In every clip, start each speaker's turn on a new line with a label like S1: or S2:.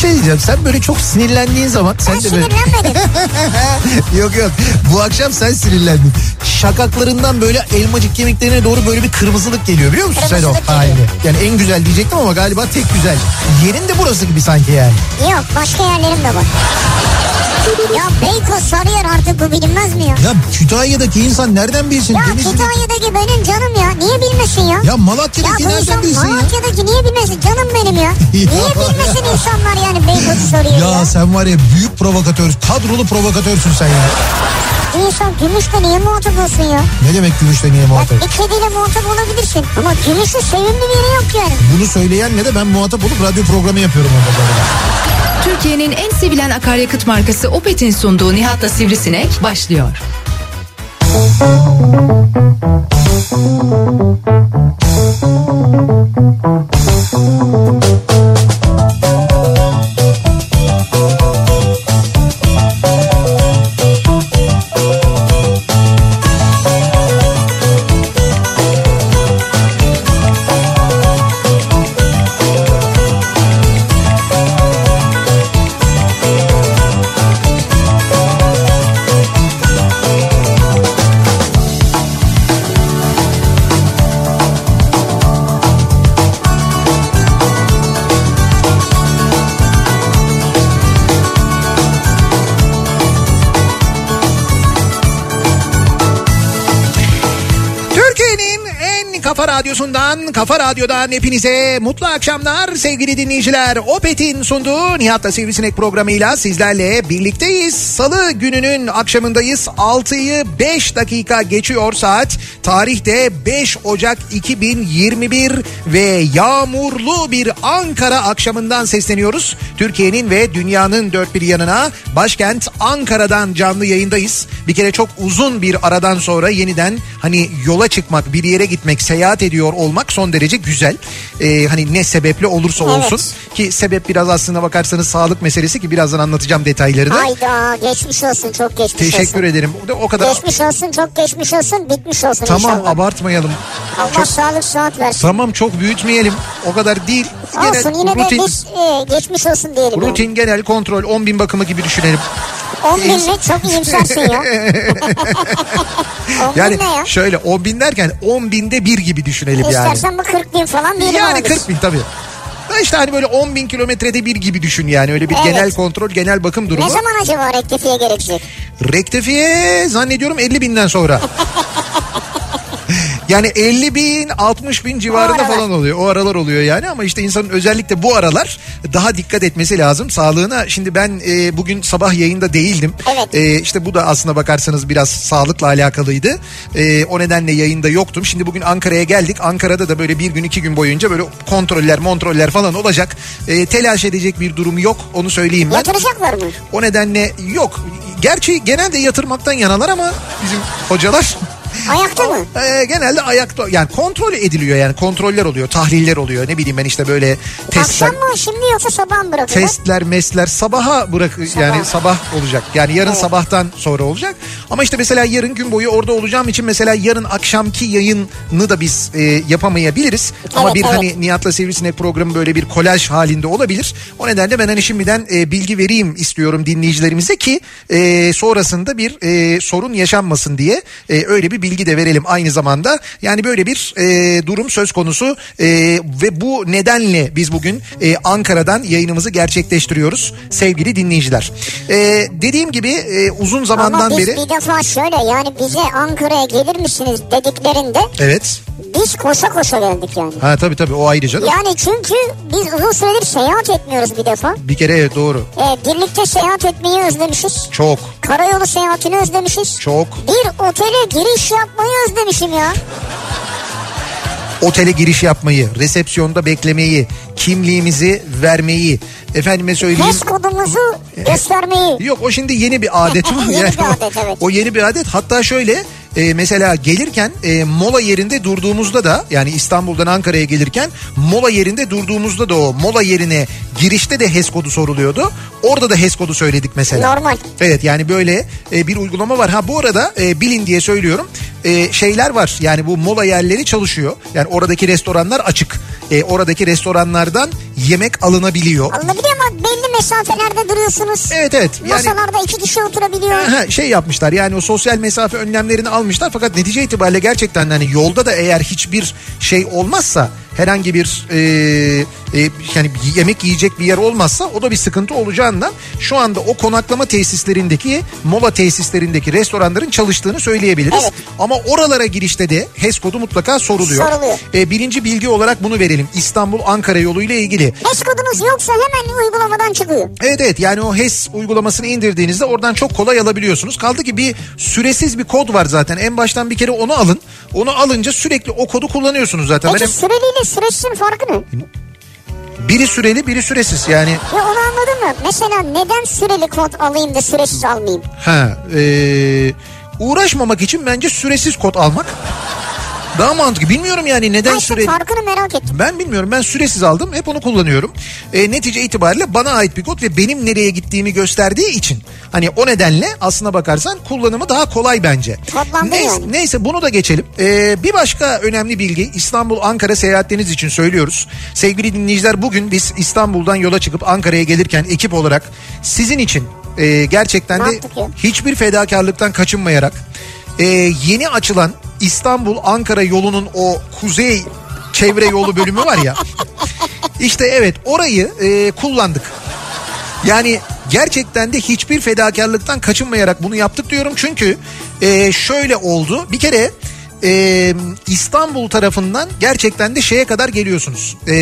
S1: şey diyeceğim. Sen böyle çok sinirlendiğin zaman sen
S2: Ben
S1: de böyle...
S2: sinirlenmedim.
S1: yok yok. Bu akşam sen sinirlendin. Şakaklarından böyle elmacık kemiklerine doğru böyle bir kırmızılık geliyor biliyor musun sen o
S2: Kırmızılık geliyor.
S1: halini? Yani en güzel diyecektim ama galiba tek güzel. Yerin de burası gibi sanki yani.
S2: Yok başka yerlerim de var. Ya Beykoz Sarıyer artık bu bilinmez mi ya?
S1: Ya Kütahya'daki insan nereden bilsin?
S2: Ya
S1: Denizli-
S2: Kütahya'daki benim canım ya. Niye bilmesin ya?
S1: Ya
S2: Ya
S1: Malatya'daki
S2: bu
S1: nereden
S2: insan
S1: bilsin ya?
S2: Malatya'daki niye bilmesin? Canım benim ya. Niye bilmesin insanlar yani Beykoz'u soruyor ya?
S1: Ya sen var ya büyük provokatör, kadrolu provokatörsün sen ya.
S2: İnsan gümüşle niye muhatap olsun ya?
S1: Ne demek gümüşle niye
S2: Ya
S1: muhatap?
S2: bir kediyle muhatap olabilirsin. Ama gümüşün sevimli bir yeri yok yani.
S1: Bunu söyleyenle de ben muhatap olup radyo programı yapıyorum orada. zaten.
S3: Türkiye'nin en sevilen akaryakıt markası Opet'in sunduğu Nihat'la Sivrisinek başlıyor.
S1: Türkiye'nin en kafa radyosundan, kafa radyodan hepinize mutlu akşamlar sevgili dinleyiciler. Opet'in sunduğu Nihat'la Sivrisinek programıyla sizlerle birlikteyiz. Salı gününün akşamındayız. 6'yı 5 dakika geçiyor saat. Tarihte 5 Ocak 2021 ve yağmurlu bir Ankara akşamından sesleniyoruz. Türkiye'nin ve dünyanın dört bir yanına başkent Ankara'dan canlı yayındayız. Bir kere çok uzun bir aradan sonra yeniden hani yola çıkmak, bir yere gitmek, seyahat ediyor olmak son derece güzel. Ee, hani ne sebeple olursa
S2: Evet.
S1: olsun ki sebep biraz aslına bakarsanız sağlık meselesi ki birazdan anlatacağım detaylarını.
S2: Hayda geçmiş olsun çok geçmiş
S1: Teşekkür
S2: olsun.
S1: ederim. O da- O kadar
S2: Geçmiş olsun çok geçmiş olsun bitmiş olsun
S1: tamam
S2: inşallah.
S1: abartmayalım.
S2: Allah
S1: Çok
S2: sağlık sıhhat versin.
S1: tamam çok büyütmeyelim. O kadar değil.
S2: olsun yine de
S1: rutin-
S2: biz e, geçmiş olsun diyelim. yani.
S1: Rutin genel kontrol 10 bin bakımı gibi düşünelim.
S2: 10 binle çok iyimsersin ya. 10
S1: Yani
S2: bin ne ya?
S1: şöyle 10 bin derken 10 binde bir gibi düşünelim yani.
S2: İstersen bu 40 bin falan verim
S1: Yani
S2: olur.
S1: 40 bin tabii. Ha İşte hani böyle 10 bin kilometrede bir gibi düşün yani öyle bir
S2: Evet.
S1: genel kontrol genel bakım durumu.
S2: Ne zaman acaba rektifiye gerekecek?
S1: Rektifiye zannediyorum 50 binden sonra. Yani 50 bin 60 bin civarında
S2: aralar.
S1: falan oluyor. O aralar oluyor yani ama işte insanın özellikle bu aralar daha dikkat etmesi lazım sağlığına. Şimdi ben e, bugün sabah yayında değildim.
S2: Evet.
S1: E, işte bu da aslına bakarsanız biraz sağlıkla alakalıydı. E, o nedenle yayında yoktum. Şimdi bugün Ankara'ya geldik. Ankara'da da böyle bir gün iki gün boyunca böyle kontroller montroller falan olacak. E, telaş edecek bir durum yok onu söyleyeyim ben.
S2: Yatıracaklar mı?
S1: O nedenle yok. Gerçi genelde yatırmaktan yanalar ama bizim hocalar
S2: Ayakta mı?
S1: e, genelde ayakta yani kontrol ediliyor yani kontroller oluyor, tahliller oluyor. Ne bileyim ben işte böyle testler
S2: Akşam mı şimdi yoksa sabah mı bırakıyorlar?
S1: testler, mesler sabaha bırak yani sabah olacak. Yani yarın sabahtan sonra olacak. Ama işte mesela yarın gün boyu orada olacağım için mesela yarın akşamki yayını da biz e, yapamayabiliriz. Ama
S2: Evet,
S1: bir
S2: evet.
S1: hani Nihat'la Sivrisinek programı böyle bir kolaj halinde olabilir. O nedenle ben hani şimdiden e, bilgi vereyim istiyorum dinleyicilerimize ki e, sonrasında bir e, sorun yaşanmasın diye e, öyle bir bilgi de verelim aynı zamanda. Yani böyle bir e, durum söz konusu e, ve bu nedenle biz bugün e, Ankara'dan yayınımızı gerçekleştiriyoruz sevgili dinleyiciler. E, dediğim gibi e, uzun zamandan
S2: Ama biz
S1: beri...
S2: bir defa şöyle yani bize Ankara'ya gelir misiniz dediklerinde
S1: Evet.
S2: biz koşa koşa geldik yani.
S1: Ha tabii tabii o ayrı canım.
S2: Yani çünkü biz uzun süredir seyahat etmiyoruz bir defa.
S1: Bir kere evet doğru.
S2: Ee, birlikte seyahat etmeyi özlemişiz.
S1: Çok
S2: Karayolu seyahatini özlemişiz.
S1: çok.
S2: Bir otele giriş yapmayı özlemişim ya.
S1: otele giriş yapmayı, resepsiyonda beklemeyi, kimliğimizi vermeyi, efendime söyleyeyim.
S2: Pes kodumuzu göstermeyi.
S1: Yok o şimdi yeni bir adet var.
S2: Yeni
S1: Yani
S2: bir adet, evet.
S1: O yeni bir adet hatta şöyle e, mesela gelirken e, mola yerinde durduğumuzda da yani İstanbul'dan Ankara'ya gelirken mola yerinde durduğumuzda da o mola yerine girişte de HES kodu soruluyordu. Orada da HES kodu söyledik mesela.
S2: Normal.
S1: Evet yani böyle e, bir uygulama var. Ha bu arada e, bilin diye söylüyorum. E, şeyler var yani bu mola yerleri çalışıyor. Yani oradaki restoranlar açık. E, oradaki restoranlardan yemek alınabiliyor.
S2: Alınabiliyor ama belli mesafelerde duruyorsunuz.
S1: Evet evet. Yani
S2: Masalarda iki kişi oturabiliyor.
S1: Aha, şey yapmışlar yani o sosyal mesafe önlemlerini almışlar fakat netice itibariyle gerçekten hani yolda da eğer hiçbir şey olmazsa herhangi bir e, e, yani yemek yiyecek bir yer olmazsa o da bir sıkıntı olacağından şu anda o konaklama tesislerindeki mola tesislerindeki restoranların çalıştığını söyleyebiliriz.
S2: Evet.
S1: Ama oralara girişte de HES kodu mutlaka soruluyor.
S2: Soruluyor.
S1: E, birinci bilgi olarak bunu verelim İstanbul Ankara yoluyla ilgili.
S2: HES kodunuz yoksa hemen uygulamadan çıkıyor.
S1: Evet evet yani o HES uygulamasını indirdiğinizde oradan çok kolay alabiliyorsunuz. Kaldı ki bir süresiz bir kod var zaten. En baştan bir kere onu alın. Onu alınca sürekli o kodu kullanıyorsunuz zaten.
S2: Peki
S1: Ben
S2: süreliyle süreçsin farkı ne?
S1: hem- biri süreli biri süresiz yani.
S2: Ya onu anladın mı? Mesela neden süreli kod alayım da süresiz almayayım?
S1: Ha, e, uğraşmamak için bence süresiz kod almak daha mantıklı. Bilmiyorum yani neden
S2: Ben
S1: süreli.
S2: farkını merak ettim.
S1: Ben bilmiyorum ben süresiz aldım hep onu kullanıyorum. E, netice itibariyle bana ait bir kod ve benim nereye gittiğimi gösterdiği için hani o nedenle aslına bakarsan kullanımı daha kolay bence.
S2: Kodlandı
S1: neyse,
S2: yani.
S1: neyse bunu da geçelim. E, bir başka önemli bilgi İstanbul Ankara seyahatleriniz için söylüyoruz. Sevgili dinleyiciler bugün biz İstanbul'dan yola çıkıp Ankara'ya gelirken ekip olarak sizin için e, gerçekten de
S2: Mantıklı.
S1: hiçbir fedakarlıktan kaçınmayarak e, yeni açılan İstanbul Ankara yolunun o kuzey çevre yolu bölümü var ya. İşte evet orayı e, kullandık. Yani gerçekten de hiçbir fedakarlıktan kaçınmayarak bunu yaptık diyorum. Çünkü e, şöyle oldu. Bir kere e, İstanbul tarafından gerçekten de şeye kadar geliyorsunuz. E,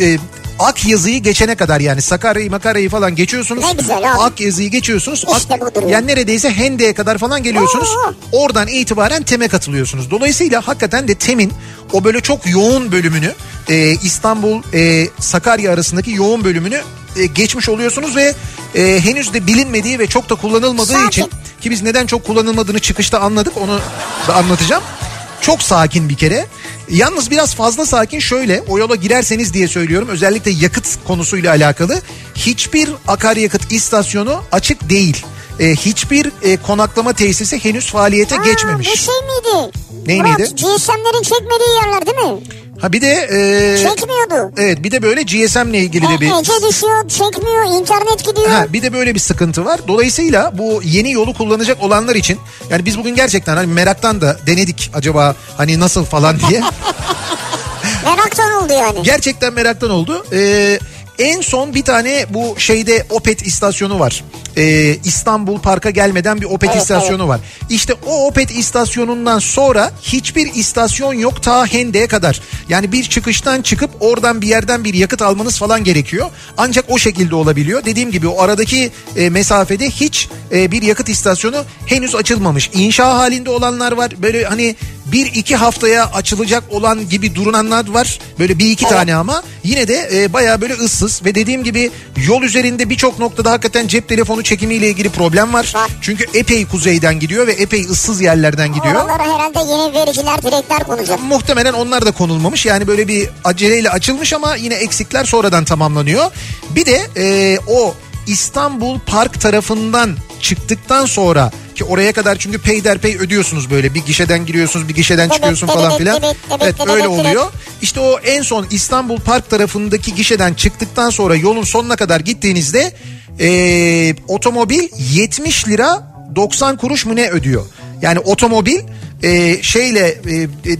S1: e, Ak yazıyı geçene kadar yani Sakarya'yı Makara'yı falan geçiyorsunuz.
S2: Ne güzel abi.
S1: Ak yazıyı geçiyorsunuz.
S2: İşte
S1: Ak-
S2: budur ya.
S1: yani neredeyse Hende'ye kadar falan geliyorsunuz.
S2: Oo.
S1: Oradan itibaren TEM'e katılıyorsunuz. Dolayısıyla hakikaten de TEM'in o böyle çok yoğun bölümünü e, İstanbul e, Sakarya arasındaki yoğun bölümünü e, geçmiş oluyorsunuz ve e, henüz de bilinmediği ve çok da kullanılmadığı
S2: Sakin.
S1: için ki biz neden çok kullanılmadığını çıkışta anladık onu da anlatacağım. Çok sakin bir kere. Yalnız biraz fazla sakin şöyle o yola girerseniz diye söylüyorum özellikle yakıt konusuyla alakalı hiçbir akaryakıt istasyonu açık değil. E, hiçbir e, konaklama tesisi henüz faaliyete
S2: Aa,
S1: geçmemiş.
S2: Bu şey miydi?
S1: Ney
S2: Murat,
S1: miydi?
S2: GSM'lerin çekmediği yerler değil mi?
S1: Ha bir de e,
S2: Çekmiyordu.
S1: evet bir de böyle GSM ile ilgili de bir
S2: E, Ece düşüyor, çekmiyor, internet gidiyor.
S1: Ha, bir de böyle bir sıkıntı var. Dolayısıyla bu yeni yolu kullanacak olanlar için yani biz bugün gerçekten hani meraktan da denedik acaba hani nasıl falan diye.
S2: Meraktan oldu yani.
S1: gerçekten meraktan oldu. Ee, en son bir tane bu şeyde Opet istasyonu var. Ee, İstanbul Park'a gelmeden bir Opet
S2: Evet,
S1: istasyonu var. İşte o Opet istasyonundan sonra hiçbir istasyon yok ta Hende'ye kadar. Yani bir çıkıştan çıkıp oradan bir yerden bir yakıt almanız falan gerekiyor. Ancak o şekilde olabiliyor. Dediğim gibi o aradaki e, mesafede hiç e, bir yakıt istasyonu henüz açılmamış. İnşa halinde olanlar var. Böyle hani bir iki haftaya açılacak olan gibi durulanlar var. Böyle bir iki tane ama yine de e, baya böyle ıssız ve dediğim gibi yol üzerinde birçok noktada hakikaten cep telefonu çekimiyle ilgili problem var.
S2: Var.
S1: Çünkü epey kuzeyden gidiyor ve epey ıssız yerlerden gidiyor.
S2: Oralara herhalde yeni vericiler, direkler konacak.
S1: Muhtemelen onlar da konulmamış. Yani böyle bir aceleyle açılmış ama yine eksikler sonradan tamamlanıyor. Bir de e, o İstanbul Park tarafından çıktıktan sonra ki oraya kadar çünkü peyderpey ödüyorsunuz böyle bir gişeden giriyorsunuz bir gişeden
S2: Evet,
S1: çıkıyorsun
S2: evet,
S1: falan
S2: evet,
S1: filan.
S2: evet, evet, evet,
S1: öyle
S2: evet.
S1: oluyor. İşte o en son İstanbul Park tarafındaki gişeden çıktıktan sonra yolun sonuna kadar gittiğinizde e, otomobil 70 lira 90 kuruş mu ne ödüyor? Yani otomobil e, şeyle e,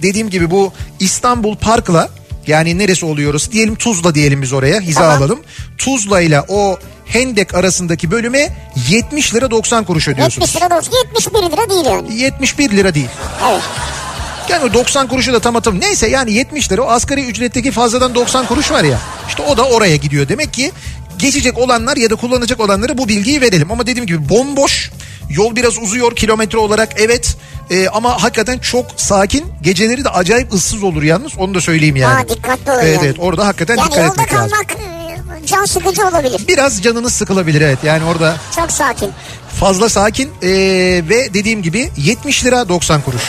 S1: dediğim gibi bu İstanbul Park'la yani neresi oluyoruz diyelim Tuzla diyelim biz oraya hiza
S2: Tamam.
S1: alalım. Tuzla ile o Hendek arasındaki bölüme 70 lira 90 kuruş ödüyorsunuz.
S2: 70 lira da olsun, 71 lira değil yani.
S1: 71 lira değil.
S2: Evet.
S1: Yani o 90 kuruşu da tam atam. Neyse yani 70 lira o asgari ücretteki fazladan 90 kuruş var ya. İşte o da oraya gidiyor. Demek ki geçecek olanlar ya da kullanacak olanlara bu bilgiyi verelim. Ama dediğim gibi bomboş. Yol biraz uzuyor kilometre olarak evet. Ee, ama hakikaten çok sakin. Geceleri de acayip ıssız olur yalnız. Onu da söyleyeyim yani.
S2: Aa, dikkatli olun
S1: Evet
S2: yani.
S1: evet orada hakikaten
S2: Yani
S1: dikkat
S2: yolda
S1: etmek lazım.
S2: kalmak e, can sıkıcı olabilir.
S1: Biraz canınız sıkılabilir evet. Yani orada
S2: Çok sakin.
S1: fazla sakin ee, ve dediğim gibi 70 lira 90 kuruş.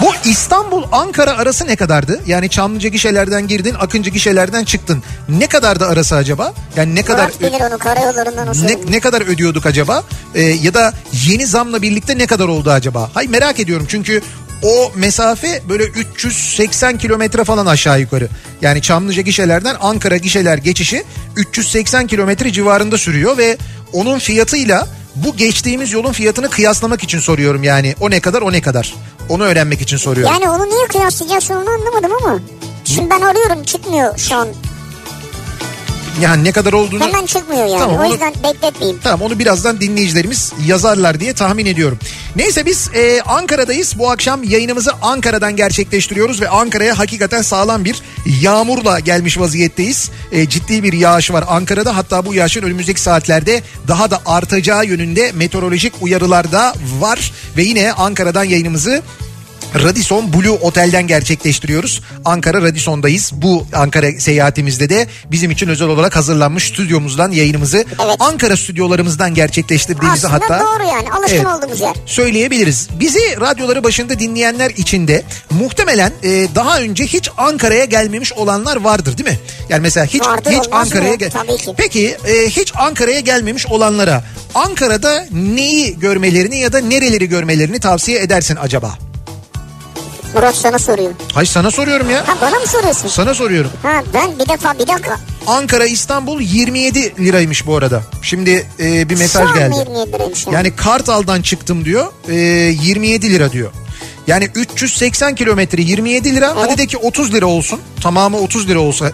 S1: Bu İstanbul Ankara arası ne kadardı? Yani Çamlıca gişelerden girdin, Akıncı gişelerden çıktın. Ne kadardı arası acaba? Yani ne kadar e,
S2: Murat bilir onu karayollarından o
S1: ne,
S2: sorun.
S1: ne kadar ödüyorduk acaba? Ee, ya da yeni zamla birlikte ne kadar oldu acaba? Hay merak ediyorum çünkü o mesafe böyle 380 kilometre falan aşağı yukarı. Yani Çamlıca gişelerden Ankara gişeler geçişi 380 kilometre civarında sürüyor ve onun fiyatıyla bu geçtiğimiz yolun fiyatını kıyaslamak için soruyorum yani. O ne kadar o ne kadar. Onu öğrenmek için soruyorum.
S2: Yani onu niye kıyaslayacaksın onu anlamadım ama. Şimdi ben arıyorum çıkmıyor şu an.
S1: Yani ne kadar olduğunu...
S2: Hemen çıkmıyor yani.
S1: Tamam,
S2: o
S1: onu-
S2: yüzden bekletmeyeyim.
S1: Tamam onu birazdan dinleyicilerimiz yazarlar diye tahmin ediyorum. Neyse biz e, Ankara'dayız. Bu akşam yayınımızı Ankara'dan gerçekleştiriyoruz ve Ankara'ya hakikaten sağlam bir yağmurla gelmiş vaziyetteyiz. E, ciddi bir yağış var Ankara'da. Hatta bu yağışın önümüzdeki saatlerde daha da artacağı yönünde meteorolojik uyarılar da var. Ve yine Ankara'dan yayınımızı Radisson Blue Otel'den gerçekleştiriyoruz. Ankara Radisson'dayız. Bu Ankara seyahatimizde de bizim için özel olarak hazırlanmış stüdyomuzdan yayınımızı Ankara stüdyolarımızdan gerçekleştirdiğimizi
S2: Aslında
S1: hatta
S2: doğru yani. Alışkın
S1: Evet.
S2: olduğumuz yer.
S1: söyleyebiliriz. Bizi radyoları başında dinleyenler için de muhtemelen e, daha önce hiç Ankara'ya gelmemiş olanlar vardır değil mi? Yani mesela hiç
S2: Vardır,
S1: hiç
S2: olmaz mı?
S1: Ankara'ya gel.
S2: Tabii ki.
S1: Peki e, hiç Ankara'ya gelmemiş olanlara Ankara'da neyi görmelerini ya da nereleri görmelerini tavsiye edersin acaba?
S2: Murat sana soruyor.
S1: Hayır sana soruyorum ya.
S2: Ha bana mı soruyorsun?
S1: Sana soruyorum.
S2: Ha ben bir defa bir dakika.
S1: Ankara İstanbul 27 liraymış bu arada. Şimdi e, bir mesaj
S2: Şu an
S1: geldi.
S2: 27 liraymış yani.
S1: Yani Kartal'dan çıktım diyor. e, 27 lira diyor. Yani 380 kilometre 27 lira. Hadi de ki 30 lira olsun. Tamamı 30 lira olsa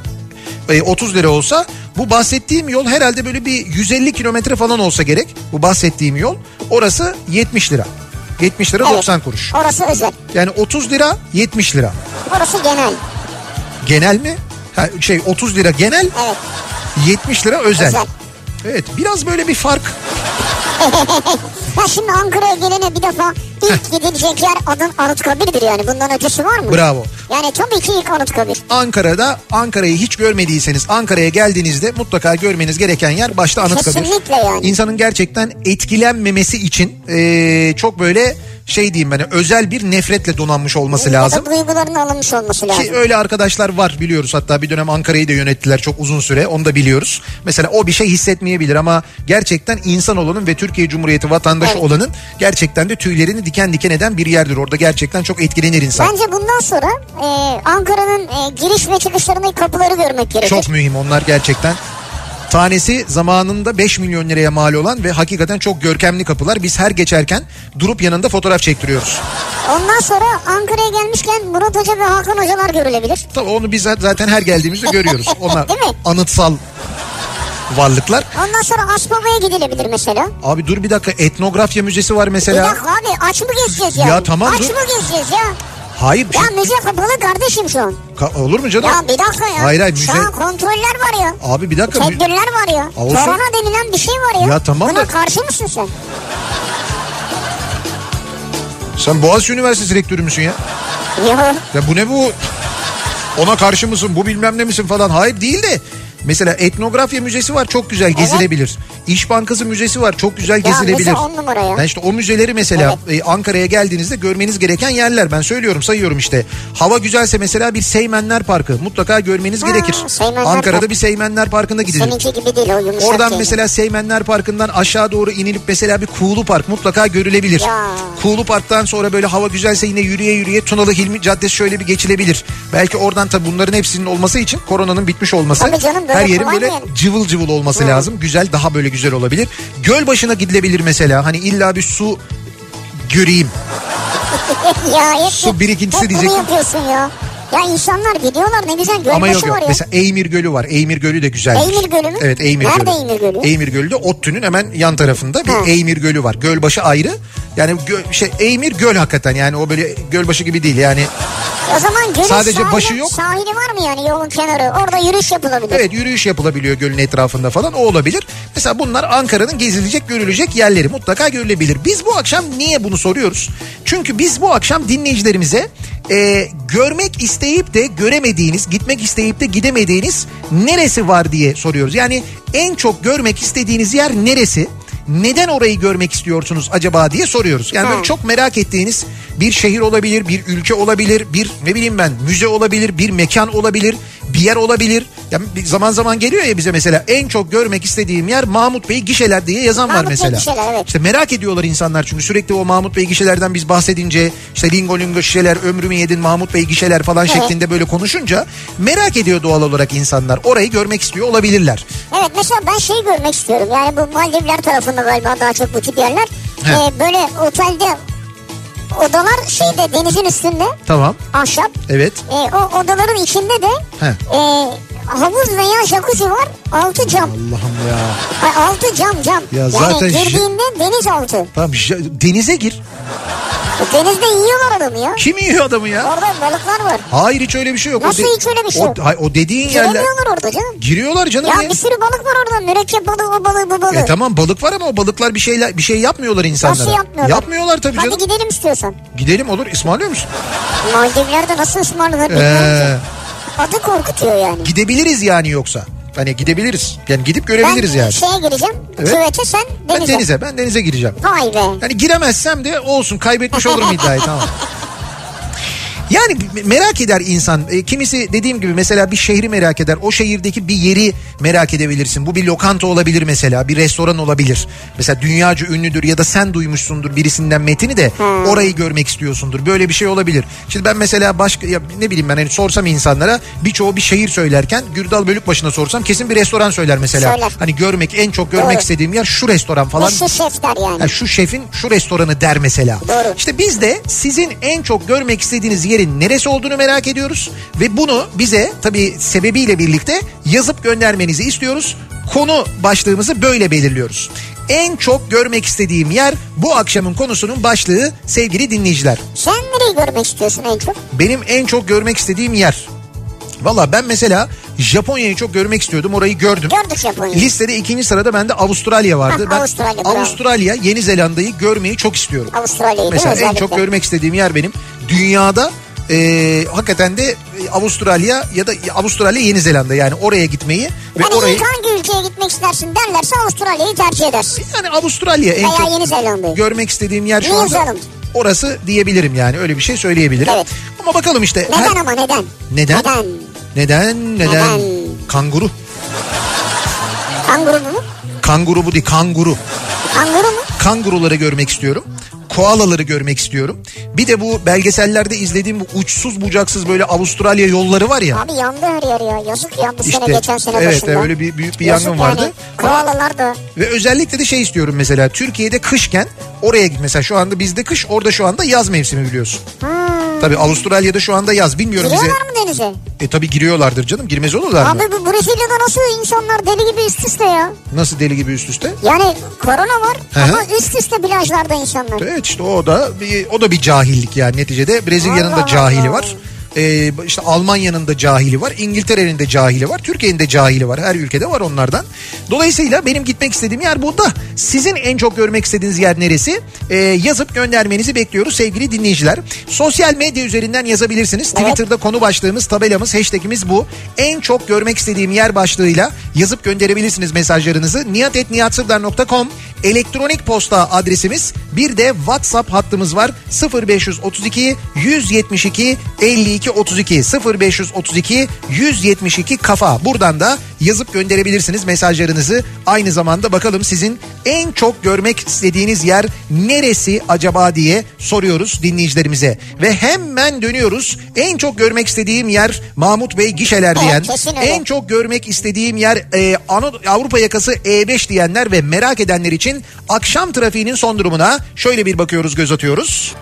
S1: e, 30 lira olsa bu bahsettiğim yol herhalde böyle bir 150 kilometre falan olsa gerek. Bu bahsettiğim yol. Orası 70 lira. 70 lira
S2: Evet.
S1: 90 kuruş.
S2: Orası özel.
S1: Yani 30 lira 70 lira.
S2: Orası genel.
S1: Genel mi? Ha, şey 30 lira genel.
S2: Evet.
S1: 70 lira özel.
S2: Özel.
S1: Evet biraz böyle bir fark.
S2: Ya şimdi Ankara'ya gelene bir defa ilk gidilecek yer adın Anıtkabir'dir yani. Bundan ötesi var mı?
S1: Bravo.
S2: Yani tabii ki ilk Anıtkabir.
S1: Ankara'da Ankara'yı hiç görmediyseniz Ankara'ya geldiğinizde mutlaka görmeniz gereken yer başta Anıtkabir.
S2: Kesinlikle yani.
S1: İnsanın gerçekten etkilenmemesi için eee, çok böyle şey diyeyim ben özel bir nefretle donanmış olması lazım.
S2: Ya da duyguların alınmış olması lazım.
S1: Ki öyle arkadaşlar var biliyoruz hatta bir dönem Ankara'yı da yönettiler çok uzun süre onu da biliyoruz. Mesela o bir şey hissetmeyebilir ama gerçekten insan olanın ve Türkiye Cumhuriyeti vatandaşı
S2: Evet.
S1: olanın gerçekten de tüylerini diken diken eden bir yerdir. Orada gerçekten çok etkilenir insan.
S2: Bence bundan sonra e, Ankara'nın e, giriş ve çıkışlarındaki kapıları görmek gerekir.
S1: Çok mühim onlar gerçekten. Tanesi zamanında 5 milyon liraya mal olan ve hakikaten çok görkemli kapılar. Biz her geçerken durup yanında fotoğraf çektiriyoruz.
S2: Ondan sonra Ankara'ya gelmişken Murat Hoca ve Hakan Hocalar görülebilir.
S1: Tabii onu biz zaten her geldiğimizde görüyoruz. Onlar
S2: Değil mi?
S1: anıtsal varlıklar.
S2: Ondan sonra Asbaba'ya gidilebilir mesela.
S1: Abi dur bir dakika etnografya müzesi var
S2: Bir
S1: mesela.
S2: dakika abi aç mı gezeceğiz ya?
S1: Ya tamam
S2: Aç
S1: dur.
S2: mı gezeceğiz ya?
S1: Hayır bir şey-
S2: Ya müze kapalı kardeşim şu an.
S1: Ka- olur mu canım?
S2: Ya bir dakika ya.
S1: Hayır, hayır,
S2: Şu
S1: müze-
S2: an kontroller var ya.
S1: Abi bir dakika. mü-
S2: Tedbirler var ya.
S1: Olsun.
S2: Korona denilen bir şey var ya.
S1: Ya tamam
S2: Buna
S1: da-
S2: karşı mısın sen?
S1: Sen Boğaziçi Üniversitesi rektörü müsün ya?
S2: Ya.
S1: Ya bu ne bu? Ona karşı mısın? Bu bilmem ne misin falan. Hayır değil de. Mesela etnografya müzesi var çok güzel gezilebilir. İş Bankası müzesi var çok güzel gezilebilir.
S2: müze on numara ya.
S1: Yani işte o müzeleri mesela e, Ankara'ya geldiğinizde görmeniz gereken yerler. Ben söylüyorum sayıyorum işte. Hava güzelse mesela bir Seymenler Parkı mutlaka görmeniz
S2: Ha,
S1: gerekir.
S2: Seymenler
S1: Ankara'da
S2: Parkı.
S1: bir Seymenler Parkı'na gidilir.
S2: Seninki gibi değil o yumuşak şey.
S1: Oradan
S2: yani.
S1: mesela Seymenler Parkı'ndan aşağı doğru inilip mesela bir Kuğulu Park mutlaka görülebilir.
S2: Ya.
S1: Kuğulu Park'tan sonra böyle hava güzelse yine yürüye yürüye Tunalı Hilmi Caddesi şöyle bir geçilebilir. Belki oradan tabii bunların hepsinin olması için koronanın bitmiş olması
S2: Tabii canım, böyle
S1: her yerin
S2: kolay
S1: böyle
S2: yani.
S1: cıvıl cıvıl olması lazım. Güzel daha böyle güzel olabilir. Gölbaşı'na gidilebilir mesela hani illa bir su göreyim.
S2: ya hep,
S1: Su birikintisi
S2: hep
S1: diyecektim.
S2: bunu yapıyorsun ya. Ya insanlar gidiyorlar ne güzel
S1: Ama yok
S2: gölbaşı
S1: yok.
S2: var ya.
S1: Mesela Eymir Gölü var. Eymir Gölü de güzel.
S2: Eymir Gölü mü?
S1: Evet Eymir
S2: Nerede
S1: Gölü.
S2: Eymir Gölü?
S1: Eymir Gölü de ODTÜ'nün hemen yan tarafında bir
S2: Ha.
S1: Eymir Gölü var. Gölbaşı ayrı. Yani gö- şey Eymir Göl hakikaten yani o böyle Gölbaşı gibi değil yani.
S2: O zaman gölün
S1: Sadece
S2: sahili,
S1: başı yok.
S2: sahili var mı yani yolun kenarı? Orada yürüyüş yapılabilir.
S1: Evet yürüyüş yapılabiliyor gölün etrafında falan o olabilir. Mesela bunlar Ankara'nın gezilecek görülecek yerleri mutlaka görülebilir. Biz bu akşam niye bunu soruyoruz? Çünkü biz bu akşam dinleyicilerimize e, görmek isteyip de göremediğiniz, gitmek isteyip de gidemediğiniz neresi var diye soruyoruz. Yani en çok görmek istediğiniz yer neresi? Neden orayı görmek istiyorsunuz acaba diye soruyoruz. Yani böyle
S2: Hı.
S1: çok merak ettiğiniz bir şehir olabilir, bir ülke olabilir, bir ne bileyim ben müze olabilir, bir mekan olabilir, bir yer olabilir. Ya bir zaman zaman geliyor ya bize mesela en çok görmek istediğim yer Mahmut Bey gişeler diye yazan var
S2: Mahmut Bey
S1: mesela.
S2: gişeler, evet.
S1: İşte merak ediyorlar insanlar çünkü sürekli o Mahmut Bey gişelerden biz bahsedince işte lingo lingo şişeler ömrümü yedin Mahmut Bey gişeler falan
S2: Evet.
S1: şeklinde böyle konuşunca merak ediyor doğal olarak insanlar. Orayı görmek istiyor olabilirler.
S2: Evet mesela ben şeyi görmek istiyorum. Yani bu Maldivler tarafında galiba daha çok bu tip yerler.
S1: Evet.
S2: Ee, böyle otelde odalar şeyde denizin üstünde
S1: Tamam.
S2: ahşap.
S1: Evet.
S2: Ee, o odaların içinde de
S1: He.
S2: e, havuz veya jacuzzi var. Altı cam.
S1: Allah'ım ya.
S2: Ay, altı cam cam.
S1: Ya
S2: yani
S1: zaten şi-
S2: girdiğinde deniz altı.
S1: Tamam j- denize gir.
S2: E, Denizde yiyorlar adamı ya.
S1: Kim yiyor adamı ya?
S2: Orada balıklar var.
S1: Hayır hiç öyle bir şey yok. O
S2: Nasıl
S1: de-
S2: hiç öyle bir şey yok?
S1: O, hay- o dediğin yerler.
S2: Giremiyorlar orada canım.
S1: Giriyorlar canım.
S2: Ya
S1: ya.
S2: bir sürü balık var orada. Mürekkep balığı, o balığı, bu balığı.
S1: E tamam balık var ama o balıklar bir şeyler bir şey yapmıyorlar insanlara.
S2: Nasıl yapmıyorlar?
S1: Yapmıyorlar tabii
S2: Hadi
S1: canım.
S2: gidelim istiyorsan.
S1: Gidelim olur ısmarlıyor musun?
S2: Maldivler'de nasıl ısmarlanır
S1: Ee,
S2: bilmiyorum ki. Adı korkutuyor yani.
S1: gidebiliriz yani yoksa. Hani gidebiliriz. Yani gidip
S2: Ben şey,
S1: görebiliriz yani.
S2: şeye gireceğim.
S1: Evet.
S2: Küvete sen
S1: Ben
S2: denize.
S1: denize ben denize gireceğim.
S2: Vay be.
S1: Yani giremezsem de olsun kaybetmiş olurum iddiayı tamam. Yani merak eder insan. E, kimisi dediğim gibi mesela bir şehri merak eder. O şehirdeki bir yeri merak edebilirsin. Bu bir lokanta olabilir mesela. Bir restoran olabilir. Mesela dünyaca ünlüdür ya da sen duymuşsundur birisinden metini de
S2: Hmm.
S1: orayı görmek istiyorsundur. Böyle bir şey olabilir. Şimdi ben mesela başka ya ne bileyim ben hani sorsam insanlara birçoğu bir şehir söylerken Gürdal Bölükbaşı'na sorsam kesin bir restoran söyler mesela.
S2: Söyler.
S1: Hani görmek en çok görmek
S2: Doğru.
S1: istediğim yer şu restoran falan.
S2: Eşi şef der yani.
S1: Ya şu şefin şu restoranı der mesela.
S2: Doğru.
S1: İşte biz de sizin en çok görmek istediğiniz yerin neresi olduğunu merak ediyoruz. Ve bunu bize tabii sebebiyle birlikte yazıp göndermenizi istiyoruz. Konu başlığımızı böyle belirliyoruz. En çok görmek istediğim yer bu akşamın konusunun başlığı sevgili dinleyiciler.
S2: Sen nereyi görmek istiyorsun en çok?
S1: Benim en çok görmek istediğim yer. Valla ben mesela Japonya'yı çok görmek istiyordum orayı gördüm.
S2: Gördük Japonya'yı.
S1: Listede ikinci sırada bende Avustralya vardı.
S2: Ha,
S1: ben
S2: Avustralya, bravo.
S1: Avustralya, Yeni Zelanda'yı görmeyi çok istiyorum.
S2: Avustralya'yı değil mi
S1: Mesela en
S2: özellikle?
S1: çok görmek istediğim yer benim. Dünyada e, hakikaten de e, Avustralya ya da Avustralya Yeni Zelanda yani oraya gitmeyi ve
S2: Hani
S1: orayı
S2: ilk hangi ülkeye gitmek istersin derlerse Avustralya'yı tercih edersin.
S1: yani Avustralya en
S2: Veya
S1: çok
S2: Yeni Zelanda'yı.
S1: görmek istediğim yer şu
S2: New
S1: anda
S2: Zealand.
S1: orası diyebilirim yani öyle bir şey söyleyebilirim.
S2: Evet.
S1: Ama bakalım işte
S2: Neden
S1: her-
S2: ama neden?
S1: Neden?
S2: Neden?
S1: neden neden
S2: Neden?
S1: kanguru
S2: Kanguru mu?
S1: kanguru bu değil kanguru
S2: Kanguru mu?
S1: kanguruları görmek istiyorum. Koalaları görmek istiyorum. Bir de bu belgesellerde izlediğim bu uçsuz bucaksız böyle Avustralya yolları var ya.
S2: Abi yandı her yer ya. Yazık ya bu
S1: İşte
S2: sene geçen sene
S1: evet
S2: başında.
S1: öyle bir büyük bir
S2: Yazık
S1: yangın
S2: yani.
S1: vardı.
S2: Koalalar da.
S1: Ve özellikle de şey istiyorum mesela Türkiye'de kışken oraya git mesela şu anda bizde kış orada şu anda yaz mevsimi biliyorsun. Tabii Avustralya'da şu anda yaz bilmiyorum bize.
S2: Hmm. Giriyorlar mı denize?
S1: E tabii giriyorlardır canım girmez olurlar mı?
S2: Abi bu Brezilya'da nasıl insanlar deli gibi üst üste ya?
S1: Nasıl deli gibi üst üste?
S2: Yani korona var
S1: Hı hı.
S2: ama üst üste plajlarda insanlar.
S1: Evet işte o da bir, o da bir cahillik yani neticede Brezilya'nın
S2: Allah
S1: da cahili
S2: Allah.
S1: var. Ee, işte Almanya'nın da cahili var, İngiltere'nin de cahili var, Türkiye'nin de cahili var. Her ülkede var onlardan. Dolayısıyla benim gitmek istediğim yer bu da. Sizin en çok görmek istediğiniz yer neresi? Ee, yazıp göndermenizi bekliyoruz sevgili dinleyiciler. Sosyal medya üzerinden yazabilirsiniz. Twitter'da konu başlığımız, tabelamız, hashtagimiz bu. En çok görmek istediğim yer başlığıyla yazıp gönderebilirsiniz mesajlarınızı. niyatetniyatsırdar.com elektronik posta adresimiz bir de WhatsApp hattımız var 0532 172 52 32 0532 172 kafa buradan da yazıp gönderebilirsiniz mesajlarınızı aynı zamanda bakalım sizin en çok görmek istediğiniz yer neresi acaba diye soruyoruz dinleyicilerimize ve hemen dönüyoruz en çok görmek istediğim yer Mahmut Bey gişeler
S2: Evet,
S1: diyen
S2: kesin öyle.
S1: en çok görmek istediğim yer e, Anad- Avrupa yakası E5 diyenler ve merak edenler için akşam trafiğinin son durumuna şöyle bir bakıyoruz göz atıyoruz.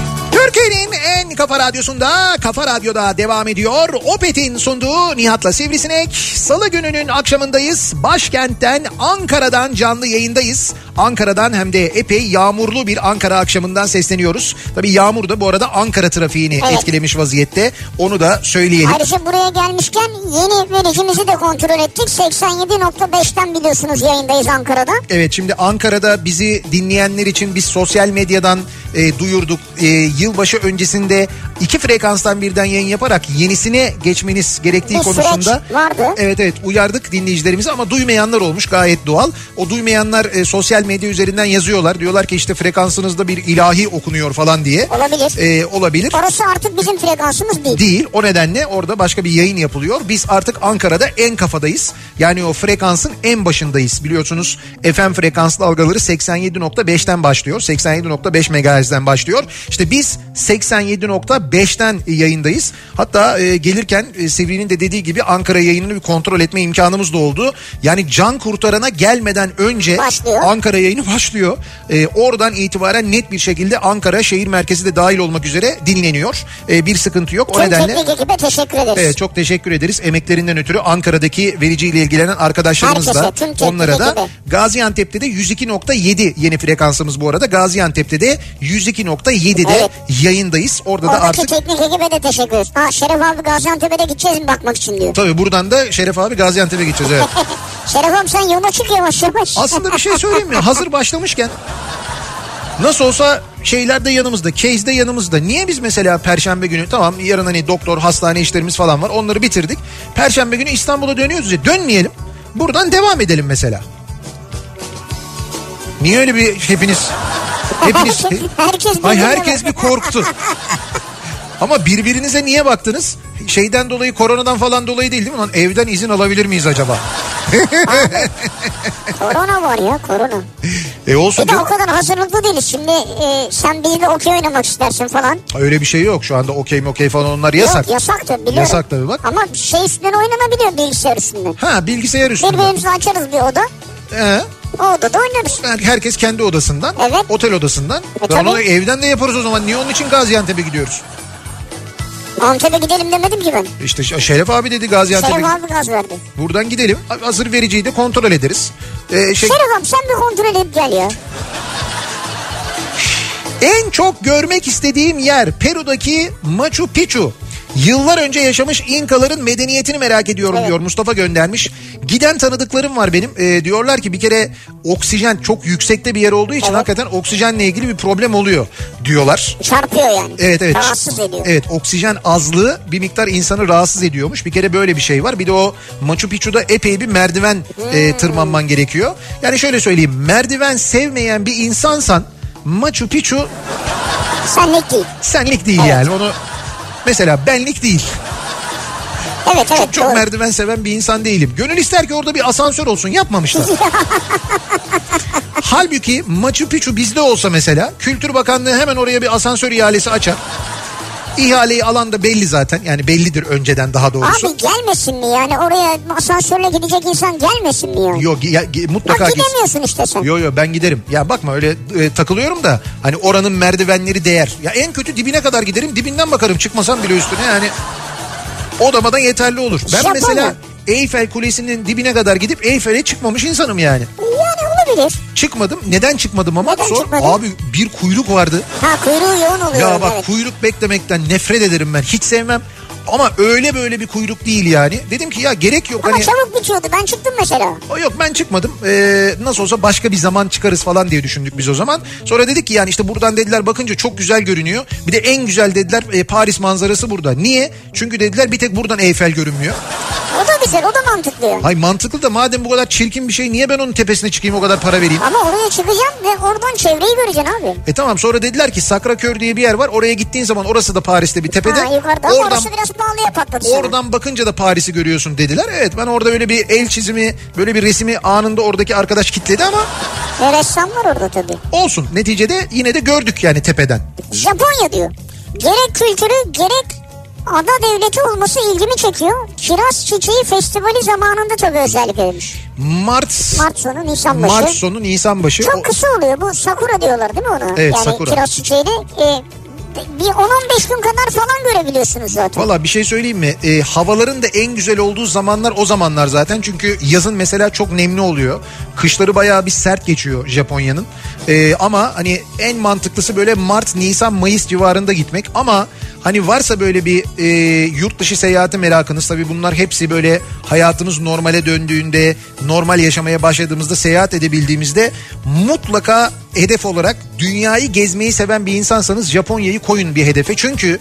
S1: Modern Kafa Radyosu'nda Kafa Radyo'da devam ediyor. Opet'in sunduğu Nihat'la Sivrisinek. Salı gününün akşamındayız. Başkentten Ankara'dan canlı yayındayız. Ankara'dan hem de epey yağmurlu bir Ankara akşamından sesleniyoruz. Tabii yağmur da bu arada Ankara trafiğini
S2: Evet.
S1: etkilemiş vaziyette. Onu da söyleyelim.
S2: Ayrıca buraya gelmişken yeni vericimizi de kontrol ettik. 87.5'ten biliyorsunuz yayındayız Ankara'da.
S1: Evet şimdi Ankara'da bizi dinleyenler için biz sosyal medyadan e, duyurduk. E, yılbaşı öncesinde iki frekanstan birden yayın yaparak yenisine geçmeniz gerektiği
S2: Bir süreç
S1: konusunda
S2: vardı.
S1: Evet evet uyardık dinleyicilerimizi ama duymayanlar olmuş gayet doğal. O duymayanlar e, sosyal medya üzerinden yazıyorlar. Diyorlar ki işte frekansınızda bir ilahi okunuyor falan diye.
S2: Olabilir.
S1: E, olabilir.
S2: Orası artık bizim frekansımız değil.
S1: Değil. O nedenle orada başka bir yayın yapılıyor. Biz artık Ankara'da en kafadayız. Yani o frekansın en başındayız. Biliyorsunuz FM frekanslı dalgaları 87.5'ten başlıyor. 87.5 MHz'den başlıyor. İşte biz 87.5'ten yayındayız. Hatta e, gelirken e, Sivri'nin de dediği gibi Ankara yayınını bir kontrol etme imkanımız da oldu. Yani can kurtarana gelmeden önce
S2: Başlıyor.
S1: Ankara yayını başlıyor. Ee, oradan itibaren net bir şekilde Ankara şehir merkezi de dahil olmak üzere dinleniyor. Ee, bir sıkıntı yok. O
S2: Tüm
S1: nedenle
S2: teknik ekibe teşekkür ederiz.
S1: evet, çok teşekkür ederiz. Emeklerinden ötürü Ankara'daki vericiyle ilgilenen arkadaşlarımız da
S2: Herkese, tüm teknik
S1: onlara da
S2: ekibe.
S1: Gaziantep'te de 102.7 yeni frekansımız bu arada. Gaziantep'te de 102.7'de
S2: Evet.
S1: yayındayız. Orada da
S2: Oradaki
S1: artık
S2: teknik ekibe de teşekkür ederiz. Ha, Şeref abi Gaziantep'e de gideceğiz mi bakmak için diyor.
S1: tabii buradan da Şeref abi Gaziantep'e gideceğiz evet.
S2: Şeref abi sen yola çık yavaş yavaş.
S1: Aslında bir şey söyleyeyim mi? Hazır başlamışken nasıl olsa şeyler de yanımızda, case de yanımızda. Niye biz mesela perşembe günü tamam yarın hani doktor, hastane işlerimiz falan var onları bitirdik. Perşembe günü İstanbul'a dönüyoruz ya dönmeyelim. Buradan devam edelim mesela. Niye öyle bir hepiniz hepiniz
S2: Herkes- herkes
S1: Ay
S2: birbirine
S1: herkes bir
S2: bakıyor.
S1: korktu. Ama birbirinize niye baktınız? Şeyden dolayı koronadan falan dolayı değil değil mi? Lan evden izin alabilir miyiz acaba?
S2: korona var ya korona.
S1: E olsun.
S2: Bir de
S1: canım.
S2: o kadar hazırlıklı değiliz. Şimdi e, sen bizle okey oynamak istersin falan.
S1: Ha, Öyle bir şey yok şu anda okey mi okey falan onlar yasak.
S2: Yok yasaktır biliyorum.
S1: Yasak tabii bak.
S2: Ama şey üstünden oynanabiliyor bilgisayar üstünden.
S1: Ha bilgisayar üstünde.
S2: Birbirimizi açarız bir oda.
S1: Ee,
S2: O odada oynarız.
S1: herkes kendi odasından,
S2: Evet.
S1: otel odasından.
S2: E,
S1: Lan
S2: tabii.
S1: onu evden de yaparız o zaman. Niye onun için Gaziantep'e gidiyoruz?
S2: Antep'e gidelim demedim ki ben.
S1: İşte Ş- Şeref abi dedi Gaziantep'e.
S2: Şeref abi gaz verdi.
S1: Buradan gidelim. Hazır vericiyi de kontrol ederiz. Ee, şey,
S2: Şeref abi sen bir kontrol edip gel ya.
S1: En çok görmek istediğim yer Peru'daki Machu Picchu. Yıllar önce yaşamış İnkaların medeniyetini merak ediyorum diyor Mustafa göndermiş. Giden tanıdıklarım var benim. Ee, diyorlar ki bir kere oksijen çok yüksekte bir yer olduğu için hakikaten oksijenle ilgili bir problem oluyor diyorlar.
S2: Çarpıyor yani.
S1: Evet evet.
S2: Rahatsız ediyor.
S1: Evet oksijen azlığı bir miktar insanı rahatsız ediyormuş. Bir kere böyle bir şey var. Bir de o Machu Picchu'da epey bir merdiven
S2: Hmm.
S1: e, tırmanman gerekiyor. Yani şöyle söyleyeyim merdiven sevmeyen bir insansan Machu Picchu
S2: Senlik değil.
S1: senlik değil
S2: Evet.
S1: yani onu mesela benlik değil.
S2: Evet evet
S1: Çok
S2: doğru.
S1: merdiven seven bir insan değilim. Gönül ister ki orada bir asansör olsun yapmamışlar. Halbuki Machu Picchu bizde olsa mesela Kültür Bakanlığı hemen oraya bir asansör ihalesi açar. İhaleyi alan da belli zaten yani bellidir önceden daha doğrusu.
S2: Abi gelmesin mi yani oraya asansörle gidecek insan gelmesin mi yani?
S1: Yok ya, ge-
S2: Bak
S1: mutlaka gitsin.
S2: gidemiyorsun işte sen.
S1: Yo yo ben giderim. Ya bakma öyle e, takılıyorum da hani oranın merdivenleri değer. Ya en kötü dibine kadar giderim. Dibinden bakarım çıkmasam bile üstüne yani. Odama da yeterli olur. Ben
S2: Şaka
S1: mesela
S2: mı?
S1: Eyfel Kulesi'nin dibine kadar gidip Eyfel'e çıkmamış insanım yani.
S2: Yani olabilir.
S1: Çıkmadım. Neden çıkmadım ama?
S2: Neden
S1: Sor.
S2: çıkmadın?
S1: Abi bir kuyruk vardı.
S2: Ha kuyruğu yoğun oluyor.
S1: Ya bak
S2: evet.
S1: kuyruk beklemekten nefret ederim ben. Hiç sevmem. Ama öyle böyle bir kuyruk değil yani. Dedim ki ya gerek yok.
S2: Ama
S1: hani...
S2: çabuk bitiyordu ben çıktım mesela.
S1: O yok ben çıkmadım. Ee, nasıl olsa başka bir zaman çıkarız falan diye düşündük biz o zaman. Sonra dedik ki yani işte buradan dediler bakınca çok güzel görünüyor. Bir de en güzel dediler e, Paris manzarası burada. Niye? Çünkü dediler bir tek buradan Eyfel görünmüyor.
S2: O da güzel o da mantıklı yani.
S1: Hay mantıklı da madem bu kadar çirkin bir şey niye ben onun tepesine çıkayım o kadar para vereyim?
S2: Ama oraya çıkacağım ve oradan çevreyi göreceksin abi.
S1: E tamam sonra dediler ki Sakrakör diye bir yer var. Oraya gittiğin zaman orası da Paris'te bir tepede.
S2: Ha yukarıda ama
S1: oradan
S2: orası biraz pahalıya patladı sana.
S1: Oradan bakınca da Paris'i görüyorsun dediler. Evet ben orada öyle bir el çizimi, böyle bir resmi anında oradaki arkadaş kitledi ama
S2: E, ressam var orada tabii.
S1: olsun. Neticede yine de gördük yani tepeden.
S2: Japonya diyor. Gerek kültürü gerek ada devleti olması ilgimi çekiyor. Kiraz Çiçeği Festivali zamanında tabii özellik edilmiş.
S1: Mart
S2: Mart sonu Nisan başı.
S1: Mart sonu Nisan başı. O-
S2: Çok kısa oluyor bu sakura diyorlar değil mi ona?
S1: Evet,
S2: yani
S1: sakura.
S2: kiraz çiçeğini e, bir 10-15 gün kadar falan görebiliyorsunuz zaten.
S1: Valla bir şey söyleyeyim mi? Ee, havaların da en güzel olduğu zamanlar o zamanlar zaten. Çünkü yazın mesela çok nemli oluyor. Kışları bayağı bir sert geçiyor Japonya'nın. Ee, ama hani en mantıklısı böyle Mart, Nisan, Mayıs civarında gitmek. Ama hani varsa böyle bir e, yurt dışı seyahati merakınız. Tabii bunlar hepsi böyle hayatımız normale döndüğünde, normal yaşamaya başladığımızda, seyahat edebildiğimizde mutlaka hedef olarak dünyayı gezmeyi seven bir insansanız Japonya'yı koyun bir hedefe. Çünkü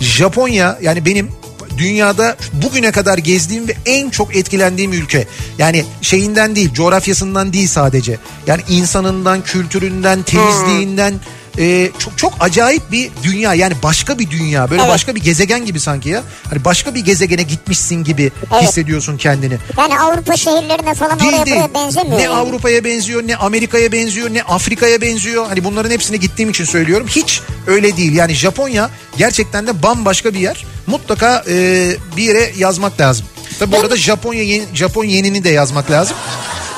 S1: Japonya yani benim dünyada bugüne kadar gezdiğim ve en çok etkilendiğim ülke. Yani şeyinden değil, coğrafyasından değil sadece. Yani insanından,
S2: Hmm.
S1: kültüründen, temizliğinden e, çok çok acayip bir dünya. Yani başka bir dünya. Böyle
S2: Evet.
S1: başka bir gezegen gibi sanki ya. Hani başka bir gezegene gitmişsin gibi
S2: Evet.
S1: hissediyorsun kendini.
S2: Yani Avrupa şehirlerine falan oraya
S1: Değil
S2: buraya
S1: değil.
S2: benzemiyor.
S1: Ne
S2: yani.
S1: Avrupa'ya benziyor ne Amerika'ya benziyor ne Afrika'ya benziyor. Hani bunların hepsine gittiğim için söylüyorum. Hiç öyle değil. Yani Japonya gerçekten de bambaşka bir yer. Mutlaka e, bir yere yazmak lazım. Tabi bu arada Japonya yeni, Japon yenini de yazmak lazım.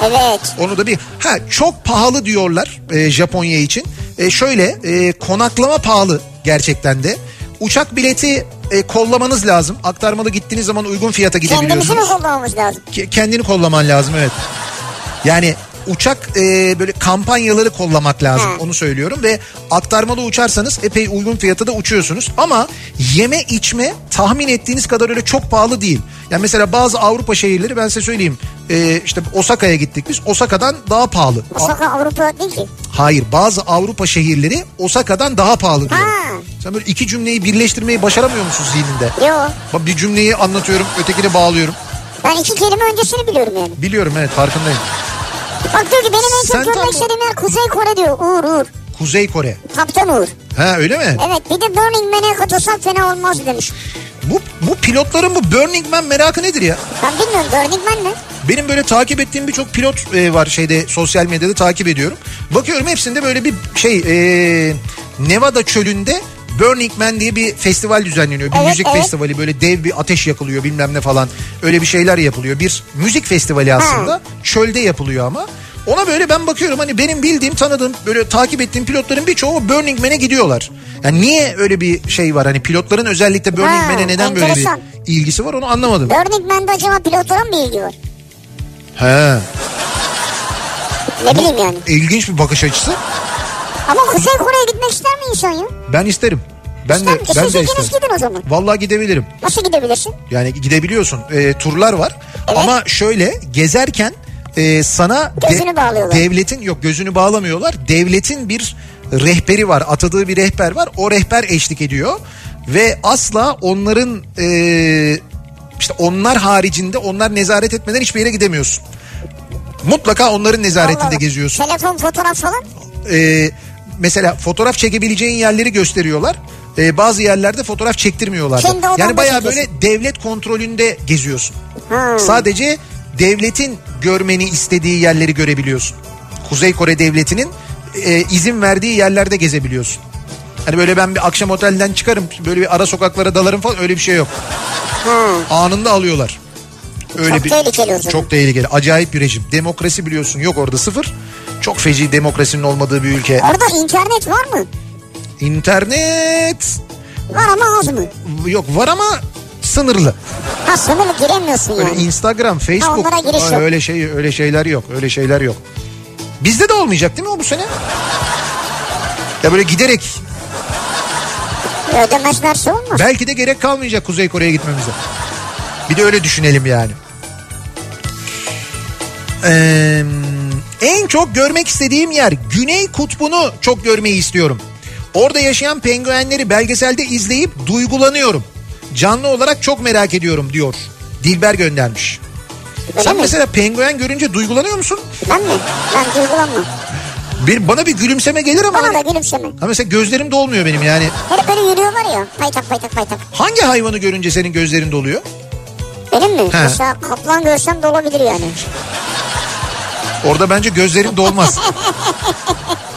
S2: Evet.
S1: Onu da bir ha çok pahalı diyorlar e, Japonya için. E, şöyle e, konaklama pahalı gerçekten de. Uçak bileti e, kollamanız lazım. Aktarmalı gittiğiniz zaman uygun fiyata gidebiliyorsunuz
S2: Kendimizi mi kullanmamız lazım?
S1: ke- kendini kollaman lazım evet. Yani uçak e, böyle kampanyaları kollamak lazım
S2: Hı.
S1: onu söylüyorum ve aktarmalı uçarsanız epey uygun fiyata da uçuyorsunuz ama yeme içme tahmin ettiğiniz kadar öyle çok pahalı değil. Yani mesela bazı Avrupa şehirleri ben size söyleyeyim e, işte Osaka'ya gittik biz Osaka'dan daha pahalı. A-
S2: Osaka Avrupa değil ki.
S1: Hayır bazı Avrupa şehirleri Osaka'dan daha pahalı diyor.
S2: Ha.
S1: Sen böyle iki cümleyi birleştirmeyi başaramıyor musun zihninde?
S2: Yo.
S1: Bak bir cümleyi anlatıyorum ötekine bağlıyorum.
S2: Ben iki kelime öncesini biliyorum yani.
S1: Biliyorum evet farkındayım.
S2: Bak diyor ki benim en
S1: Sen
S2: çok görmek
S1: tam-
S2: istediğim yer Kuzey Kore diyor. Uğur Uğur.
S1: Kuzey Kore.
S2: Kaptan Uğur.
S1: Ha öyle mi?
S2: Evet bir de Burning Man'e katılsak fena olmaz demiş.
S1: Bu bu pilotların bu Burning Man merakı nedir ya?
S2: Ben bilmiyorum Burning Man ne?
S1: Benim böyle takip ettiğim birçok pilot e, var şeyde sosyal medyada takip ediyorum. Bakıyorum hepsinde böyle bir şey e, Nevada çölünde Burning Man diye bir festival düzenleniyor. Bir
S2: Evet,
S1: müzik
S2: evet.
S1: festivali böyle dev bir ateş yakılıyor bilmem ne falan. Öyle bir şeyler yapılıyor. Bir müzik festivali aslında. Çölde yapılıyor ama. Ona böyle ben bakıyorum hani benim bildiğim tanıdığım böyle takip ettiğim pilotların birçoğu Burning Man'e gidiyorlar. Yani niye öyle bir şey var hani pilotların özellikle Burning
S2: Ha,
S1: Man'e neden böyle bir
S2: enteresan.
S1: ilgisi var onu anlamadım.
S2: Burning Man'de acaba pilotlara mı ilgi var?
S1: He.
S2: Ne bileyim yani.
S1: İlginç bir bakış açısı.
S2: Ama Kuzey Kore'ye gitmek ister mi insan ya?
S1: Ben isterim. Ben
S2: İster
S1: de
S2: mi?
S1: ben
S2: Siz
S1: de
S2: ikiniz
S1: isterim.
S2: gidin o zaman.
S1: Vallahi gidebilirim.
S2: Nasıl gidebilirsin?
S1: Yani gidebiliyorsun. Ee, turlar var. Ama şöyle gezerken e, sana
S2: Gözünü bağlıyorlar.
S1: devletin yok gözünü bağlamıyorlar. Devletin bir rehberi var. Atadığı bir rehber var. O rehber eşlik ediyor ve asla onların e, işte onlar haricinde onlar nezaret etmeden hiçbir yere gidemiyorsun. Mutlaka onların
S2: Allah
S1: nezaretinde
S2: Allah.
S1: geziyorsun.
S2: Telefon fotoğraf falan.
S1: e, mesela fotoğraf çekebileceğin yerleri gösteriyorlar. E, bazı yerlerde fotoğraf çektirmiyorlar. da.
S2: Kendi odanda
S1: Yani bayağı böyle
S2: çekiyorsun.
S1: devlet kontrolünde geziyorsun.
S2: Ha.
S1: Sadece devletin görmeni istediği yerleri görebiliyorsun. Kuzey Kore devletinin e, izin verdiği yerlerde gezebiliyorsun. Hani böyle ben bir akşam otelden çıkarım böyle bir ara sokaklara dalarım falan öyle bir şey yok. Anında alıyorlar. Öyle
S2: Hmm. Çok tehlikeli o zaman.
S1: Çok tehlikeli. Acayip bir rejim. Demokrasi biliyorsun yok orada sıfır. Çok feci demokrasinin olmadığı bir ülke.
S2: Orada internet var mı?
S1: İnternet
S2: Var ama az mı?
S1: yok var ama sınırlı.
S2: Ha sınırlı giremiyorsun
S1: Böyle
S2: yani.
S1: Instagram, Facebook
S2: onlara giriş
S1: ay,
S2: yok.
S1: öyle şey öyle şeyler yok. Öyle şeyler yok. Bizde de olmayacak değil mi o bu sene? Ya böyle giderek
S2: Ödemezlerse olmaz.
S1: belki de gerek kalmayacak Kuzey Kore'ye gitmemize. Bir de öyle düşünelim yani. Ee, en çok görmek istediğim yer Güney Kutbu'nu çok görmeyi istiyorum. Orada yaşayan penguenleri belgeselde izleyip duygulanıyorum. Canlı olarak çok merak ediyorum diyor. Dilber göndermiş.
S2: Öyle
S1: Sen
S2: mi?
S1: mesela penguen görünce duygulanıyor musun?
S2: Ben mi? Ben duygulanmam.
S1: Bir, bana bir gülümseme gelir ama
S2: Bana da
S1: hani,
S2: gülümseme.
S1: ha mesela gözlerim dolmuyor benim yani.
S2: Hele böyle yürüyorlar ya. Paytak paytak paytak.
S1: Hangi hayvanı görünce senin gözlerin doluyor?
S2: Benim mi?
S1: He.
S2: Mesela kaplan görsem de olabilir yani.
S1: Orada bence gözlerin dolmaz.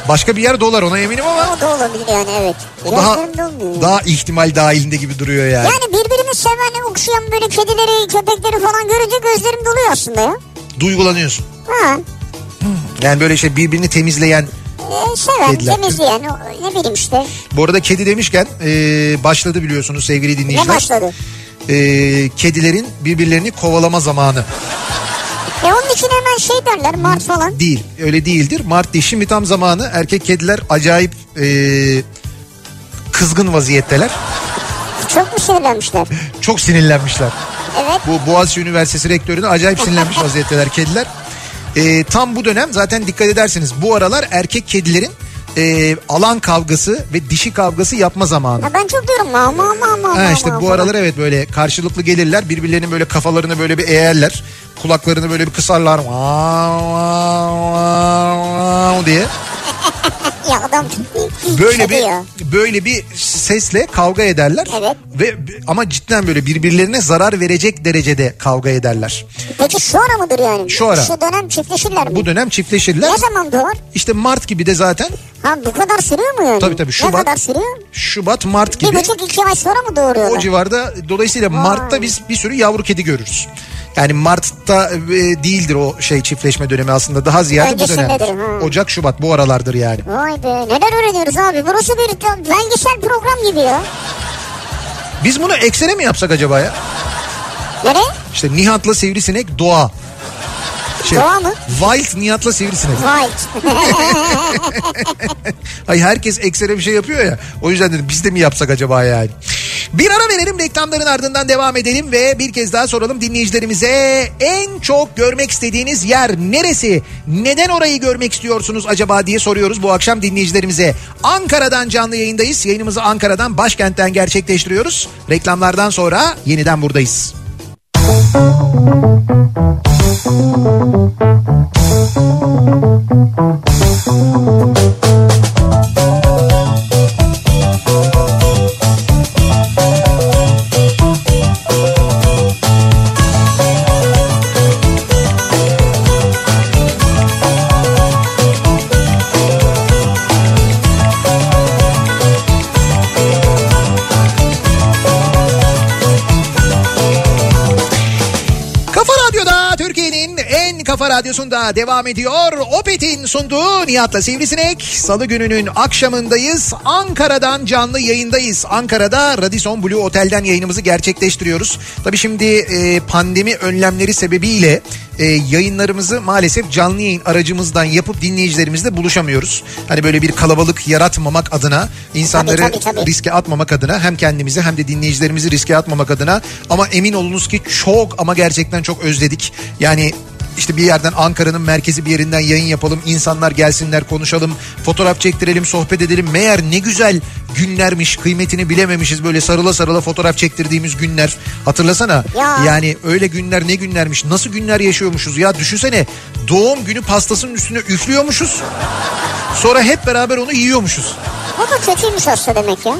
S1: Başka bir yer dolar ona eminim ama
S2: O da olabilir yani evet.
S1: o daha
S2: Gözlerim dolmuyor yani.
S1: daha ihtimal dahilinde gibi duruyor yani.
S2: Yani birbirini seven, okşayan böyle kedileri, köpekleri falan görünce gözlerim doluyor aslında ya.
S1: Duygulanıyorsun.
S2: Ha.
S1: Yani böyle şey birbirini temizleyen
S2: e, seven,
S1: Kediler.
S2: temizleyen, o- ne bileyim işte.
S1: Bu arada kedi demişken e, başladı biliyorsunuz sevgili
S2: Ne
S1: dinleyiciler.
S2: başladı?
S1: E, kedilerin birbirlerini kovalama zamanı
S2: E onun için hemen şey derler Mart falan.
S1: değil. Öyle değildir. Mart değil. Şimdi tam zamanı erkek kediler acayip e, kızgın vaziyetteler.
S2: Çok mu sinirlenmişler?
S1: Çok sinirlenmişler.
S2: Evet.
S1: Bu Boğaziçi Üniversitesi rektörüne acayip sinirlenmiş vaziyetteler kediler. Ee, tam bu dönem zaten dikkat ederseniz bu aralar erkek kedilerin e, alan kavgası ve dişi kavgası yapma zamanı.
S2: Ya ben çok diyorum ama ama ama ama.
S1: Ha işte bu aralar evet böyle karşılıklı gelirler birbirlerinin böyle kafalarını böyle bir eğerler kulaklarını böyle bir kısarlar vav, vav, vav, vav diye
S2: Ya adam
S1: böyle bir
S2: Ya.
S1: böyle bir sesle kavga ederler
S2: Evet.
S1: ve ama cidden böyle birbirlerine zarar verecek derecede kavga ederler.
S2: Peki şu ara mıdır yani?
S1: Şu ara.
S2: Şu dönem çiftleşirler mi?
S1: Bu dönem çiftleşirler.
S2: Ne zaman doğar?
S1: İşte Mart gibi de zaten
S2: Ha bu kadar sürüyor mu yani?
S1: Tabii tabii,
S2: Ne
S1: Şubat.
S2: kadar sürüyor?
S1: Şubat Mart
S2: Bir
S1: gibi
S2: buçuk iki ay sonra mı doğuruyorlar?
S1: o civarda dolayısıyla Mart'ta biz bir sürü yavru kedi görürüz. Yani Mart'ta e, değildir o şey çiftleşme dönemi aslında daha ziyade bu dönem.
S2: Öncesindedir, ha.
S1: Ocak Şubat bu aralardır yani.
S2: Vay be neler öğreniyoruz abi. Burası bir belgesel program gibi ya.
S1: Biz bunu eksene mi yapsak acaba ya?
S2: Nereye?
S1: İşte Nihat'la Sivrisinek doğa. Şey,
S2: Doğa mı?
S1: Wild Nihat'la Sivrisinek.
S2: Vay.
S1: Ay herkes eksene bir şey yapıyor ya. O yüzden dedim biz de mi yapsak acaba yani? Bir ara verelim reklamların ardından devam edelim ve bir kez daha soralım dinleyicilerimize en çok görmek istediğiniz yer neresi? Neden orayı görmek istiyorsunuz acaba diye soruyoruz bu akşam dinleyicilerimize. Ankara'dan canlı yayındayız. Yayınımızı Ankara'dan başkentten gerçekleştiriyoruz. Reklamlardan sonra yeniden buradayız. Kafa Radyo'da Türkiye'nin en kafa radyosunda devam ediyor. Opet'in sunduğu Nihat'la Sivrisinek. Salı gününün akşamındayız. Ankara'dan canlı yayındayız. Ankara'da Radisson Blue Otel'den yayınımızı gerçekleştiriyoruz. Tabii şimdi e, pandemi önlemleri sebebiyle e, yayınlarımızı maalesef canlı yayın aracımızdan yapıp dinleyicilerimizle buluşamıyoruz. Hani böyle bir kalabalık yaratmamak adına insanları
S2: Tabii, tabii, tabii.
S1: riske atmamak adına hem kendimizi hem de dinleyicilerimizi riske atmamak adına ama emin olunuz ki çok ama gerçekten çok özledik. Yani işte bir yerden Ankara'nın merkezi bir yerinden yayın yapalım. insanlar gelsinler konuşalım. Fotoğraf çektirelim sohbet edelim. Meğer ne güzel günlermiş kıymetini bilememişiz. Böyle sarıla sarıla fotoğraf çektirdiğimiz günler. Hatırlasana.
S2: Ya.
S1: Yani öyle günler ne günlermiş. Nasıl günler yaşıyormuşuz ya. Düşünsene doğum günü pastasının üstüne üflüyormuşuz. Sonra hep beraber onu yiyormuşuz.
S2: bu da kötüymüş aslında demek ya.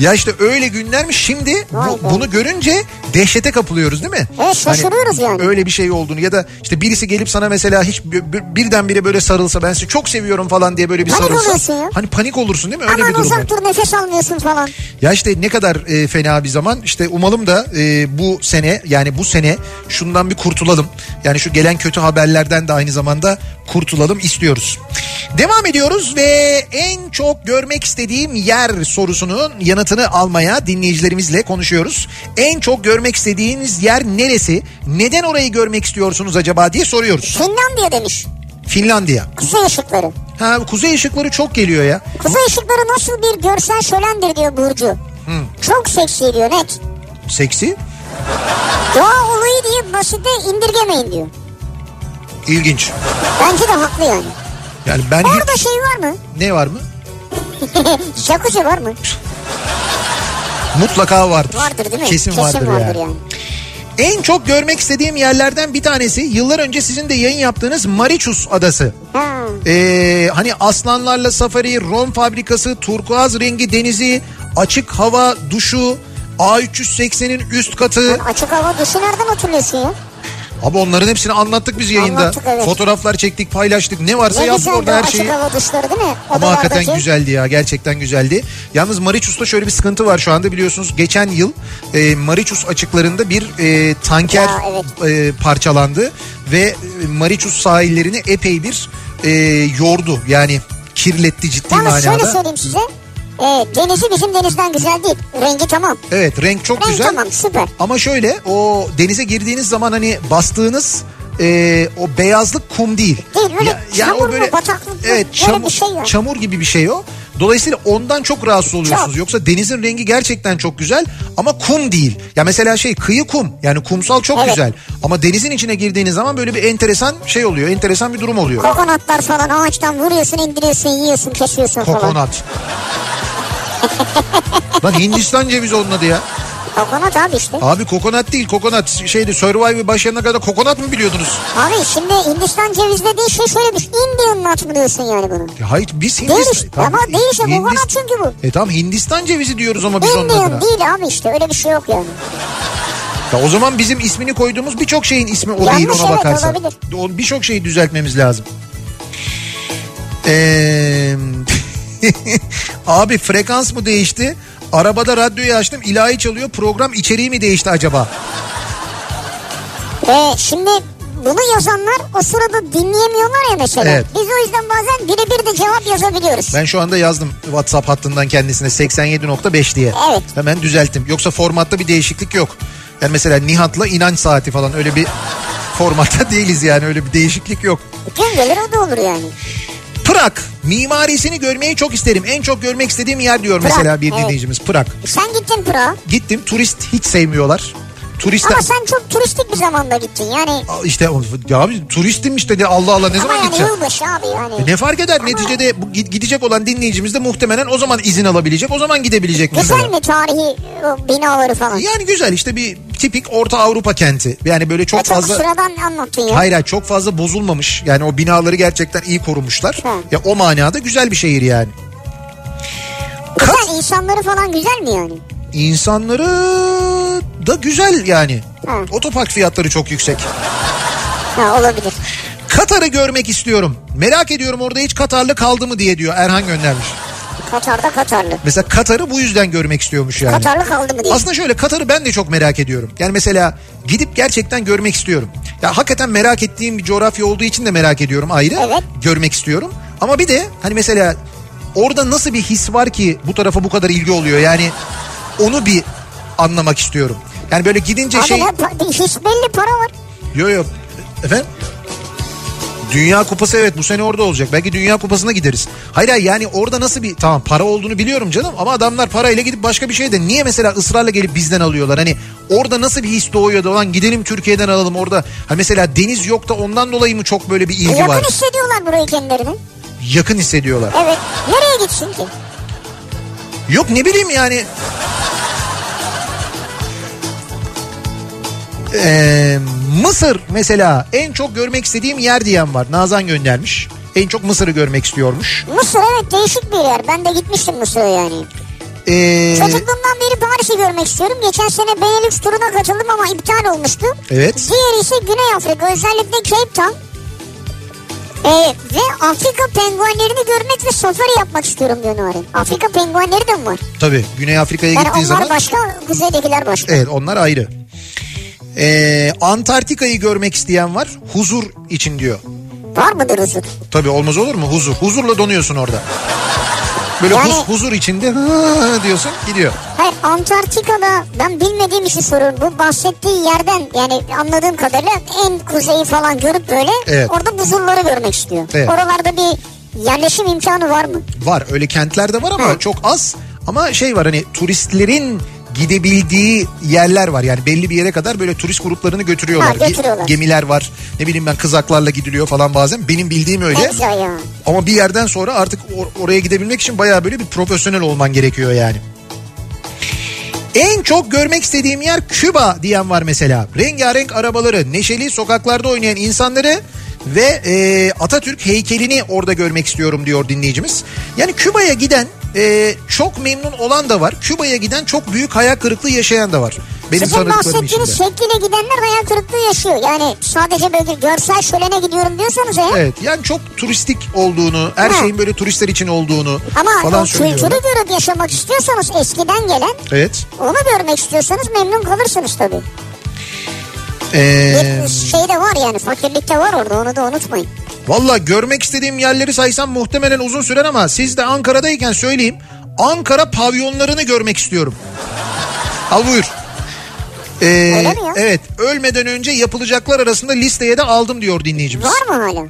S1: Ya işte öyle günlermiş şimdi bu-
S2: Vay be.
S1: bunu görünce dehşete kapılıyoruz değil mi? Hani
S2: Evet, şaşırıyoruz yani.
S1: Öyle bir şey olduğunu ya da işte birisi gelip sana mesela hiç bi- bi- birdenbire böyle sarılsa ben seni çok seviyorum falan diye böyle bir
S2: Panik
S1: sarılsa.
S2: oluyorsun ya.
S1: Hani panik olursun değil mi? Öyle bir
S2: Aman
S1: durum var.
S2: uzak dur nefes almıyorsun falan.
S1: Ya işte ne kadar e, fena bir zaman. İşte umalım da e, bu sene yani bu sene şundan bir kurtulalım. Yani şu gelen kötü haberlerden de aynı zamanda kurtulalım istiyoruz. Devam ediyoruz ve en çok görmek istediğim yer sorusunun yanıtını almaya dinleyicilerimizle konuşuyoruz. En çok görmek istediğiniz yer neresi? Neden orayı görmek istiyorsunuz acaba diye soruyoruz.
S2: Finlandiya demiş.
S1: Finlandiya.
S2: Kuzey ışıkları.
S1: Ha kuzey ışıkları çok geliyor ya.
S2: Kuzey ışıkları nasıl bir görsel şölendir diyor Burcu. Çok seksi diyor net.
S1: Seksi,
S2: Doğa olayı diye basite indirgemeyin diyor.
S1: ilginç.
S2: Bence de haklı yani.
S1: Yani ben
S2: Orada şey var mı?
S1: ne var mı?
S2: Jacuzzi var mı?
S1: Mutlaka vardır.
S2: Vardır değil mi?
S1: Kesin, vardır, yani. En çok görmek istediğim yerlerden bir tanesi yıllar önce sizin de yayın yaptığınız Mariçus Adası.
S2: Ha.
S1: Ee, hani aslanlarla safari, rom fabrikası, turkuaz rengi denizi, açık hava duşu, A380'in üst katı.
S2: Açık hava dışı nereden hatırlıyorsun ya?
S1: Abi onların hepsini anlattık biz yayında.
S2: Anlattık, evet.
S1: Fotoğraflar çektik, paylaştık. Ne varsa
S2: Ne
S1: yazdık
S2: güzeldi
S1: orada
S2: o
S1: her
S2: açık
S1: şeyi.
S2: hava dışları değil mi?
S1: Ama hakikaten
S2: Odalardaki.
S1: güzeldi ya gerçekten güzeldi. Yalnız Mariçus'ta şöyle bir sıkıntı var şu anda biliyorsunuz geçen yıl e, Mariçus açıklarında bir e, tanker
S2: Ya,
S1: e, parçalandı ve e, Mariçus sahillerini epey bir e, yordu. Yani kirletti ciddi
S2: Yalnız şöyle
S1: manada.
S2: söyleyeyim size. E, denizi bizim denizden güzel değil. Rengi tamam.
S1: Evet renk çok
S2: Renk
S1: güzel.
S2: tamam süper.
S1: Ama şöyle o denize girdiğiniz zaman hani bastığınız e, o beyazlık kum değil.
S2: E, Değil, öyle çamur mu, bataklık mı?
S1: Evet
S2: Böyle
S1: çamur,
S2: bir şey yok.
S1: çamur gibi bir şey o. Dolayısıyla ondan çok rahatsız oluyorsunuz.
S2: Çok.
S1: Yoksa denizin rengi gerçekten çok güzel ama kum değil. Ya mesela şey kıyı kum yani kumsal çok
S2: Evet.
S1: güzel. Ama denizin içine girdiğiniz zaman böyle bir enteresan şey oluyor. Enteresan bir durum oluyor.
S2: Kokonatlar falan ağaçtan vuruyorsun indiriyorsun yiyorsun kesiyorsun falan.
S1: Kokonat. Lan Hindistan cevizi onun adı ya.
S2: Kokonat abi işte.
S1: Abi kokonat değil kokonat şeydi Survivor başlayana kadar kokonat mı biliyordunuz?
S2: Abi şimdi Hindistan cevizi dediğin şey şöyle bir şey. Indian nut mu diyorsun yani bunu?
S1: Ya hayır biz
S2: Değil
S1: Hindistan...
S2: işte, ama değil işte, kokonat çünkü bu.
S1: E tamam Hindistan cevizi diyoruz ama biz onun adına.
S2: Indian değil abi işte öyle bir şey yok yani.
S1: Ya o zaman bizim ismini koyduğumuz birçok şeyin ismi o
S2: Yanlış,
S1: değil ona
S2: evet,
S1: bakarsan.
S2: olabilir.
S1: O- Birçok şeyi düzeltmemiz lazım. Ee, abi frekans mı değişti? Arabada radyoyu açtım ilahi çalıyor program içeriği mi değişti acaba?
S2: Ve Ee, şimdi bunu yazanlar o sırada dinleyemiyorlar ya mesela.
S1: Evet.
S2: Biz o yüzden bazen birebir de cevap yazabiliyoruz.
S1: Ben şu anda yazdım WhatsApp hattından kendisine 87.5 diye.
S2: Evet.
S1: Hemen düzelttim. Yoksa formatta bir değişiklik yok. Yani mesela Nihat'la inanç saati falan öyle bir formatta değiliz yani öyle bir değişiklik yok.
S2: Gün gelir o da olur yani.
S1: Prag mimarisini görmeyi çok isterim. En çok görmek istediğim yer diyor
S2: Prag,
S1: mesela bir
S2: evet.
S1: dinleyicimiz Prag.
S2: Sen gittin Pırağa
S1: Gittim turist hiç sevmiyorlar. Turistler
S2: ama sen çok turistik bir zamanda gittin yani.
S1: Aa, işte ya abi turistim işte de Allah Allah ne
S2: Ama
S1: zaman
S2: yani
S1: gideceğim?
S2: yılbaşı abi yani.
S1: E Ne fark eder neticede bu gi- gidecek olan dinleyicimiz de muhtemelen o zaman izin alabilecek o zaman gidebilecek mesela.
S2: Güzel mi tarihi o binaları falan?
S1: Yani güzel işte bir tipik Orta Avrupa kenti. Yani böyle çok
S2: Ya çok
S1: fazla
S2: sıradan anlattın ya.
S1: hayır hayır, çok fazla bozulmamış. Yani o binaları gerçekten iyi korumuşlar.
S2: Ha.
S1: Ya o manada güzel bir şehir yani.
S2: Güzel insanları falan güzel mi yani?
S1: İnsanları da güzel yani.
S2: Ha.
S1: Otopark fiyatları çok yüksek.
S2: Ha olabilir.
S1: Katar'ı görmek istiyorum. Merak ediyorum orada hiç Katarlı kaldı mı diye diyor Erhan göndermiş.
S2: Katar'da Katarlı.
S1: Mesela Katar'ı bu yüzden görmek istiyormuş yani.
S2: Katarlı kaldı mı diye.
S1: Aslında şöyle Katar'ı ben de çok merak ediyorum. Yani mesela gidip gerçekten görmek istiyorum. Ya hakikaten merak ettiğim bir coğrafya olduğu için de merak ediyorum ayrı.
S2: Evet.
S1: Görmek istiyorum. Ama bir de hani mesela orada nasıl bir his var ki bu tarafa bu kadar ilgi oluyor? Yani onu bir anlamak istiyorum. Yani böyle gidince
S2: Abi
S1: şey...
S2: ne pa- hiç belli para var.
S1: Yo yo. Efendim? Dünya Kupası evet bu sene orada olacak. Belki Dünya Kupası'na gideriz. Hayır hayır yani orada nasıl bir tamam para olduğunu biliyorum canım ama adamlar parayla gidip başka bir şey de niye mesela ısrarla gelip bizden alıyorlar? Hani orada nasıl bir his doğuyor da olan gidelim Türkiye'den alalım orada. Ha mesela deniz yok da ondan dolayı mı çok böyle bir ilgi
S2: Yakın
S1: var?
S2: hissediyorlar burayı kendilerini.
S1: Yakın hissediyorlar.
S2: Evet. Nereye gitsin ki?
S1: Yok ne bileyim yani. Ee, Mısır mesela en çok görmek istediğim yer diyen var. Nazan göndermiş. En çok Mısır'ı görmek istiyormuş.
S2: Mısır evet değişik bir yer. Ben de gitmiştim Mısır'a yani.
S1: Ee,
S2: Çocukluğumdan beri Paris'i görmek istiyorum. Geçen sene Benelux turuna katıldım ama iptal olmuştu.
S1: Evet.
S2: Diğeri ise Güney Afrika özellikle Cape Town. Ee, ve Afrika penguenlerini görmek ve safari yapmak istiyorum diyor Nurin. Afrika penguenleri de mi var?
S1: tabii Güney Afrika'ya
S2: Yani onlar
S1: gittiğin zaman.
S2: başka, kuzeydekiler başka.
S1: Evet onlar ayrı. Ee, Antarktika'yı görmek isteyen var. Huzur için diyor.
S2: Var mıdır huzur?
S1: Tabii olmaz olur mu? Huzur. Huzurla donuyorsun orada. Böyle
S2: Yani-
S1: huz- huzur içinde diyorsun gidiyor.
S2: Hayır Antarktika'da ben bilmediğim için soruyorum. Bu bahsettiği yerden yani anladığım kadarıyla en kuzeyi falan görüp böyle
S1: Evet.
S2: orada buzulları görmek istiyor.
S1: Evet.
S2: Oralarda bir yerleşim imkanı var mı?
S1: Var öyle kentler de var ama
S2: Hı.
S1: çok az. Ama şey var hani turistlerin gidebildiği yerler var. Yani belli bir yere kadar böyle turist gruplarını götürüyorlar.
S2: Ha, götürüyorlar.
S1: Ge- Gemiler var. Ne bileyim ben kızaklarla gidiliyor falan bazen. Benim bildiğim
S2: Ne
S1: öyle.
S2: güzel ya.
S1: Ama bir yerden sonra artık or- oraya gidebilmek için bayağı böyle bir profesyonel olman gerekiyor yani. En çok görmek istediğim yer Küba diyen var mesela. Rengarenk arabaları, neşeli sokaklarda oynayan insanları ve e, Atatürk heykelini orada görmek istiyorum diyor dinleyicimiz. Yani Küba'ya giden e, çok memnun olan da var. Küba'ya giden çok büyük hayal kırıklığı yaşayan da var. Benim
S2: Sizin
S1: tanıdıklarım içinde.
S2: bahsettiğiniz şekliyle gidenler hayal kırıklığı yaşıyor. Yani sadece böyle görsel şölene gidiyorum diyorsanız eğer.
S1: Evet yani çok turistik olduğunu, her
S2: Ha.
S1: şeyin böyle turistler için olduğunu
S2: Ama
S1: falan
S2: o kültürü
S1: söylüyorlar.
S2: görüp yaşamak istiyorsanız eskiden gelen
S1: Evet.
S2: onu görmek istiyorsanız memnun kalırsınız tabii.
S1: Ee,
S2: Bir şey de var yani fakirlik de var orada onu da unutmayın.
S1: Valla görmek istediğim yerleri saysam muhtemelen uzun sürer ama siz de Ankara'dayken söyleyeyim. Ankara pavyonlarını görmek istiyorum. Al buyur. Ee,
S2: mi ya?
S1: evet ölmeden önce yapılacaklar arasında listeye de aldım diyor dinleyicimiz.
S2: Var mı hala?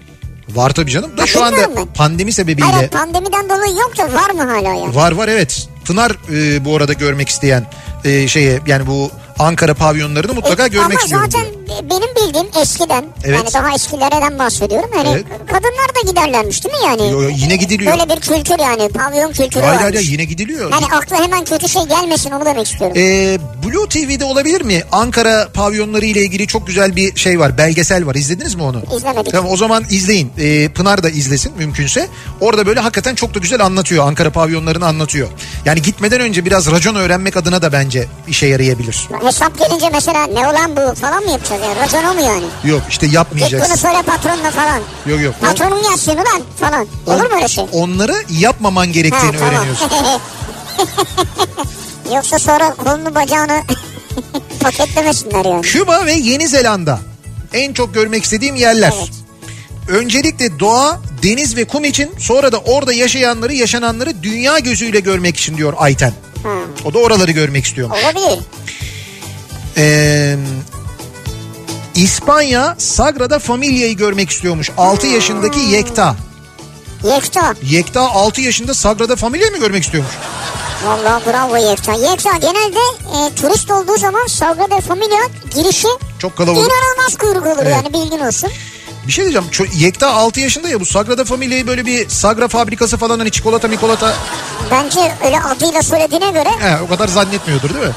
S1: Var tabii canım da şu
S2: Bakın
S1: anda
S2: var mı?
S1: pandemi sebebiyle.
S2: Hayır pandemiden dolayı yok da var mı hala ya?
S1: Var var evet. Pınar e, bu arada görmek isteyen e, şeye yani bu Ankara pavyonlarını mutlaka
S2: E,
S1: görmek
S2: ama
S1: istiyorum.
S2: zaten
S1: diyor.
S2: benim bildiğim eskiden
S1: Evet.
S2: yani daha eskilerden bahsediyorum. Hani
S1: Evet.
S2: kadınlar da giderlermiş değil mi yani?
S1: Yo, yo, yine gidiliyor.
S2: Böyle bir kültür yani pavyon kültürü
S1: Hayır
S2: varmış.
S1: hayır yine gidiliyor.
S2: Yani akla hemen kötü şey gelmesin onu demek istiyorum.
S1: E, Blue TV'de olabilir mi? Ankara pavyonları ile ilgili çok güzel bir şey var. Belgesel var. İzlediniz mi onu?
S2: İzlemedik.
S1: Tamam o zaman izleyin. E, Pınar da izlesin mümkünse. Orada böyle hakikaten çok da güzel anlatıyor. Ankara pavyonlarını anlatıyor. Yani gitmeden önce biraz racon öğrenmek adına da bence işe yarayabilir.
S2: Hesap gelince mesela ne olan bu falan mı yapacağız yani? Raconu mu yani?
S1: Yok işte
S2: Git bunu
S1: yapmayacaksın.
S2: söyle patronla falan.
S1: Yok yok. O-
S2: Patronum gelsin ulan falan. Olur mu öyle şey?
S1: Onları yapmaman
S2: Ha,
S1: gerektiğini
S2: tamam.
S1: öğreniyorsun.
S2: Yoksa sonra kolunu bacağını paketlemesinler yani.
S1: Küba ve Yeni Zelanda. En çok görmek istediğim yerler.
S2: Evet.
S1: Öncelikle doğa, deniz ve kum için sonra da orada yaşayanları, yaşananları dünya gözüyle görmek için diyor Ayten. O da oraları görmek istiyormuş.
S2: Olabilir.
S1: Ee, İspanya Sagrada Familia'yı görmek istiyormuş. 6 yaşındaki Yekta.
S2: Yekta.
S1: Yekta 6 yaşında Sagrada Familia'yı mı görmek istiyormuş?
S2: Vallahi bravo Yekta. Yekta genelde e, turist olduğu zaman Sagrada Familia girişi
S1: Çok kalabalık.
S2: inanılmaz kuyruk olur
S1: Evet.
S2: yani bilgin olsun.
S1: Bir şey diyeceğim. Ço- Yekta 6 yaşında ya bu Sagrada Familia'yı böyle bir Sagra fabrikası falan hani çikolata mikolata
S2: Bence öyle adıyla söylediğine göre
S1: He, o kadar zannetmiyordur değil mi?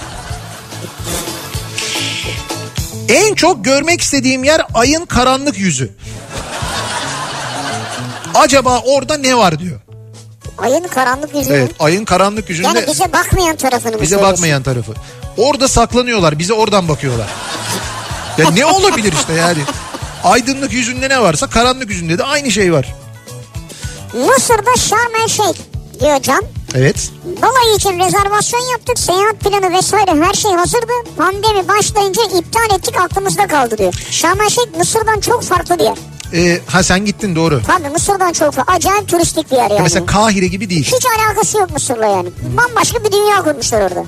S1: En çok görmek istediğim yer ayın karanlık yüzü. Acaba orada ne var diyor.
S2: ayın karanlık yüzünü.
S1: Evet ayın karanlık yüzünde
S2: Yani bize bakmayan tarafını mı
S1: bize
S2: söylüyorsun?
S1: bakmayan tarafı. Orada saklanıyorlar bize oradan bakıyorlar. Ya ne olabilir işte yani. Aydınlık yüzünde ne varsa karanlık yüzünde de aynı şey var.
S2: Mısır'da Şarm El Şeyh diyor Can.
S1: Evet.
S2: Balayı için rezervasyon yaptık. Seyahat planı vesaire her şey hazırdı. Pandemi başlayınca iptal ettik aklımızda kaldı diyor. Şarm El Şeyh Mısır'dan çok farklı bir yer.
S1: Ee, ha sen gittin doğru.
S2: Tabii Mısır'dan çok farklı. Acayip turistik bir yer yani.
S1: Mesela Kahire gibi değil.
S2: Hiç alakası yok Mısır'la yani. Bambaşka bir dünya kurmuşlar orada.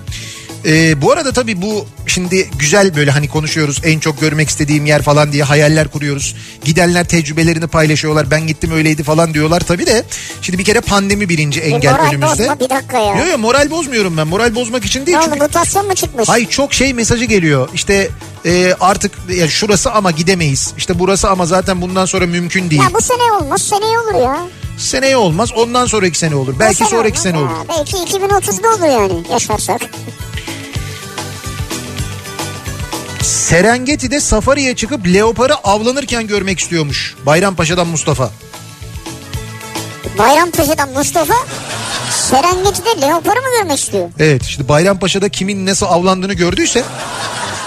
S1: Ee, bu arada tabii bu şimdi güzel böyle hani konuşuyoruz en çok görmek istediğim yer falan diye hayaller kuruyoruz. Gidenler tecrübelerini paylaşıyorlar ben gittim öyleydi falan diyorlar tabii de. Şimdi bir kere pandemi birinci engel
S2: E, moral
S1: önümüzde.
S2: bozma, bir dakika ya.
S1: Yok yok moral bozmuyorum ben moral bozmak için değil.
S2: Ne oldu
S1: çünkü...
S2: mutasyon mu çıkmış?
S1: Ay çok şey mesajı geliyor işte e, artık ya şurası ama gidemeyiz işte burası ama zaten bundan sonra mümkün değil.
S2: Ya bu sene olmaz seneye olur ya.
S1: Seneye olmaz ondan sonraki sene olur belki
S2: Bu sene
S1: sonraki
S2: olmaz
S1: sene
S2: ya.
S1: olur.
S2: Belki 2030'da olur yani yaşarsak.
S1: Serengeti'de safariye çıkıp leoparı avlanırken görmek istiyormuş Bayrampaşa'dan Mustafa.
S2: Bayrampaşa'dan Mustafa Serengeti'de leoparı mı görmek istiyor?
S1: Evet şimdi Bayrampaşa'da kimin nasıl avlandığını gördüyse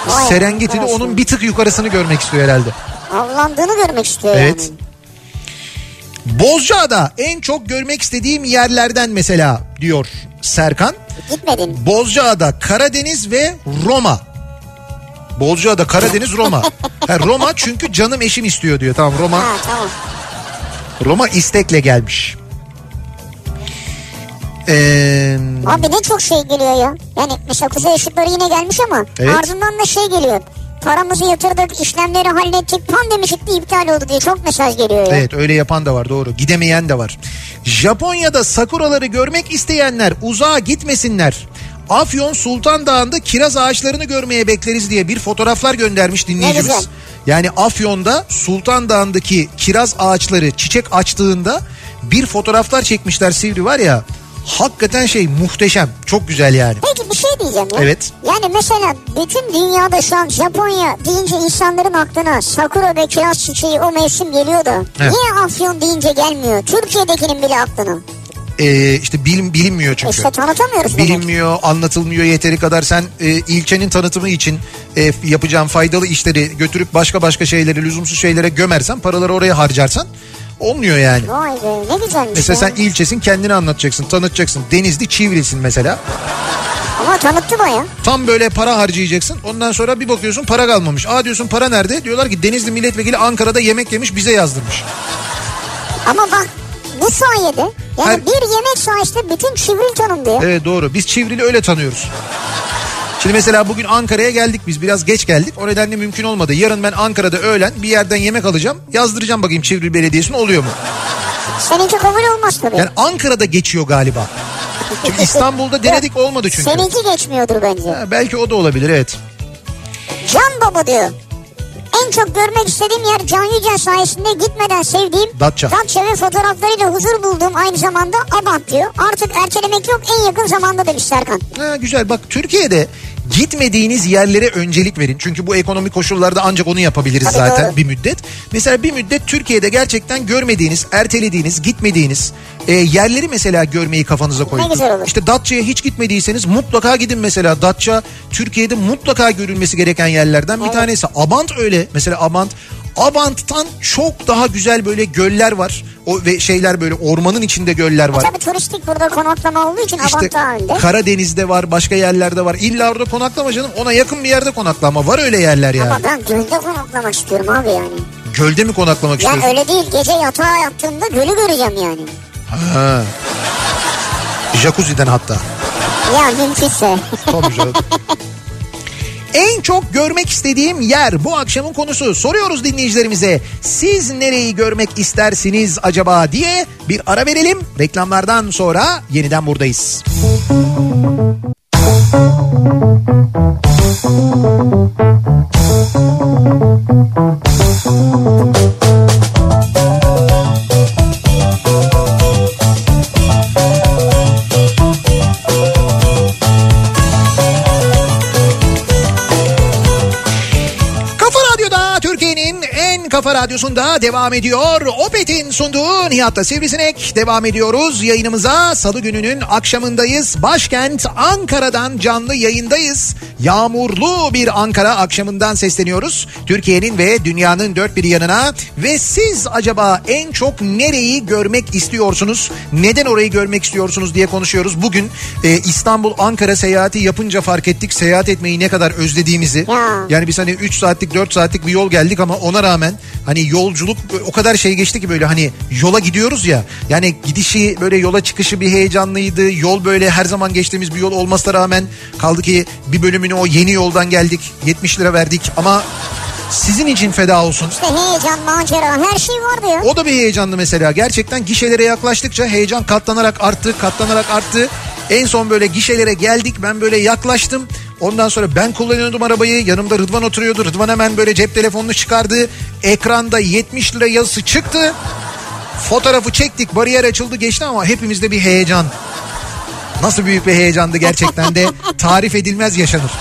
S2: Vay
S1: Serengeti'de
S2: arkadaş
S1: onun
S2: ya.
S1: bir tık yukarısını görmek istiyor herhalde.
S2: Avlandığını görmek istiyor
S1: Evet.
S2: yani.
S1: Bozcaada en çok görmek istediğim yerlerden mesela diyor Serkan.
S2: Gitmedin.
S1: Bozcaada Karadeniz ve Roma. Bozcaada Karadeniz Roma. Ha, Roma çünkü canım eşim istiyor diyor. Tamam Roma
S2: Ha tamam.
S1: Roma istekle gelmiş. Ee,
S2: Abi ne çok şey geliyor ya. Yani mesela kuzey ışıkları yine gelmiş ama
S1: Evet.
S2: ardından da şey geliyor. Paramızı yatırdık, işlemleri hallettik, pandemi çıktı iptal oldu diye çok mesaj geliyor ya.
S1: Evet öyle yapan da var doğru. Gidemeyen de var. Japonya'da sakuraları görmek isteyenler uzağa gitmesinler. Afyon Sultan Dağı'nda kiraz ağaçlarını görmeye bekleriz diye bir fotoğraflar göndermiş
S2: Ne
S1: dinleyicimiz.
S2: güzel.
S1: Yani Afyon'da Sultan Dağı'ndaki kiraz ağaçları çiçek açtığında bir fotoğraflar çekmişler Sivri var ya. Hakikaten şey muhteşem. Çok güzel yani.
S2: Peki bir şey diyeceğim ya.
S1: Evet.
S2: Yani mesela bütün dünyada şu an Japonya deyince insanların aklına sakura ve kiraz çiçeği o mevsim geliyor da.
S1: Evet.
S2: Niye afyon deyince gelmiyor? Türkiye'dekinin bile aklına.
S1: Ee, işte bilim, bilinmiyor çünkü.
S2: İşte tanıtamıyoruz demek.
S1: bilinmiyor, anlatılmıyor yeteri kadar. Sen e, ilçenin tanıtımı için e, yapacağın faydalı işleri götürüp başka başka şeyleri, lüzumsuz şeylere gömersen, paraları oraya harcarsan olmuyor yani.
S2: Vay be ne güzelmiş
S1: Mesela
S2: ya.
S1: sen ilçesin kendini anlatacaksın, tanıtacaksın. Denizli Çivrilsin mesela.
S2: Ama tanıttı baya.
S1: Tam böyle para harcayacaksın. Ondan sonra bir bakıyorsun para kalmamış. Aa diyorsun para nerede? Diyorlar ki Denizli milletvekili Ankara'da yemek yemiş bize yazdırmış.
S2: Ama bak bu sayede yani
S1: Hayır.
S2: bir yemek sayesinde bütün Çivril tanındı ya.
S1: Evet doğru. Biz Çivril'i öyle tanıyoruz. Şimdi mesela bugün Ankara'ya geldik biz biraz geç geldik o nedenle mümkün olmadı. Yarın ben Ankara'da öğlen bir yerden yemek alacağım yazdıracağım bakayım Çivril Belediyesi'ne oluyor mu?
S2: Seninki kabul olmaz tabii.
S1: Yani Ankara'da geçiyor galiba. Çünkü İstanbul'da denedik olmadı çünkü.
S2: Seninki geçmiyordur bence.
S1: Ha, belki o da olabilir evet.
S2: Can Baba diyor. En çok görmek istediğim yer Can Yücel sayesinde gitmeden sevdiğim
S1: Datça.
S2: ve fotoğraflarıyla huzur bulduğum aynı zamanda Abant diyor. Artık ertelemek yok en yakın zamanda demiş Serkan.
S1: Ha, güzel bak Türkiye'de gitmediğiniz yerlere öncelik verin. Çünkü bu ekonomik koşullarda ancak onu yapabiliriz
S2: Tabii,
S1: zaten
S2: doğru.
S1: bir müddet. Mesela bir müddet Türkiye'de gerçekten görmediğiniz, ertelediğiniz, gitmediğiniz e, yerleri mesela görmeyi kafanıza koyun.
S2: güzel olur.
S1: İşte Datça'ya hiç gitmediyseniz mutlaka gidin mesela. Datça Türkiye'de mutlaka görülmesi gereken yerlerden bir tanesi. Abant öyle. Mesela Abant Abant'tan çok daha güzel böyle göller var. O ve şeyler böyle ormanın içinde göller var.
S2: Tabii turistik burada konaklama olduğu için
S1: İşte
S2: Abant daha önde.
S1: Karadeniz'de var, başka yerlerde var. İlla orada konaklama canım. Ona yakın bir yerde konaklama. Var öyle yerler yani.
S2: Ama ben gölde konaklamak istiyorum abi yani.
S1: Gölde mi konaklamak
S2: Yani
S1: istiyorsun?
S2: öyle değil gece yatağa yattığımda gölü göreceğim yani.
S1: Ha. Jacuzzi'den hatta.
S2: Ya mümkünse.
S1: Tabii canım. En çok görmek istediğim yer bu akşamın konusu. Soruyoruz dinleyicilerimize. Siz nereyi görmek istersiniz acaba diye bir ara verelim. Reklamlardan sonra yeniden buradayız. Kafa Radyo'da Türkiye'nin en kafa radyosunda devam ediyor. Opet'in sunduğu Nihat'ta Sivrisinek devam ediyoruz. Yayınımıza salı gününün akşamındayız. Başkent Ankara'dan canlı yayındayız. Yağmurlu bir Ankara akşamından sesleniyoruz. Türkiye'nin ve dünyanın dört bir yanına ve siz acaba en çok nereyi görmek istiyorsunuz? Neden orayı görmek istiyorsunuz diye konuşuyoruz. Bugün e, İstanbul Ankara seyahati yapınca fark ettik seyahat etmeyi ne kadar özlediğimizi.
S2: Ya.
S1: Yani biz hani 3 saatlik 4 saatlik bir yol geldik ama ona rağmen hani yolculuk o kadar şey geçti ki böyle hani yola gidiyoruz ya. Yani gidişi böyle yola çıkışı bir heyecanlıydı. Yol böyle her zaman geçtiğimiz bir yol olmasına rağmen kaldı ki bir bölümünü o yeni yoldan geldik. 70 lira verdik ama sizin için feda olsun.
S2: işte heyecan, macera her şey vardı ya.
S1: O da bir heyecanlı mesela. Gerçekten gişelere yaklaştıkça heyecan katlanarak arttı, katlanarak arttı. En son böyle gişelere geldik. Ben böyle yaklaştım. Ondan sonra ben kullanıyordum arabayı. Yanımda Rıdvan oturuyordu. Rıdvan hemen böyle cep telefonunu çıkardı. Ekranda 70 lira yazısı çıktı. Fotoğrafı çektik. Bariyer açıldı geçti ama hepimizde bir heyecan. Nasıl büyük bir heyecandı gerçekten de tarif edilmez yaşanır.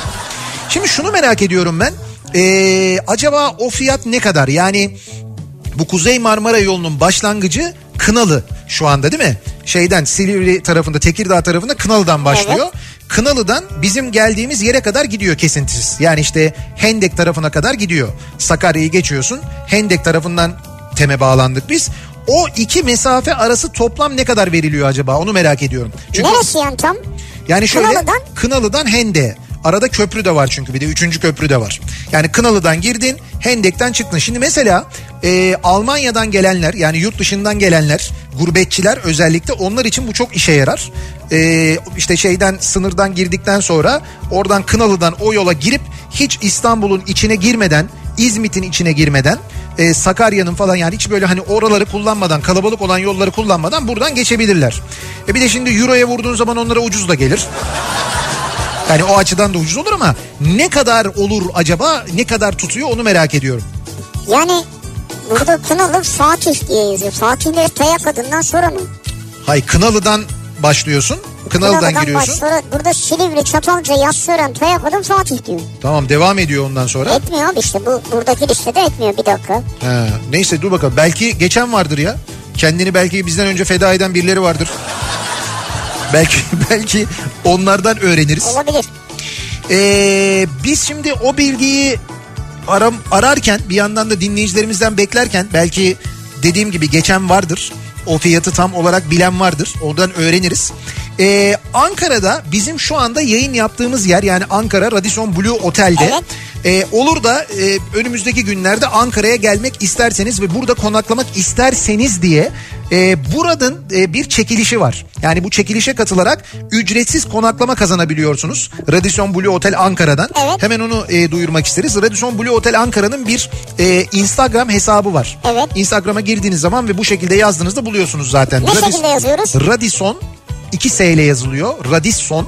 S1: Şimdi şunu merak ediyorum ben. Ee, acaba o fiyat ne kadar? Yani bu Kuzey Marmara yolunun başlangıcı Kınalı şu anda değil mi? Şeyden Silivri tarafında Tekirdağ tarafında Kınalı'dan başlıyor. Kınalı'dan bizim geldiğimiz yere kadar gidiyor kesintisiz. Yani işte Hendek tarafına kadar gidiyor. Sakarya'yı geçiyorsun. Hendek tarafından teme bağlandık biz. O iki mesafe arası toplam ne kadar veriliyor acaba onu merak ediyorum. Çünkü
S2: Neresi yani tam?
S1: yani şöyle Kınalı'dan,
S2: Kınalı'dan?
S1: Hendek'e. Arada köprü de var çünkü bir de üçüncü köprü de var. Yani Kınalı'dan girdin Hendek'ten çıktın. Şimdi mesela e, Almanya'dan gelenler yani yurt dışından gelenler gurbetçiler özellikle onlar için bu çok işe yarar. E, işte şeyden sınırdan girdikten sonra oradan Kınalı'dan o yola girip hiç İstanbul'un içine girmeden İzmit'in içine girmeden e, Sakarya'nın falan yani hiç böyle hani oraları kullanmadan kalabalık olan yolları kullanmadan buradan geçebilirler. E bir de şimdi euroya vurduğun zaman onlara ucuz da gelir. Yani o açıdan da ucuz olur ama ne kadar olur acaba ne kadar tutuyor onu merak ediyorum.
S2: Yani burada Kınalı Fatih diye yazıyor. Fatih'le Tayak adından sonra mı?
S1: Hay Kınalı'dan başlıyorsun. Kınalı'dan, giriyorsun.
S2: Sonra burada Silivri, Çatalca, Yassıören, Tayak adım Fatih diyor.
S1: Tamam devam ediyor ondan sonra.
S2: Etmiyor abi işte bu buradaki listede etmiyor bir dakika.
S1: He, neyse dur bakalım. Belki geçen vardır ya. Kendini belki bizden önce feda eden birileri vardır. belki belki onlardan öğreniriz.
S2: Olabilir.
S1: Ee, biz şimdi o bilgiyi aram, ararken bir yandan da dinleyicilerimizden beklerken belki dediğim gibi geçen vardır. O fiyatı tam olarak bilen vardır. Oradan öğreniriz. Ee, Ankara'da bizim şu anda yayın yaptığımız yer yani Ankara Radisson Blue Otel'de
S2: Evet.
S1: E, olur da e, önümüzdeki günlerde Ankara'ya gelmek isterseniz ve burada konaklamak isterseniz diye e, buranın e, bir çekilişi var. Yani bu çekilişe katılarak ücretsiz konaklama kazanabiliyorsunuz. Radisson Blue Otel Ankara'dan.
S2: Evet.
S1: Hemen onu e, duyurmak isteriz. Radisson Blue Otel Ankara'nın bir e, Instagram hesabı var.
S2: Evet.
S1: Instagram'a girdiğiniz zaman ve bu şekilde yazdığınızda buluyorsunuz zaten.
S2: Ne şekilde yazıyoruz?
S1: Radisson 2 S ile yazılıyor. Radisson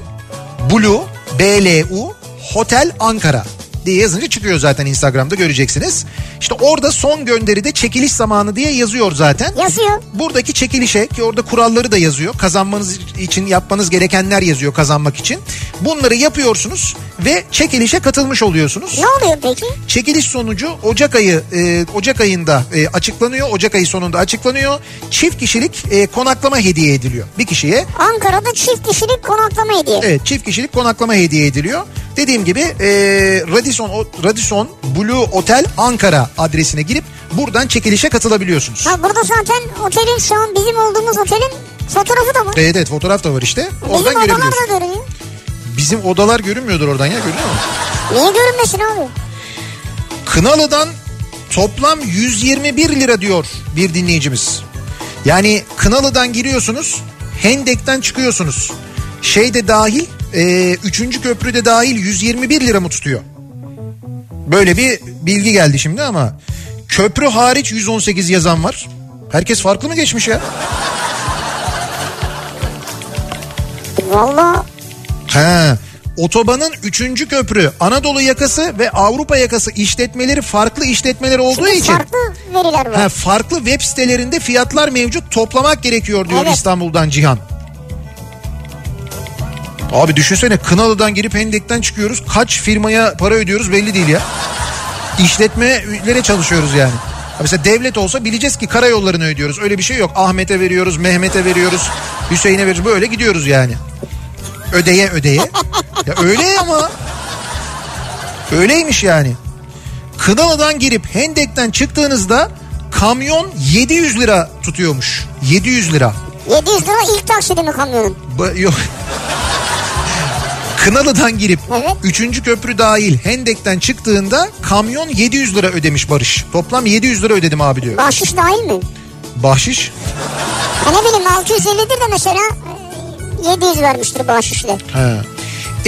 S1: Blue BLU Hotel Ankara diye yazınca çıkıyor zaten Instagram'da göreceksiniz. İşte orada son gönderide çekiliş zamanı diye yazıyor zaten.
S2: Yazıyor.
S1: Buradaki çekilişe ki orada kuralları da yazıyor. Kazanmanız için yapmanız gerekenler yazıyor kazanmak için. Bunları yapıyorsunuz ve çekilişe katılmış oluyorsunuz.
S2: Ne oluyor peki?
S1: Çekiliş sonucu Ocak ayı e, Ocak ayında e, açıklanıyor. Ocak ayı sonunda açıklanıyor. Çift kişilik e, konaklama hediye ediliyor bir kişiye.
S2: Ankara'da çift kişilik konaklama hediye.
S1: Evet çift kişilik konaklama hediye ediliyor. Dediğim gibi e, Radisson o- Radisson Blue Otel Ankara adresine girip buradan çekilişe katılabiliyorsunuz.
S2: Ha burada zaten otelin şu an bizim olduğumuz otelin fotoğrafı da var.
S1: Evet evet fotoğraf da var işte. E, Oradan
S2: Bizim odalar da
S1: görebiliyorsun.
S2: görünüyor.
S1: Bizim odalar görünmüyordur oradan ya görünüyor mu?
S2: Niye görünmesin abi?
S1: Kınalı'dan toplam 121 lira diyor bir dinleyicimiz. Yani Kınalı'dan giriyorsunuz, Hendek'ten çıkıyorsunuz. Şey de dahil, e, 3. köprü de dahil 121 lira mı tutuyor? Böyle bir bilgi geldi şimdi ama köprü hariç 118 yazan var. Herkes farklı mı geçmiş ya?
S2: Valla
S1: He. Otobanın 3. köprü Anadolu yakası ve Avrupa yakası işletmeleri farklı işletmeler olduğu için.
S2: farklı veriler var.
S1: Ha, farklı web sitelerinde fiyatlar mevcut toplamak gerekiyor diyor
S2: Evet.
S1: İstanbul'dan Cihan. Abi düşünsene Kınalı'dan girip Hendek'ten çıkıyoruz. Kaç firmaya para ödüyoruz belli değil ya. İşletmelere çalışıyoruz yani. Ha Mesela devlet olsa bileceğiz ki karayollarını ödüyoruz. Öyle bir şey yok. Ahmet'e veriyoruz, Mehmet'e veriyoruz, Hüseyin'e veriyoruz. Böyle gidiyoruz yani. Ödeye ödeye. ya öyle ama. Öyleymiş yani. Kınalı'dan girip Hendek'ten çıktığınızda kamyon 700 lira tutuyormuş. 700 lira.
S2: 700 lira ilk taksidi mi kamyonun?
S1: Ba- yok. Kınalı'dan girip
S2: Evet.
S1: 3. köprü dahil Hendek'ten çıktığında kamyon 700 lira ödemiş Barış. Toplam 700 lira ödedim abi diyor.
S2: Bahşiş dahil mi?
S1: Bahşiş.
S2: Ha ne bileyim 650'dir de mesela e, 700 vermiştir bahşişle.
S1: He.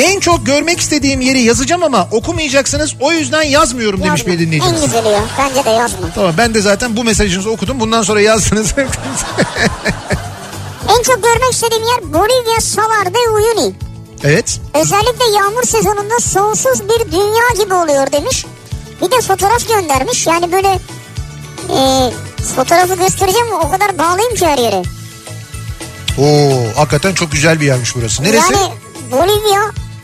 S1: En çok görmek istediğim yeri yazacağım ama okumayacaksınız o yüzden yazmıyorum demiş bir
S2: Yazma. En
S1: dinleyicimiz.
S2: güzeli ya. Bence de yazma.
S1: Tamam ben de zaten bu mesajınızı okudum bundan sonra yazdınız.
S2: En çok görmek istediğim yer Bolivya Salar de Uyuni.
S1: evet.
S2: Özellikle yağmur sezonunda sonsuz bir dünya gibi oluyor demiş. Bir de fotoğraf göndermiş. Yani böyle e, fotoğrafı göstereceğim ama o kadar bağlıyım ki her yere.
S1: Oo hakikaten çok güzel bir yermiş burası. Neresi?
S2: Yani Bolivya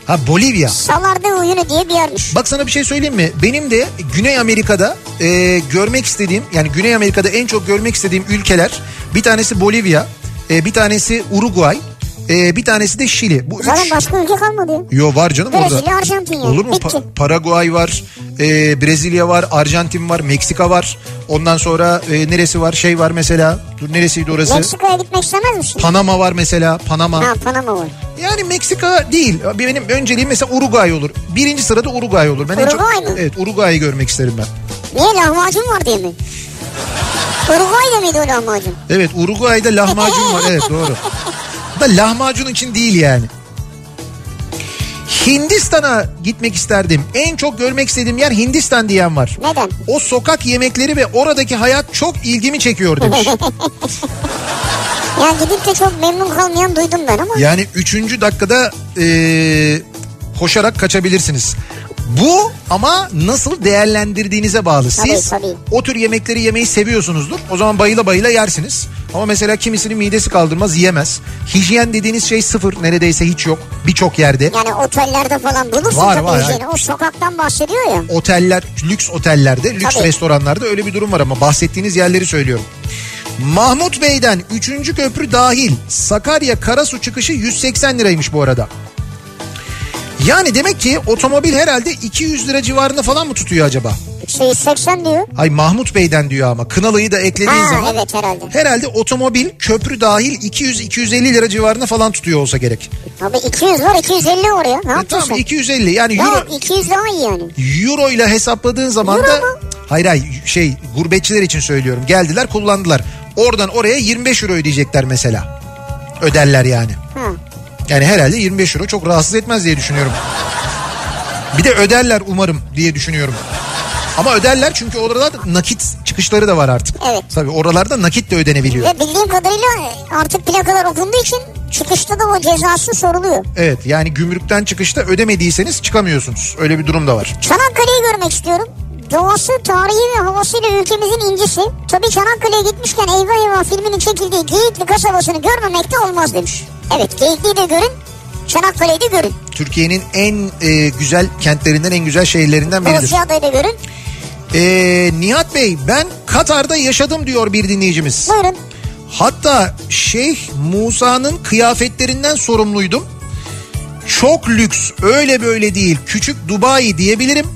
S1: Ha Bolivya.
S2: Salar de Uyuni diye bir yermiş.
S1: Bak sana bir şey söyleyeyim mi? Benim de Güney Amerika'da e, görmek istediğim yani Güney Amerika'da en çok görmek istediğim ülkeler bir tanesi Bolivya, e, bir tanesi Uruguay, e, bir tanesi de Şili. Bu
S2: Zaten
S1: üç...
S2: başka ülke kalmadı ya.
S1: Yo var canım
S2: Brezilya,
S1: orada.
S2: Arjantin yani.
S1: Olur mu?
S2: Bitti.
S1: Pa- Paraguay var, e, Brezilya var, Arjantin var, Meksika var. Ondan sonra e, neresi var? Şey var mesela. Dur neresiydi orası?
S2: Meksika'ya gitmek istemez misin?
S1: Panama var mesela. Panama.
S2: Ha Panama var.
S1: Yani Meksika değil. Benim önceliğim mesela Uruguay olur. Birinci sırada Uruguay olur. Ben en çok-
S2: Uruguay mı?
S1: Evet Uruguay'ı görmek isterim ben.
S2: Niye lahmacun var diye mi? Uruguay'da mıydı o lahmacun?
S1: Evet Uruguay'da lahmacun var. Evet doğru. Da lahmacun için değil yani. Hindistan'a gitmek isterdim. En çok görmek istediğim yer Hindistan diyen var.
S2: Neden?
S1: O sokak yemekleri ve oradaki hayat çok ilgimi çekiyor demiş.
S2: Ya gidip de çok memnun kalmayan duydum ben ama.
S1: Yani üçüncü dakikada eee, koşarak kaçabilirsiniz. Bu ama nasıl değerlendirdiğinize bağlı. Siz
S2: Tabii, tabii.
S1: o tür yemekleri yemeyi seviyorsunuzdur. O zaman bayıla bayıla yersiniz. Ama mesela kimisinin midesi kaldırmaz yiyemez. Hijyen dediğiniz şey sıfır neredeyse hiç yok birçok yerde.
S2: Yani otellerde falan bulursun
S1: Var,
S2: tabii
S1: var,
S2: hijyeni. O sokaktan bahsediyor ya.
S1: Oteller, lüks otellerde, lüks
S2: Tabii.
S1: restoranlarda öyle bir durum var ama bahsettiğiniz yerleri söylüyorum. Mahmut Bey'den 3. köprü dahil Sakarya Karasu çıkışı 180 liraymış bu arada. Yani demek ki otomobil herhalde 200 lira civarında falan mı tutuyor acaba?
S2: Şey 80 diyor.
S1: Ay Mahmut Bey'den diyor ama Kınalı'yı da eklediğin
S2: Ha
S1: zaman
S2: evet herhalde.
S1: herhalde otomobil köprü dahil 200-250 lira civarında falan tutuyor olsa gerek.
S2: Abi 200 var 250 oraya. Ne
S1: E
S2: yapıyorsun?
S1: tamam 250 yani
S2: Ya
S1: euro,
S2: 200 daha iyi yani.
S1: euro ile hesapladığın zaman
S2: Euro
S1: da
S2: mu?
S1: hayır hayır şey gurbetçiler için söylüyorum geldiler kullandılar. Oradan oraya 25 euro ödeyecekler mesela. Öderler yani.
S2: Ha.
S1: Yani herhalde 25 euro çok rahatsız etmez diye düşünüyorum. Bir de öderler umarım diye düşünüyorum. Ama öderler çünkü oralarda nakit çıkışları da var artık.
S2: Evet.
S1: Tabii oralarda nakit de ödenebiliyor.
S2: Ve bildiğim kadarıyla e, artık plakalar okunduğu için çıkışta da o cezası soruluyor.
S1: Evet yani gümrükten çıkışta ödemediyseniz çıkamıyorsunuz. Öyle bir durum da var.
S2: Çanakkale'yi görmek istiyorum. Doğası, tarihi ve havasıyla ülkemizin incisi. Tabii Çanakkale'ye gitmişken Eyvah Eyvah filminin çekildiği Geyikli kasabasını görmemek de olmaz demiş. Evet Geyikli'yi de görün, Çanakkale'yi de görün.
S1: Türkiye'nin en e, güzel kentlerinden en güzel şehirlerinden biridir.
S2: Boğaziçi'yi da görün.
S1: E, Nihat Bey ben Katar'da yaşadım diyor bir dinleyicimiz.
S2: Buyurun.
S1: Hatta Şeyh Musa'nın kıyafetlerinden sorumluydum. Çok lüks öyle böyle değil küçük Dubai diyebilirim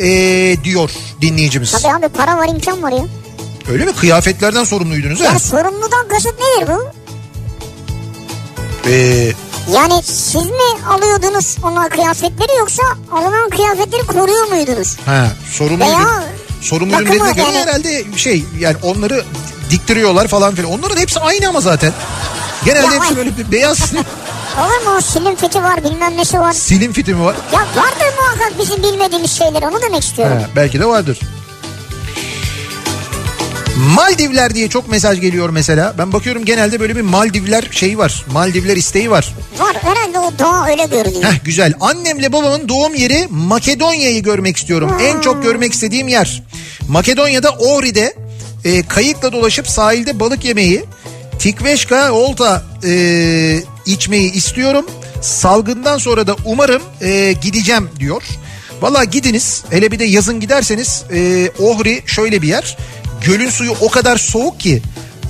S1: ee, diyor dinleyicimiz.
S2: Tabii abi para var imkan var ya.
S1: Öyle mi kıyafetlerden sorumluydunuz ha?
S2: Ya sorumludan kasıt nedir bu?
S1: Ee,
S2: Yani siz mi alıyordunuz ona kıyafetleri yoksa alınan kıyafetleri koruyor muydunuz?
S1: ha sorumluydum.
S2: Veya
S1: Sorumluydum
S2: bakımı
S1: dediğine göre
S2: yani-
S1: herhalde şey yani onları diktiriyorlar falan filan. Onların hepsi aynı ama zaten. Genelde
S2: Ya-
S1: hepsi böyle bir beyaz
S2: Olur mu o silim fiti var bilmem nesi var.
S1: silin fitimi var.
S2: Ya vardır muhakkak bizim bilmediğimiz şeyler onu demek istiyorum.
S1: Ha, belki de vardır. Maldivler diye çok mesaj geliyor mesela. Ben bakıyorum genelde böyle bir Maldivler şeyi var. Maldivler isteği var.
S2: Var herhalde o doğa öyle görünüyor.
S1: Heh güzel. Annemle babamın doğum yeri Makedonya'yı görmek istiyorum. En çok görmek istediğim yer. Makedonya'da Ohri'de e, kayıkla dolaşıp sahilde balık yemeyi, tikveşka, olta e, içmeyi istiyorum. Salgından sonra da umarım e, gideceğim diyor. Valla gidiniz hele bir de yazın giderseniz e, Ohri şöyle bir yer. Gölün suyu o kadar soğuk ki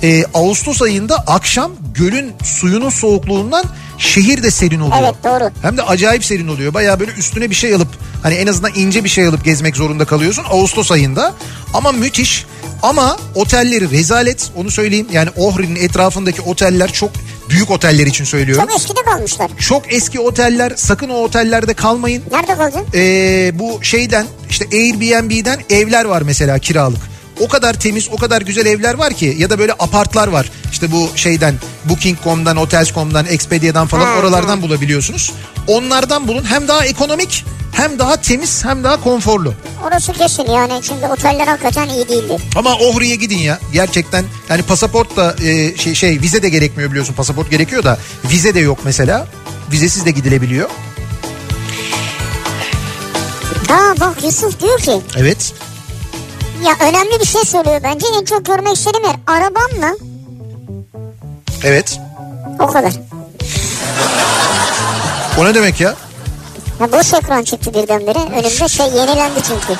S1: e, Ağustos ayında akşam gölün suyunun soğukluğundan şehir de serin oluyor.
S2: Evet, doğru.
S1: Hem de acayip serin oluyor. Bayağı böyle üstüne bir şey alıp hani en azından ince bir şey alıp gezmek zorunda kalıyorsun Ağustos ayında. Ama müthiş. Ama otelleri rezalet onu söyleyeyim. Yani Ohri'nin etrafındaki oteller çok büyük oteller için söylüyorum.
S2: Çok eskide kalmışlar.
S1: Çok eski oteller sakın o otellerde kalmayın.
S2: Nerede kaldın?
S1: Ee, bu şeyden işte Airbnb'den evler var mesela kiralık. O kadar temiz, o kadar güzel evler var ki ya da böyle apartlar var. İşte bu şeyden Booking.com'dan, Hotels.com'dan, Expedia'dan falan
S2: Ha,
S1: oralardan bulabiliyorsunuz. Onlardan bulun. Hem daha ekonomik, hem daha temiz, hem daha konforlu.
S2: Orası kesin yani çünkü oteller hakikaten iyi değildi.
S1: Ama Ohri'ye gidin ya. Gerçekten yani pasaport da e, şey, şey vize de gerekmiyor biliyorsun. Pasaport gerekiyor da vize de yok mesela. Vizesiz de gidilebiliyor.
S2: Aa bak Yusuf diyor ki
S1: Evet.
S2: ya önemli bir şey söylüyor bence en çok görmek istediğim yer arabamla
S1: Evet.
S2: o kadar.
S1: O ne demek ya?
S2: Ya boş ekran çıktı birdenbire önümde şey yenilendi çünkü.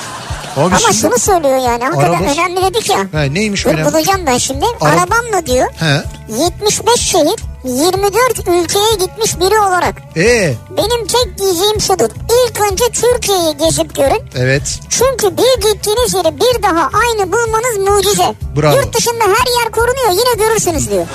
S1: Abi
S2: Ama
S1: şimdi-
S2: şunu söylüyor yani hakikaten
S1: Araba-
S2: önemli dedik ya.
S1: He, neymiş
S2: Dur
S1: önemli?
S2: bulacağım ben şimdi.
S1: Ara-
S2: Arabamla diyor
S1: He.
S2: 75 şehir 24 ülkeye gitmiş biri olarak.
S1: Ee,
S2: Benim tek diyeceğim şudur. İlk önce Türkiye'yi gezip görün.
S1: evet.
S2: Çünkü bir gittiğiniz yeri bir daha aynı bulmanız mucize.
S1: Bravo.
S2: Yurt dışında her yer korunuyor yine görürsünüz diyor.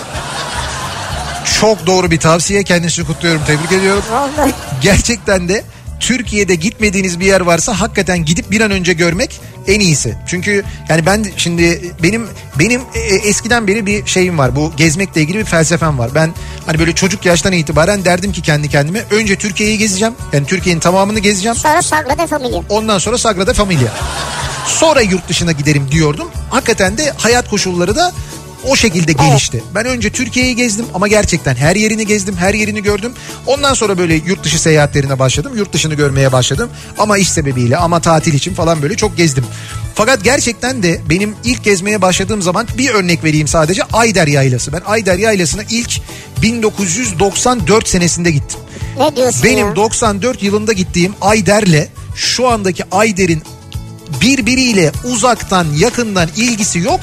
S1: Çok doğru bir tavsiye. Kendisini kutluyorum. Tebrik ediyorum.
S2: Vallahi.
S1: Gerçekten de Türkiye'de gitmediğiniz bir yer varsa hakikaten gidip bir an önce görmek en iyisi. Çünkü yani ben de- şimdi benim benim e, eskiden beri bir şeyim var. Bu gezmekle ilgili bir felsefem var. Ben hani böyle çocuk yaştan itibaren derdim ki kendi kendime önce Türkiye'yi gezeceğim. Yani Türkiye'nin tamamını gezeceğim.
S2: Sonra Sagrada Familia.
S1: Ondan sonra Sagrada Familia. Sonra yurt dışına giderim diyordum. Hakikaten de hayat koşulları da o şekilde gelişti. Ben önce Türkiye'yi gezdim ama gerçekten her yerini gezdim, her yerini gördüm. Ondan sonra böyle yurt dışı seyahatlerine başladım. Yurt dışını görmeye başladım. Ama iş sebebiyle, ama tatil için falan böyle çok gezdim. Fakat gerçekten de benim ilk gezmeye başladığım zaman bir örnek vereyim sadece Ayder Yaylası. Ben Ayder Yaylası'na ilk 1994 senesinde gittim.
S2: Ne diyorsun
S1: Benim
S2: ya?
S1: 94 yılında gittiğim Ayder'le şu andaki Ayder'in birbiriyle uzaktan yakından ilgisi yok.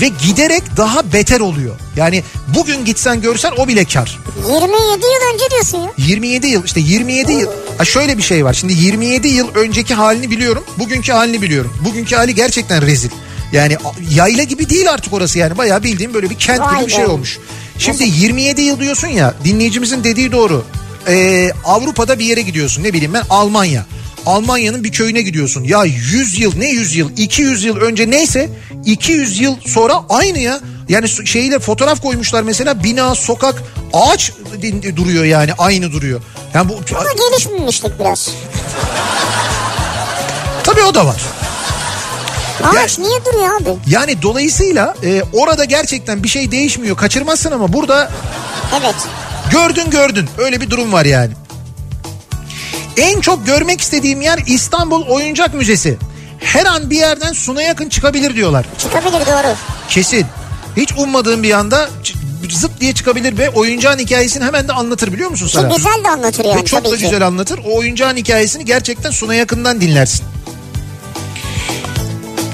S1: ve giderek daha beter oluyor. Yani bugün gitsen görsen o bile kar.
S2: 27 yıl önce diyorsun ya.
S1: 27 yıl işte 27 yıl ha şöyle bir şey var şimdi 27 yıl önceki halini biliyorum bugünkü halini biliyorum bugünkü hali gerçekten rezil yani a- yayla gibi değil artık orası yani bayağı bildiğim böyle bir kent
S2: Vay
S1: gibi bir şey
S2: be.
S1: olmuş şimdi 27 yıl diyorsun ya dinleyicimizin dediği doğru Ee, Avrupa'da bir yere gidiyorsun ne bileyim ben Almanya Almanya'nın bir köyüne gidiyorsun ya 100 yıl ne 100 yıl 200 yıl önce neyse 200 yıl sonra aynı ya yani su- şeyle fotoğraf koymuşlar mesela bina sokak ağaç din- duruyor yani aynı duruyor. Yani bu
S2: Ama gelişmemiştik biraz.
S1: tabii o da var.
S2: Ağaç niye duruyor abi?
S1: Yani dolayısıyla e, orada gerçekten bir şey değişmiyor. Kaçırmazsın ama burada
S2: Evet.
S1: gördün gördün. Öyle bir durum var yani. En çok görmek istediğim yer İstanbul Oyuncak Müzesi. Her an bir yerden Suna yakın çıkabilir diyorlar.
S2: Çıkabilir doğru.
S1: Kesin. Hiç ummadığım bir anda ç- zıp diye çıkabilir ve oyuncağın hikayesini hemen de anlatır biliyor musun sana?
S2: Ki güzel de anlatır yani
S1: Ve çok
S2: tabii
S1: da
S2: ki.
S1: güzel anlatır. O oyuncağın hikayesini gerçekten Suna yakından dinlersin.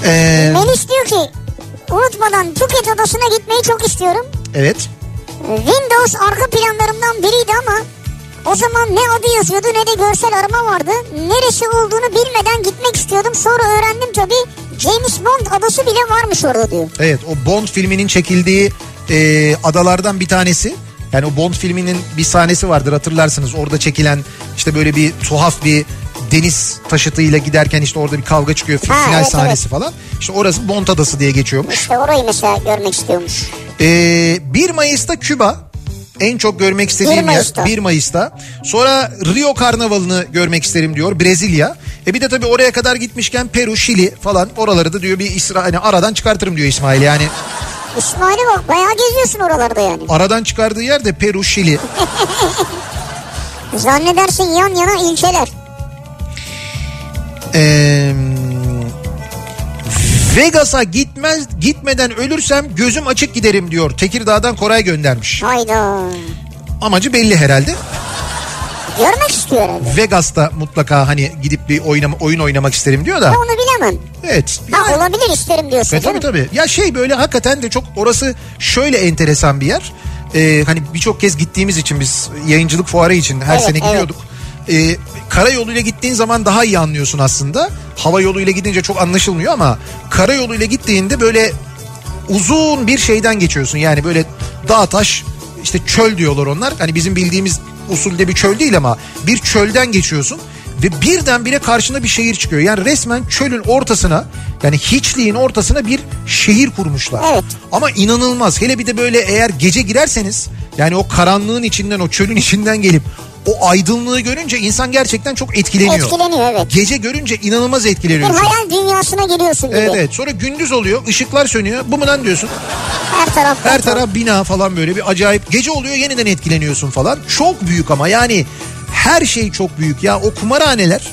S1: Ee,
S2: Melis diyor ki unutmadan Phuket adasına gitmeyi çok istiyorum.
S1: evet.
S2: Windows arka planlarımdan biriydi ama o zaman ne adı yazıyordu ne de görsel arama vardı. Neresi olduğunu bilmeden gitmek istiyordum. Sonra öğrendim tabii James Bond adası bile varmış orada diyor.
S1: Evet o Bond filminin çekildiği e, adalardan bir tanesi. Yani o Bond filminin bir sahnesi vardır hatırlarsınız. Orada çekilen işte böyle bir tuhaf bir deniz taşıtıyla giderken işte orada bir kavga çıkıyor.
S2: Ha,
S1: final
S2: evet,
S1: sahnesi falan. İşte orası Bond adası diye geçiyormuş.
S2: İşte orayı mesela görmek istiyormuş.
S1: Ee, 1 Mayıs'ta Küba en çok görmek istediğim
S2: 1 Mayıs'ta.
S1: yer 1 Mayıs'ta. Sonra Rio Karnavalı'nı görmek isterim diyor Brezilya. E bir de tabii oraya kadar gitmişken Peru, Şili falan oraları da diyor bir İsrail hani aradan çıkartırım diyor İsmail. Yani
S2: İsmail'e bak bayağı geziyorsun oralarda yani.
S1: aradan çıkardığı yer de Peru, Şili.
S2: Zannedersin yan yana ilçeler.
S1: Ee, Vegas'a gitmez gitmeden ölürsem gözüm açık giderim diyor. Tekirdağ'dan Koray göndermiş.
S2: Hayda.
S1: Amacı belli herhalde.
S2: Görmek istiyor herhalde.
S1: Vegas'ta mutlaka hani gidip bir oynama, oyun oynamak isterim diyor da.
S2: Ben Onu bilemem.
S1: Evet.
S2: Ha, olabilir isterim diyorsun.
S1: E, tabii
S2: canım.
S1: tabii. Ya şey böyle hakikaten de çok orası şöyle enteresan bir yer. Ee, hani birçok kez gittiğimiz için biz yayıncılık fuarı için her
S2: Evet,
S1: sene
S2: evet.
S1: gidiyorduk. Ee, karayoluyla gittiğin zaman daha iyi anlıyorsun aslında. Hava yoluyla gidince çok anlaşılmıyor ama karayoluyla gittiğinde böyle uzun bir şeyden geçiyorsun. Yani böyle dağ taş işte çöl diyorlar onlar. Hani bizim bildiğimiz usulde bir çöl değil ama bir çölden geçiyorsun ve birdenbire karşına bir şehir çıkıyor. Yani resmen çölün ortasına yani hiçliğin ortasına bir şehir kurmuşlar.
S2: Evet.
S1: Ama inanılmaz. Hele bir de böyle eğer gece girerseniz yani o karanlığın içinden o çölün içinden gelip o aydınlığı görünce insan gerçekten çok etkileniyor.
S2: Etkileniyor evet.
S1: Gece görünce inanılmaz
S2: Bir
S1: etkileniyorsun.
S2: hayal dünyasına giriyorsun gibi.
S1: Evet, evet. Sonra gündüz oluyor, ışıklar sönüyor. Bu mu lan diyorsun?
S2: Her taraf.
S1: Her taraf bina falan böyle bir acayip. Gece oluyor yeniden etkileniyorsun falan. Çok büyük ama yani her şey çok büyük. Ya o kumarhaneler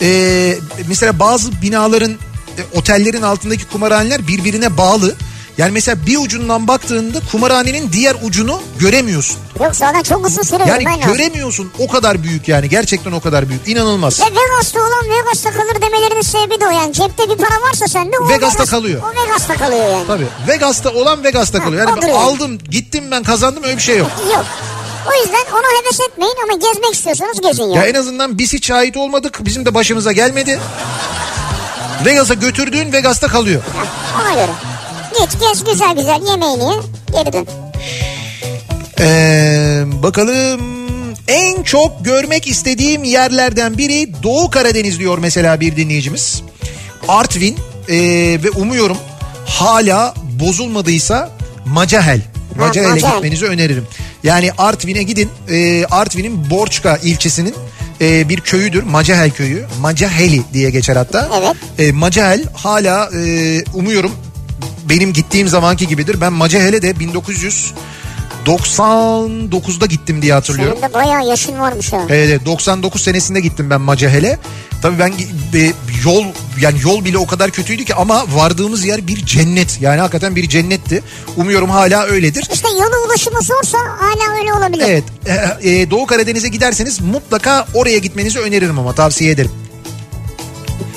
S1: e, mesela bazı binaların e, otellerin altındaki kumarhaneler birbirine bağlı. Yani mesela bir ucundan baktığında kumarhanenin diğer ucunu göremiyorsun.
S2: Yok zaten çok uzun süre
S1: Yani
S2: ben lazım.
S1: göremiyorsun o kadar büyük yani gerçekten o kadar büyük inanılmaz.
S2: Ve Vegas'ta olan Vegas'ta kalır demelerinin sebebi de o yani. Cepte bir para varsa sende o
S1: Vegas'ta kalıyor.
S2: O Vegas'ta kalıyor yani.
S1: Tabii Vegas'ta olan Vegas'ta
S2: Ha,
S1: kalıyor. Yani
S2: odur
S1: ben
S2: yani.
S1: aldım gittim ben kazandım öyle bir şey yok.
S2: Yok. O yüzden ona heves etmeyin ama gezmek istiyorsanız gezin yani.
S1: Ya en azından biz hiç şahit olmadık. Bizim de başımıza gelmedi. Vegas'a götürdüğün Vegas'ta kalıyor.
S2: Ha, Ona göre. Git gez güzel güzel yemeğini ye geri dön.
S1: Ee, bakalım en çok görmek istediğim yerlerden biri Doğu Karadeniz diyor mesela bir dinleyicimiz. Artvin ee, ve umuyorum hala bozulmadıysa Macahel. Macahel'e
S2: Macahel.
S1: gitmenizi öneririm. Yani Artvin'e gidin. Ee, Artvin'in Borçka ilçesinin ee, bir köyüdür. Macahel köyü. Macaheli diye geçer hatta.
S2: Evet.
S1: E, Macahel hala e, umuyorum benim gittiğim zamanki gibidir. Ben Macahel'e de 1999'da gittim diye hatırlıyorum.
S2: Senin de bayağı yaşın varmış ha.
S1: Evet, evet, 99 senesinde gittim ben Macahel'e. Tabii ben e, yol yani yol bile o kadar kötüydü ki ama vardığımız yer bir cennet. Yani hakikaten bir cennetti. Umuyorum hala öyledir.
S2: İşte yolu ulaşımı zorsa hala öyle olabilir.
S1: Evet e, e, Doğu Karadeniz'e giderseniz mutlaka oraya gitmenizi öneririm ama tavsiye ederim.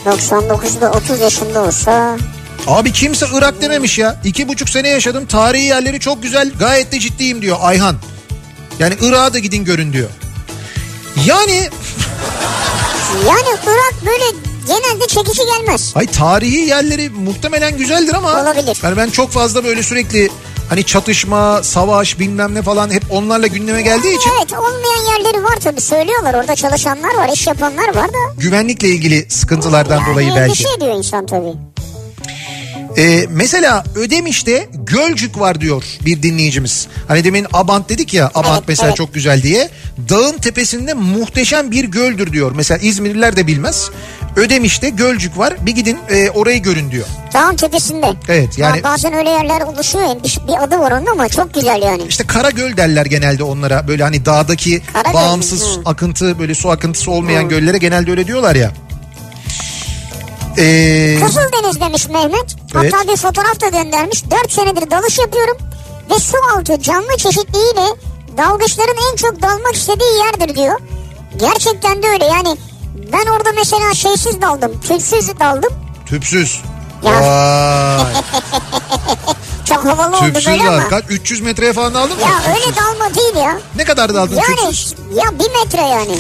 S2: 99'da 30 yaşında olsa
S1: Abi kimse Irak dememiş ya. İki buçuk sene yaşadım. Tarihi yerleri çok güzel. Gayet de ciddiyim diyor Ayhan. Yani Irak'a da gidin görün diyor. Yani
S2: Yani Irak böyle genelde çekici gelmez.
S1: ay tarihi yerleri muhtemelen güzeldir ama.
S2: Olabilir.
S1: Yani ben çok fazla böyle sürekli hani çatışma, savaş bilmem ne falan hep onlarla gündeme geldiği için.
S2: Evet olmayan yerleri var tabii söylüyorlar orada çalışanlar var iş yapanlar var da.
S1: Güvenlikle ilgili sıkıntılardan dolayı
S2: yani
S1: belki.
S2: endişe ediyor insan tabii.
S1: Ee, mesela Ödemiş'te Gölcük var diyor bir dinleyicimiz. Hani demin Abant dedik ya Abant
S2: Evet,
S1: mesela
S2: evet.
S1: çok güzel diye. Dağın tepesinde muhteşem bir göldür diyor. Mesela İzmirliler de bilmez. Ödemiş'te Gölcük var bir gidin e, orayı görün diyor.
S2: Dağın tepesinde.
S1: Evet, yani-
S2: Ha, bazen öyle yerler oluşuyor yani bir, bir adı var onun ama çok güzel yani.
S1: İşte Karagöl derler genelde onlara böyle hani dağdaki
S2: Karagöl,
S1: bağımsız
S2: hı.
S1: akıntı böyle su akıntısı olmayan göllere genelde öyle diyorlar ya. Ee,
S2: Kızıldeniz demiş Mehmet.
S1: Evet.
S2: Hatta bir fotoğraf da göndermiş. 4 senedir dalış yapıyorum ve su altı canlı çeşitliğiyle dalgıçların en çok dalmak istediği yerdir diyor. Gerçekten de öyle yani ben orada mesela şeysiz daldım, tülsüz daldım.
S1: tüpsüz.
S2: Ya. E,
S1: Vay,
S2: Çok havalı oldu
S1: tüpsüz
S2: böyle ama.
S1: var. Kaç? 300 metreye falan aldın mı?
S2: Ya öyle dalma değil ya.
S1: Ne kadar daldın
S2: Yani
S1: tüpsüz?
S2: ya bir metre yani.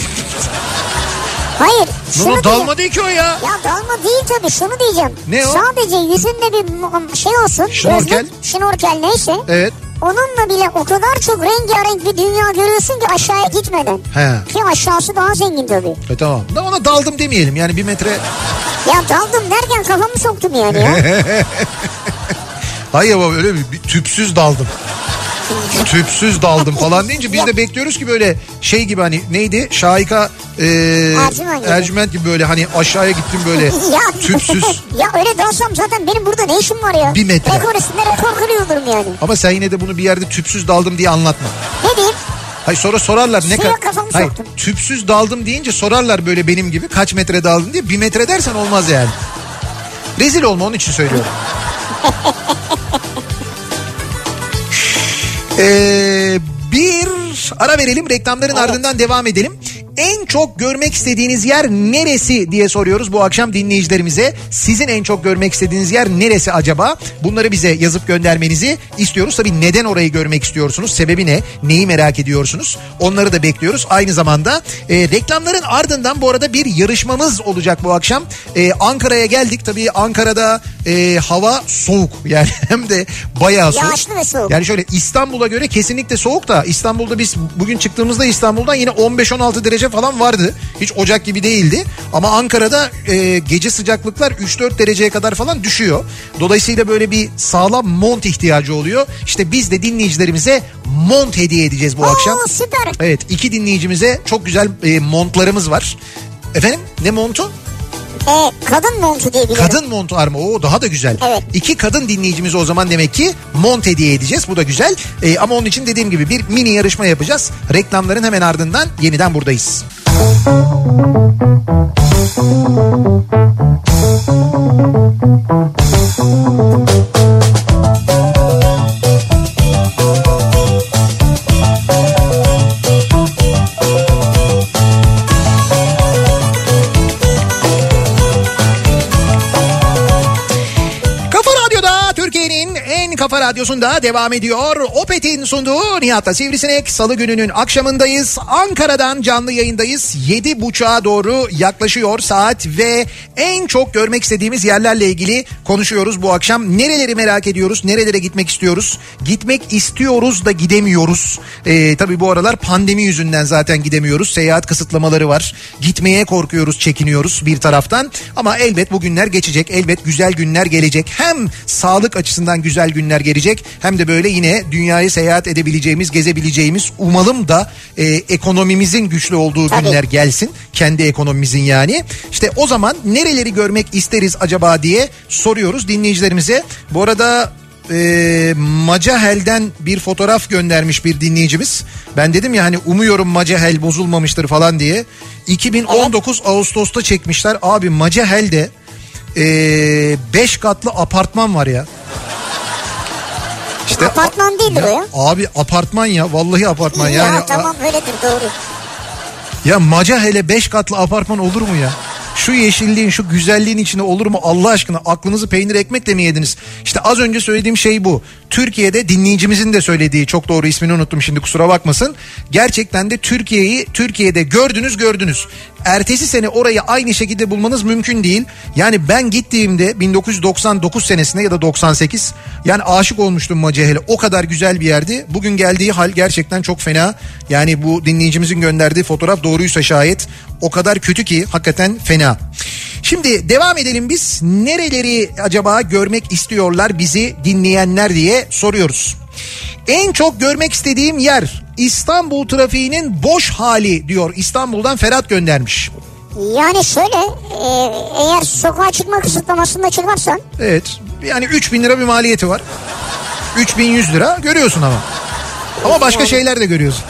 S2: Hayır.
S1: Lan
S2: şunu
S1: o dalma değil ki o ya.
S2: Ya dalma değil tabii şunu diyeceğim.
S1: Ne o?
S2: Sadece yüzünde bir mu- şey olsun.
S1: Şnorkel. E-
S2: gözlük, şnorkel neyse.
S1: Evet.
S2: Onunla bile o kadar çok rengarenk bir dünya görüyorsun ki aşağıya gitmeden.
S1: He.
S2: Ki aşağısı daha zengin tabii.
S1: E tamam. Da ona daldım demeyelim yani bir metre.
S2: Ya daldım derken kafamı soktum yani ya.
S1: Hayır baba öyle bir, bir tüpsüz daldım. tüpsüz daldım falan deyince biz de bekliyoruz ki böyle şey gibi hani neydi? Şahika e,
S2: Ercüment gibi.
S1: Ercüment gibi böyle hani aşağıya gittim böyle
S2: ya.
S1: tüpsüz.
S2: ya öyle dalsam zaten benim burada ne işim var ya.
S1: Bir metre.
S2: Rekor üstünde rekor kırıyordum yani.
S1: Ama sen yine de bunu bir yerde tüpsüz daldım diye anlatma.
S2: Ne diyeyim?
S1: Hayır sonra sorarlar ne
S2: Suya
S1: kadar...
S2: kafamı
S1: Hayır
S2: soktum.
S1: tüpsüz daldım deyince sorarlar böyle benim gibi kaç metre daldın diye. Bir metre dersen olmaz yani. Rezil olma onun için söylüyorum. Ee, bir ara verelim reklamların ardından devam edelim. En çok görmek istediğiniz yer neresi diye soruyoruz bu akşam dinleyicilerimize. Sizin en çok görmek istediğiniz yer neresi acaba? Bunları bize yazıp göndermenizi istiyoruz. Tabii neden orayı görmek istiyorsunuz? Sebebi ne? Neyi merak ediyorsunuz? Onları da bekliyoruz. Aynı zamanda e, reklamların ardından bu arada bir yarışmamız olacak bu akşam. E, Ankara'ya geldik. Tabii Ankara'da e, hava soğuk. Yani hem de bayağı soğuk.
S2: Yağışlı ve soğuk.
S1: Yani şöyle İstanbul'a göre kesinlikle soğuk da İstanbul'da biz bugün çıktığımızda İstanbul'dan yine 15-16 derece falan vardı. Hiç Ocak gibi değildi. Ama Ankara'da e, gece sıcaklıklar 3-4 dereceye kadar falan düşüyor. Dolayısıyla böyle bir sağlam mont ihtiyacı oluyor. İşte biz de dinleyicilerimize mont hediye edeceğiz bu akşam.
S2: Oo, süper.
S1: Evet iki dinleyicimize çok güzel e, montlarımız var. Efendim ne montu?
S2: Ee, kadın montu diye biliyorum.
S1: Kadın montu arma. Oo daha da güzel.
S2: Evet.
S1: İki kadın dinleyicimiz o zaman demek ki mont hediye edeceğiz. Bu da güzel. Ee, ama onun için dediğim gibi bir mini yarışma yapacağız. Reklamların hemen ardından yeniden buradayız. Kafa Radyo'da Türkiye'nin en kafa radyosunda devam ediyor. Opet'in sunduğu Nihat'la Sivrisinek Salı gününün akşamındayız. Ankara'dan canlı yayındayız. 7.30'a doğru yaklaşıyor saat ve en çok görmek istediğimiz yerlerle ilgili konuşuyoruz bu akşam. Nereleri merak ediyoruz, nerelere gitmek istiyoruz, gitmek istiyoruz da gidemiyoruz. Ee, tabii bu aralar pandemi yüzünden zaten gidemiyoruz. Seyahat kısıtlamaları var. Gitmeye korkuyoruz, çekiniyoruz bir taraftan. Ama elbet bu günler geçecek. Elbet güzel günler gelecek. Hem sağlık açısından güzel günler gelecek hem de böyle yine dünyayı seyahat edebileceğimiz, gezebileceğimiz umalım da e, ekonomimizin güçlü olduğu
S2: Tabii.
S1: günler gelsin. Kendi ekonomimizin yani. İşte o zaman nereleri görmek isteriz acaba diye soruyoruz dinleyicilerimize. Bu arada e, Macahel'den bir fotoğraf göndermiş bir dinleyicimiz. Ben dedim ya hani umuyorum Macahel bozulmamıştır falan diye. 2019 Ağustos'ta çekmişler. Abi Macahel'de 5 katlı apartman var ya. İşte
S2: Apartman değildir o ya.
S1: Abi apartman ya vallahi apartman
S2: ya
S1: yani.
S2: tamam öyledir doğru.
S1: Ya Macahel'e 5 katlı apartman olur mu ya? Şu yeşilliğin şu güzelliğin içine olur mu Allah aşkına aklınızı peynir ekmekle mi yediniz? İşte az önce söylediğim şey bu. Türkiye'de dinleyicimizin de söylediği çok doğru ismini unuttum şimdi kusura bakmasın. Gerçekten de Türkiye'yi Türkiye'de gördünüz gördünüz. Ertesi sene orayı aynı şekilde bulmanız mümkün değil. Yani ben gittiğimde 1999 senesinde ya da 98 yani aşık olmuştum Macahel'e. O kadar güzel bir yerdi. Bugün geldiği hal gerçekten çok fena. Yani bu dinleyicimizin gönderdiği fotoğraf doğruysa şayet o kadar kötü ki hakikaten fena. Şimdi devam edelim biz. Nereleri acaba görmek istiyorlar bizi dinleyenler diye soruyoruz. En çok görmek istediğim yer İstanbul trafiğinin boş hali diyor. İstanbul'dan Ferhat göndermiş.
S2: Yani şöyle e, eğer sokağa çıkma kısıtlamasında çıkarsan
S1: Evet. Yani 3000 lira bir maliyeti var. 3100 lira görüyorsun ama. Ama başka şeyler de görüyorsun.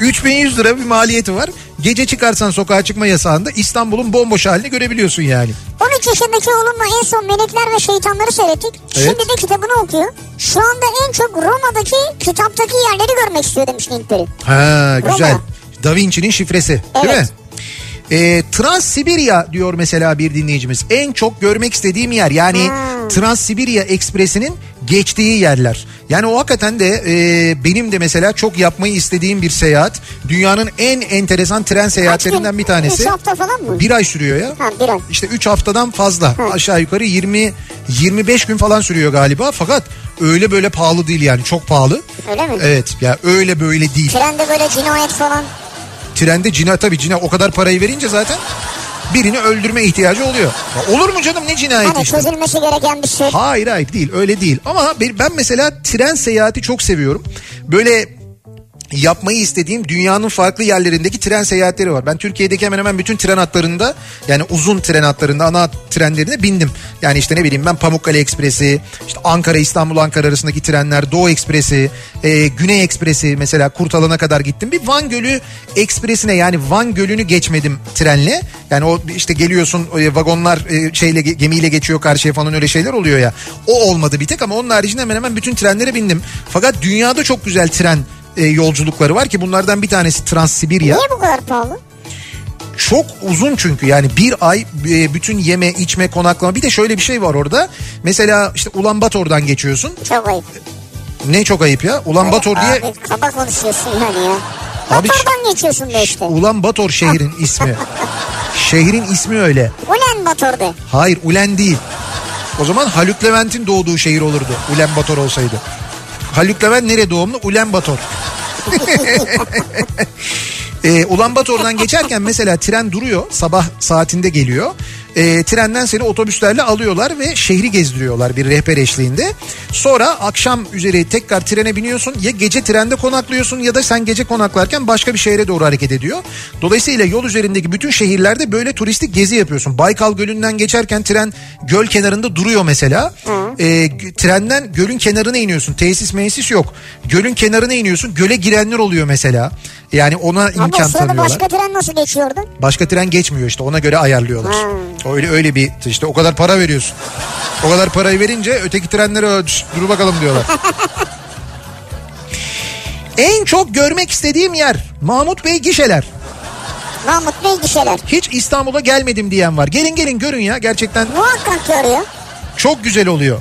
S1: 3100 lira bir maliyeti var. Gece çıkarsan sokağa çıkma yasağında İstanbul'un bomboş halini görebiliyorsun yani.
S2: 13 yaşındaki oğlumla en son Melekler ve Şeytanları seyrettik. Şimdi de kitabını okuyor. Şu anda en çok Roma'daki kitaptaki yerleri görmek istiyor demiş Nilperi.
S1: Ha güzel.
S2: Roma.
S1: Da Vinci'nin şifresi değil mi?
S2: Evet.
S1: Ee, Trans-Sibirya diyor mesela bir dinleyicimiz. En çok görmek istediğim yer yani
S2: Hmm.
S1: Trans-Sibirya Ekspresi'nin geçtiği yerler. Yani o hakikaten de e, benim de mesela çok yapmayı istediğim bir seyahat. Dünyanın en enteresan tren seyahatlerinden bir tanesi.
S2: Üç hafta falan mı?
S1: Bir ay sürüyor ya.
S2: Ha, bir ay.
S1: İşte 3 haftadan fazla aşağı yukarı 20 25 gün falan sürüyor galiba fakat öyle böyle pahalı değil yani çok pahalı.
S2: Öyle mi?
S1: Evet ya öyle böyle değil.
S2: Trende böyle cinayet falan.
S1: Trende cina tabii cina o kadar parayı verince zaten birini öldürme ihtiyacı oluyor. Ya olur mu canım ne cinayeti
S2: Hani
S1: işte.
S2: çözülmesi gereken bir şey.
S1: Hayır hayır değil öyle değil ama ben ben mesela tren seyahati çok seviyorum. Böyle yapmayı istediğim dünyanın farklı yerlerindeki tren seyahatleri var. Ben Türkiye'deki hemen hemen bütün tren hatlarında yani uzun tren hatlarında ana hat trenlerine bindim. Yani işte ne bileyim ben Pamukkale Ekspresi, işte Ankara İstanbul Ankara arasındaki trenler, Doğu Ekspresi, e, Güney Ekspresi mesela Kurtalan'a kadar gittim. Bir Van Gölü Ekspresi'ne yani Van Gölü'nü geçmedim trenle. Yani o işte geliyorsun e, vagonlar e, şeyle ge- gemiyle geçiyor karşıya falan öyle şeyler oluyor ya. O olmadı bir tek ama onun haricinde hemen hemen bütün trenlere bindim. Fakat dünyada çok güzel tren e, yolculukları var ki bunlardan bir tanesi Trans-Sibirya.
S2: Niye bu kadar pahalı?
S1: Çok uzun çünkü yani bir ay e, bütün yeme içme konaklama bir de şöyle bir şey var orada. Mesela işte Ulan Bator'dan geçiyorsun.
S2: Çok ayıp.
S1: Ne çok ayıp ya Ulan Bator diye
S2: Abi kaba konuşuyorsun yani ya.
S1: Abi-
S2: Bator'dan geçiyorsun da işte.
S1: Ulan Bator şehrin ismi. şehrin ismi öyle.
S2: Ulan Bator'da.
S1: Hayır Ulen değil. O zaman Haluk Levent'in doğduğu şehir olurdu. Ulen Bator olsaydı. Haluk Levent nereye doğumlu? Ulen Bator. Ee, Ulan Bator'dan geçerken mesela tren duruyor sabah saatinde geliyor. Ee, trenden seni otobüslerle alıyorlar ve şehri gezdiriyorlar bir rehber eşliğinde. Sonra akşam üzeri tekrar trene biniyorsun ya gece trende konaklıyorsun ya da sen gece konaklarken başka bir şehre doğru hareket ediyor. Dolayısıyla yol üzerindeki bütün şehirlerde böyle turistik gezi yapıyorsun. Baykal Gölü'nden geçerken tren göl kenarında duruyor mesela. Ee, g- trenden gölün kenarına iniyorsun tesis mesis yok. Gölün kenarına iniyorsun göle girenler oluyor mesela. Yani ona
S2: Ama
S1: imkan
S2: o sırada
S1: tanıyorlar.
S2: başka tren nasıl geçiyordu?
S1: Başka tren geçmiyor işte ona göre ayarlıyorlar.
S2: Hmm.
S1: Öyle öyle bir işte o kadar para veriyorsun. O kadar parayı verince öteki trenlere "Ö, şş, dur bakalım diyorlar. en çok görmek istediğim yer Mahmut Bey gişeler.
S2: Mahmut Bey gişeler.
S1: Hiç İstanbul'a gelmedim diyen var. Gelin gelin görün ya gerçekten
S2: Muhakkak görüyor.
S1: çok güzel oluyor.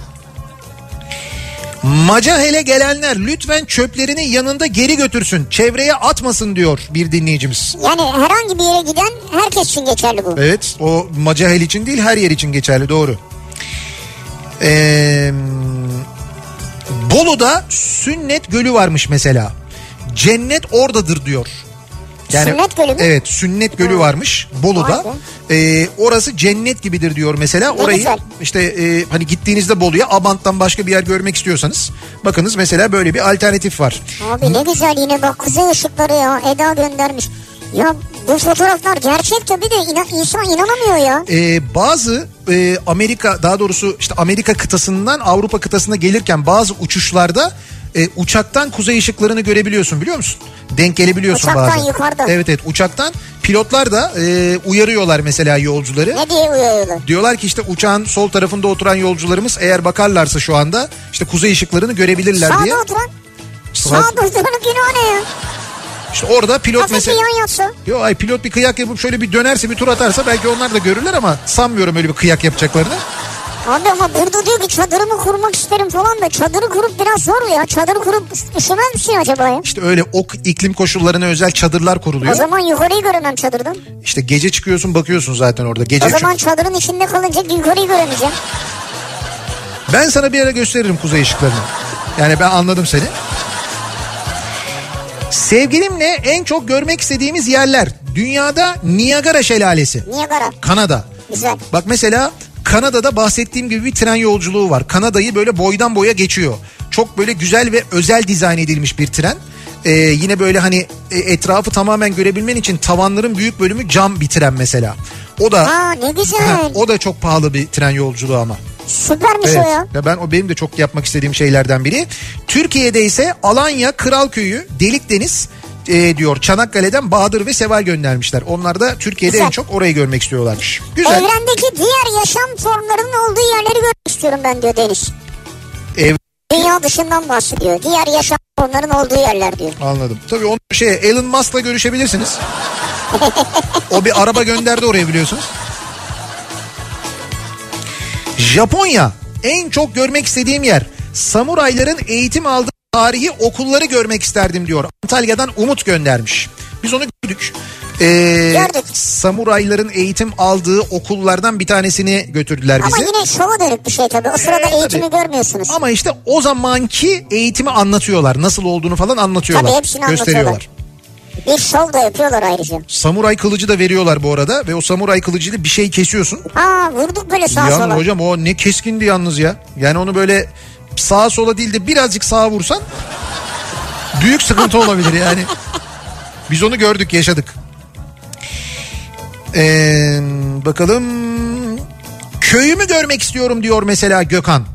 S1: Macahel'e gelenler lütfen çöplerini yanında geri götürsün. Çevreye atmasın diyor bir dinleyicimiz.
S2: Yani herhangi bir yere giden herkes için geçerli bu.
S1: Evet o Macahel için değil her yer için geçerli doğru. Ee, Bolu'da sünnet gölü varmış mesela. Cennet oradadır diyor.
S2: Sünnet gölü mü?
S1: Evet sünnet gölü varmış Bolu'da.
S2: Vay
S1: Ee, orası cennet gibidir diyor mesela. Orayı
S2: güzel.
S1: işte e, hani gittiğinizde Bolu'ya Abant'tan başka bir yer görmek istiyorsanız bakınız mesela böyle bir alternatif var.
S2: Abi ne güzel yine bak kuzey ışıkları ya Eda göndermiş. Ya bu fotoğraflar gerçek tabii de inan, insan inanamıyor ya.
S1: e, bazı e, Amerika daha doğrusu işte Amerika kıtasından Avrupa kıtasına gelirken bazı uçuşlarda e, uçaktan kuzey ışıklarını görebiliyorsun biliyor musun? Denk gelebiliyorsun
S2: Uçaktan
S1: bazen.
S2: yukarıda.
S1: Evet evet uçaktan pilotlar da e, uyarıyorlar mesela yolcuları.
S2: Ne diye uyuyorlar.
S1: Diyorlar ki işte uçağın sol tarafında oturan yolcularımız eğer bakarlarsa şu anda işte kuzey ışıklarını görebilirler diye.
S2: Sağda oturan.
S1: Sağ-
S2: Sağda oturan günü o ne ya?
S1: İşte orada pilot
S2: Hafif
S1: mesela...
S2: bir yan yatsı.
S1: Yo, ay pilot bir kıyak yapıp şöyle bir dönerse bir tur atarsa belki onlar da görürler ama sanmıyorum öyle bir kıyak yapacaklarını.
S2: Abi ama burada diyor ki çadırımı kurmak isterim falan da çadırı kurup biraz zor ya. Çadırı kurup üşümez misin acaba ya?
S1: İşte öyle ok iklim koşullarına özel çadırlar
S2: O
S1: kuruluyor.
S2: zaman yukarıyı göremem çadırdan.
S1: İşte gece çıkıyorsun bakıyorsun zaten orada. Gece
S2: O
S1: çık-
S2: zaman çadırın içinde kalınca yukarıyı göremeyeceğim.
S1: Ben sana bir ara gösteririm kuzey ışıklarını. Yani ben anladım seni. Sevgilimle en çok görmek istediğimiz yerler. Dünyada Niagara Şelalesi.
S2: Niagara.
S1: Kanada.
S2: Güzel.
S1: Bak mesela Kanada'da bahsettiğim gibi bir tren yolculuğu var. Kanada'yı böyle boydan boya geçiyor. Çok böyle güzel ve özel dizayn edilmiş bir tren. Ee, yine böyle hani e, etrafı tamamen görebilmen için tavanların büyük bölümü cam bir tren mesela. O da
S2: Aa ne güzel.
S1: o da çok pahalı bir tren yolculuğu ama.
S2: Süpermiş
S1: Evet.
S2: o ya.
S1: Ya ben o benim de çok yapmak istediğim şeylerden biri. Türkiye'de ise Alanya, Kralköy'ü, Delikdeniz e, diyor Çanakkale'den Bahadır ve Seval göndermişler. Onlar da Türkiye'de
S2: Güzel. Ee,
S1: en çok orayı görmek istiyorlarmış. Güzel.
S2: Evrendeki diğer yaşam formlarının olduğu yerleri görmek istiyorum ben diyor Deniz.
S1: Ev-
S2: Dünya dışından bahsediyor. Diğer yaşam formlarının olduğu yerler diyor.
S1: Anladım. Tabii onun şey Elon Musk'la görüşebilirsiniz. o bir araba gönderdi oraya biliyorsunuz. Japonya en çok görmek istediğim yer. Samurayların eğitim aldığı tarihi okulları görmek isterdim diyor. Antalya'dan Umut göndermiş. Biz onu gördük. Ee,
S2: Gördük.
S1: Samurayların eğitim aldığı okullardan bir tanesini götürdüler bize.
S2: Ama yine şova dönük bir şey tabii. O sırada
S1: Ee,
S2: eğitimi
S1: tabii.
S2: görmüyorsunuz.
S1: Ama işte o zamanki eğitimi anlatıyorlar. Nasıl olduğunu falan anlatıyorlar.
S2: Tabii hepsini
S1: gösteriyorlar.
S2: anlatıyorlar. Bir şov da yapıyorlar ayrıca.
S1: Samuray kılıcı da veriyorlar bu arada ve o samuray kılıcıyla bir şey kesiyorsun.
S2: Aa vurduk böyle sağa
S1: Yalnız
S2: sola.
S1: hocam o ne keskindi yalnız ya. Yani onu böyle sağa sola değil de birazcık sağa vursan büyük sıkıntı olabilir yani. Biz onu gördük yaşadık. Ee, bakalım köyümü görmek istiyorum diyor mesela Gökhan.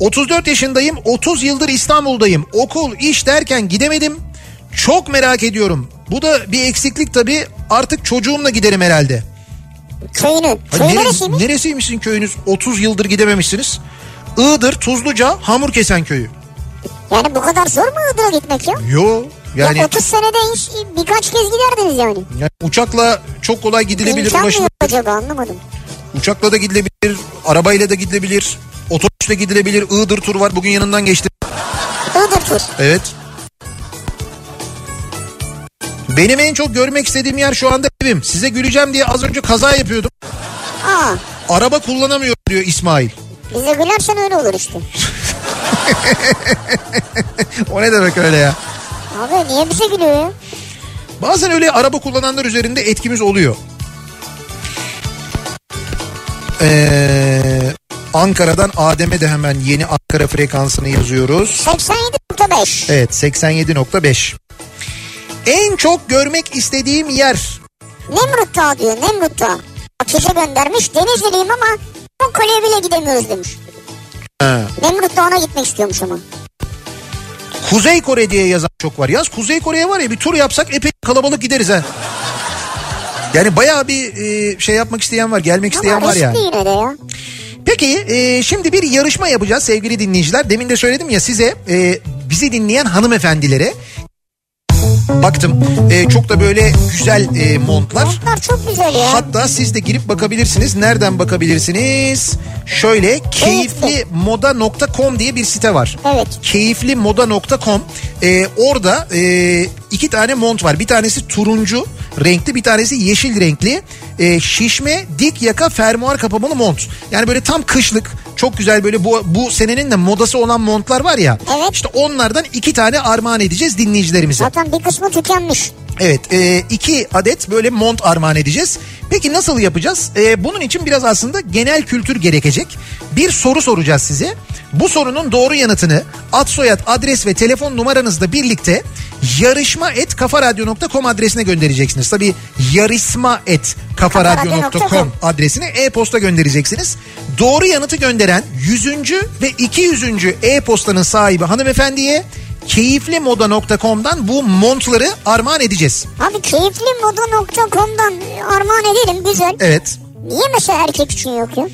S1: 34 yaşındayım 30 yıldır İstanbul'dayım okul iş derken gidemedim çok merak ediyorum. Bu da bir eksiklik tabii artık çocuğumla giderim herhalde.
S2: Köyünün.
S1: Ha,
S2: Köyü
S1: nere-
S2: neresiymiş?
S1: neresiymişsin köyünüz? 30 yıldır gidememişsiniz. Iğdır, Tuzluca, Hamurkesen köyü.
S2: Yani bu kadar zor mu Iğdır'a gitmek ya?
S1: Yo yani,
S2: ya 30 senede hiç birkaç kez giderdiniz yani.
S1: yani uçakla çok kolay gidilebilir.
S2: İmkan mı
S1: ulaşılır.
S2: yok acaba anlamadım.
S1: Uçakla da gidilebilir, arabayla da gidilebilir, otobüsle gidilebilir. Iğdır tur var bugün yanından geçti.
S2: Iğdır tur.
S1: Evet. Benim en çok görmek istediğim yer şu anda evim. Size güleceğim diye az önce kaza yapıyordum.
S2: Aa
S1: Araba kullanamıyorum diyor İsmail.
S2: bize gülersen öyle olur işte.
S1: O ne demek öyle ya?
S2: Abi niye bize gülüyor ya?
S1: Bazen öyle araba kullananlar üzerinde etkimiz oluyor. Ee, Ankara'dan Adem'e de hemen yeni Ankara frekansını yazıyoruz.
S2: 87.5.
S1: Evet 87.5. En çok görmek istediğim yer.
S2: Nemrut Dağı diyor Nemrut Dağı. Akize göndermiş Denizliliyim ama o kaleye bile gidemiyoruz demiş.
S1: Ha,
S2: Nemrut Dağı'na gitmek istiyormuş ama.
S1: Kuzey Kore diye yazan çok var. Yaz Kuzey Kore'ye var ya bir tur yapsak epey kalabalık gideriz ha. Yani bayağı bir e, şey yapmak isteyen var, gelmek isteyen
S2: Ama
S1: var
S2: riskli
S1: yani.
S2: yine de ya.
S1: Peki e, şimdi bir yarışma yapacağız sevgili dinleyiciler. Demin de söyledim ya size e, bizi dinleyen hanımefendilere baktım. E, çok da böyle güzel e, montlar.
S2: Montlar çok güzel ya.
S1: Hatta siz de girip bakabilirsiniz. Nereden bakabilirsiniz? Şöyle keyiflimoda.com diye bir site var.
S2: Evet.
S1: Keyiflimoda.com E, orada e, iki tane mont var. Bir tanesi turuncu renkli bir tanesi yeşil renkli. E, şişme dik yaka fermuar kapamalı mont. Yani böyle tam kışlık çok güzel böyle bu, bu senenin de modası olan montlar var ya.
S2: Evet.
S1: İşte onlardan iki tane armağan edeceğiz dinleyicilerimize.
S2: Zaten bir kısmı tükenmiş.
S1: Evet e, iki adet böyle mont armağan edeceğiz. Peki nasıl yapacağız? E, bunun için biraz aslında genel kültür gerekecek. Bir soru soracağız size. Bu sorunun doğru yanıtını ad soyad adres ve telefon numaranızla birlikte yarışma et kafaradyo.com adresine göndereceksiniz. Tabii yarışma et kafaradyo.com adresine e-posta göndereceksiniz. Doğru yanıtı gönderen 100. ve 200. e-postanın sahibi hanımefendiye keyiflimoda.com'dan bu montları armağan edeceğiz.
S2: Abi keyiflimoda.com'dan armağan edelim güzel.
S1: Evet.
S2: Niye mesela erkek için yok ya?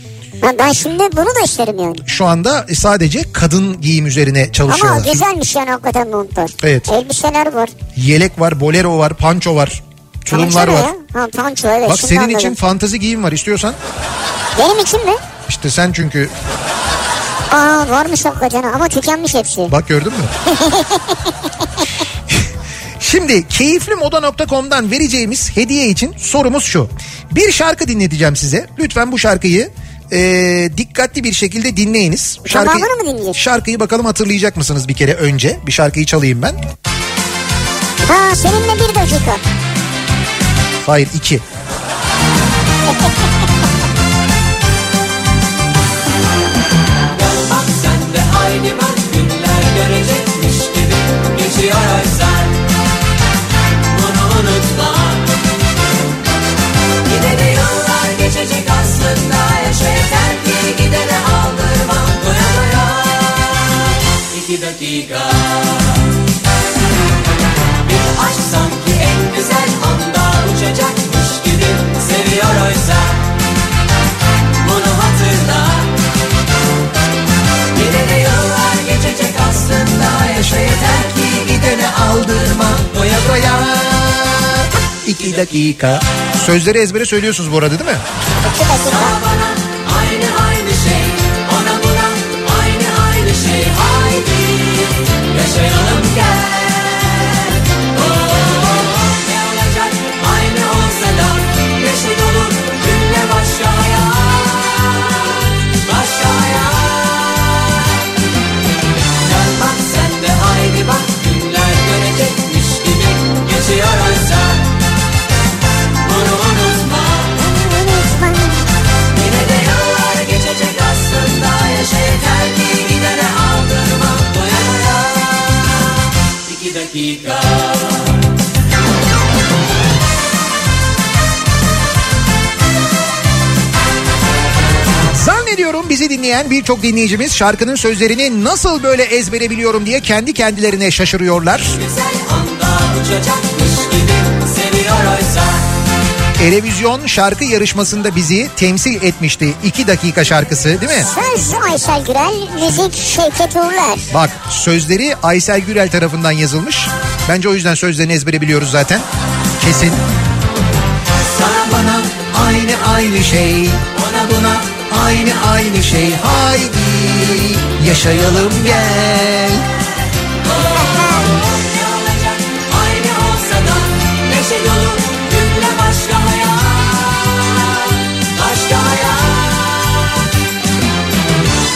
S2: Ha, ben şimdi bunu da isterim yani.
S1: Şu anda sadece kadın giyim üzerine
S2: Ama
S1: çalışıyorlar.
S2: güzelmiş yani hakikaten montlar.
S1: Evet.
S2: Elbiseler var.
S1: Yelek var, bolero var, panço var, tulumlar
S2: Panço ne
S1: var.
S2: ya? Ha panço evet.
S1: Bak
S2: şimdi
S1: senin
S2: anladım.
S1: için fantazi giyim var istiyorsan.
S2: Benim için mi?
S1: İşte sen çünkü
S2: Aa varmış hakikaten ama tükenmiş hepsi.
S1: bak gördün mü? Şimdi keyiflimoda.com'dan vereceğimiz hediye için sorumuz şu. Bir şarkı dinleteceğim size. Lütfen bu şarkıyı e, dikkatli bir şekilde dinleyiniz.
S2: Tamamını mı dinleyeceğiz?
S1: Şarkıyı bakalım hatırlayacak mısınız bir kere önce? Bir şarkıyı çalayım ben.
S2: Ha seninle bir dakika.
S1: Hayır iki.
S4: Bak sen de aynı ben günler görecekmiş gibi geçiyor sen Bunu unutma Gidene yıllar geçecek aslında yaşa yeter ki gidene aldırmam doya doya İki dakika Bir aşk sanki en güzel anda uçacakmış gibi seviyor oysa Bunu hatırla Gidene yıllar geçecek aslında Yaşa yeter ki gidene aldırma Doya doya
S1: İki dakika. Sözleri ezbere söylüyorsunuz bu arada değil mi?
S2: İki dakika.
S4: Sana bana aynı aynı şey Ona buna aynı aynı şey Haydi yaşayalım gel Oo, Ne olacak aynı olsa da Neşe dolu günle başka hayat Başka hayat Gel bak sen de haydi bak günler görecekmiş gibi geçiyor oysa bunu unutma yine de yıllar geçecek aslında yaşa yeter ki gidene aldırma doya doya iki dakika.
S1: Zannediyorum bizi dinleyen birçok dinleyicimiz şarkının sözlerini nasıl böyle ezbere biliyorum diye kendi kendilerine şaşırıyorlar.
S4: Güzel anda uçacakmış gibi seviyor oysa
S1: Erevizyon şarkı yarışmasında bizi temsil etmişti. 2 dakika şarkısı değil mi?
S2: Söz Aysel Gürel, müzik Şevket Uğurlar.
S1: Bak sözleri Aysel Gürel tarafından yazılmış. Bence o yüzden sözlerini ezbere biliyoruz zaten. Kesin.
S4: Sana bana
S1: Aynı aynı şey
S4: ona buna
S1: Aynı aynı şey haydi yaşayalım gel.
S4: Ne olacak aynı olsa da Neşe dolu günle başka hayat Başka hayat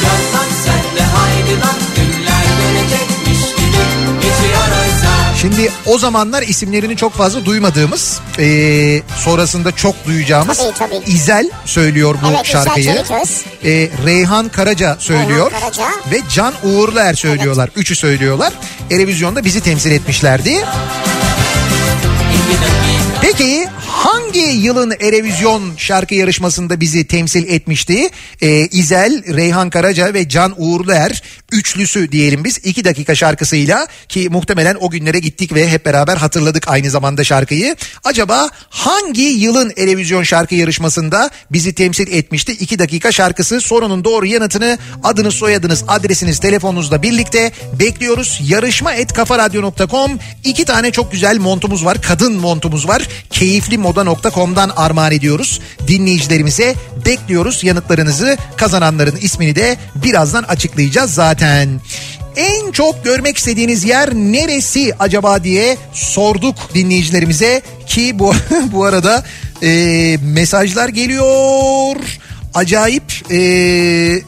S4: Gel bak sen de haydi bak Günler dönecekmiş gibi Geçiyor oysa
S1: Şimdi o zamanlar isimlerini çok fazla duymadığımız, eee, sonrasında çok duyacağımız
S2: Tabii, tabii.
S1: İzel söylüyor bu
S2: Evet, İzel
S1: şarkıyı.
S2: Çeliköz.
S1: Eee, Reyhan Karaca söylüyor
S2: Karaca.
S1: ve Can Uğurluer söylüyorlar. Üçü söylüyorlar. Erevizyonda bizi temsil etmişlerdi.
S4: iki dakika
S1: Peki hangi yılın Erevizyon şarkı yarışmasında bizi temsil etmişti? Ee, İzel, Reyhan Karaca ve Can Uğurluer üçlüsü diyelim biz 2 dakika şarkısıyla ki muhtemelen o günlere gittik ve hep beraber hatırladık aynı zamanda şarkıyı. Acaba hangi yılın Erevizyon şarkı yarışmasında bizi temsil etmişti? 2 dakika şarkısı sorunun doğru yanıtını adınız, soyadınız, adresiniz, telefonunuzla birlikte bekliyoruz. Yarışma et kafaradyo.com iki tane çok güzel montumuz var. Kadın montumuz var. Keyiflimoda.com'dan armağan ediyoruz. Dinleyicilerimize bekliyoruz yanıtlarınızı. Kazananların ismini de birazdan açıklayacağız zaten. En çok görmek istediğiniz yer neresi acaba diye sorduk dinleyicilerimize ki bu bu arada e, mesajlar geliyor acayip e,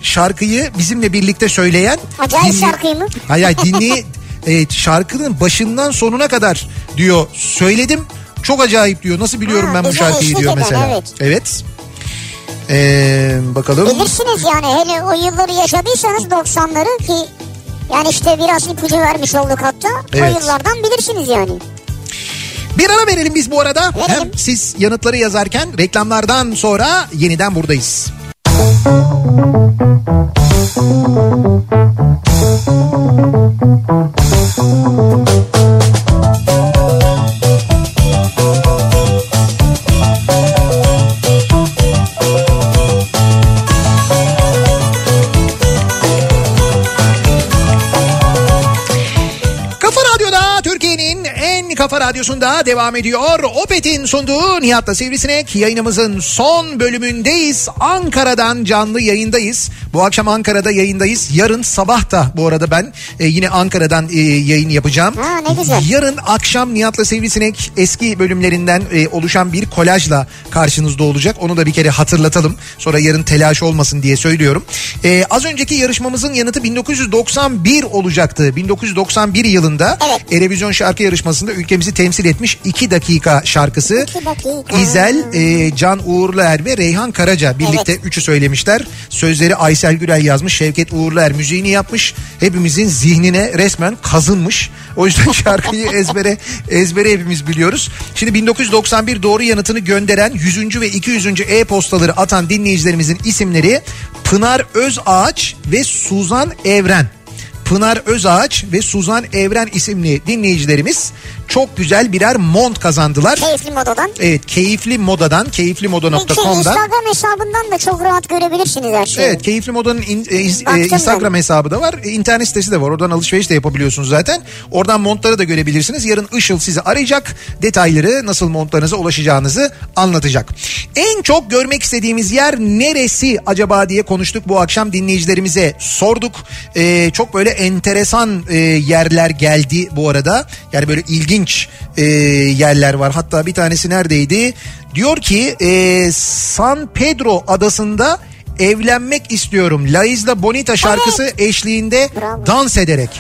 S1: şarkıyı bizimle birlikte söyleyen...
S2: Acayip şarkıyı mı?
S1: Hayır hayır, dinley... evet, şarkının başından sonuna kadar diyor söyledim çok acayip diyor nasıl biliyorum
S2: Ha,
S1: ben bu
S2: bize
S1: şarkıyı
S2: eşlik
S1: diyor
S2: eden,
S1: mesela.
S2: evet.
S1: Ee, bakalım.
S2: Bilirsiniz yani hele o yılları yaşadıysanız 90'ları ki yani işte biraz ipucu vermiş olduk hatta.
S1: Evet.
S2: O yıllardan bilirsiniz yani.
S1: Bir ara verelim biz bu arada.
S2: Verelim.
S1: Hem siz yanıtları yazarken reklamlardan sonra yeniden buradayız. Kafa Radyosu'nda devam ediyor. Opet'in sunduğu Nihat'la Sivrisinek yayınımızın son bölümündeyiz. Ankara'dan canlı yayındayız. Bu akşam Ankara'da yayındayız. Yarın sabah da bu arada ben e, yine Ankara'dan e, yayın yapacağım.
S2: Ha, ne güzel.
S1: Yarın akşam Nihat'la Sivrisinek eski bölümlerinden e, oluşan bir kolajla karşınızda olacak. Onu da bir kere hatırlatalım. Sonra yarın telaş olmasın diye söylüyorum. E, az önceki yarışmamızın yanıtı 1991 olacaktı. 1991 yılında
S2: Evet.
S1: Erevizyon şarkı yarışmasında ülkemizi temsil etmiş 2 dakika şarkısı.
S2: İki dakika.
S1: İzel, e, Can Uğurluer ve Reyhan Karaca birlikte
S2: Evet.
S1: üçü söylemişler. Sözleri Aysel Gürel yazmış, Şevket Uğurluer müziğini yapmış. Hepimizin zihnine resmen kazınmış. O yüzden şarkıyı ezbere ezbere hepimiz biliyoruz. Şimdi 1991 doğru yanıtını gönderen 100. ve 200. e-postaları atan dinleyicilerimizin isimleri Pınar Özağaç ve Suzan Evren. Pınar Özağaç ve Suzan Evren isimli dinleyicilerimiz çok güzel birer mont kazandılar.
S2: Keyifli modadan.
S1: Evet keyifli modadan
S2: Peki
S1: keyiflimoda.com'dan.
S2: Instagram hesabından da çok rahat görebilirsiniz her şeyi.
S1: Evet Keyifli Moda'nın in- e, iz- e,
S2: Baktım ben.
S1: Instagram hesabı da var. E, İnternet sitesi de var. Oradan alışveriş de yapabiliyorsunuz zaten. Oradan montları da görebilirsiniz. Yarın Işıl sizi arayacak. Detayları nasıl montlarınıza ulaşacağınızı anlatacak. En çok görmek istediğimiz yer neresi acaba diye konuştuk bu akşam dinleyicilerimize sorduk. E, çok böyle enteresan e, yerler geldi bu arada. Yani böyle ilginç e, yerler var. Hatta bir tanesi neredeydi? Diyor ki e, San Pedro adasında evlenmek istiyorum. La Isla Bonita şarkısı eşliğinde
S2: Bravo.
S1: dans ederek.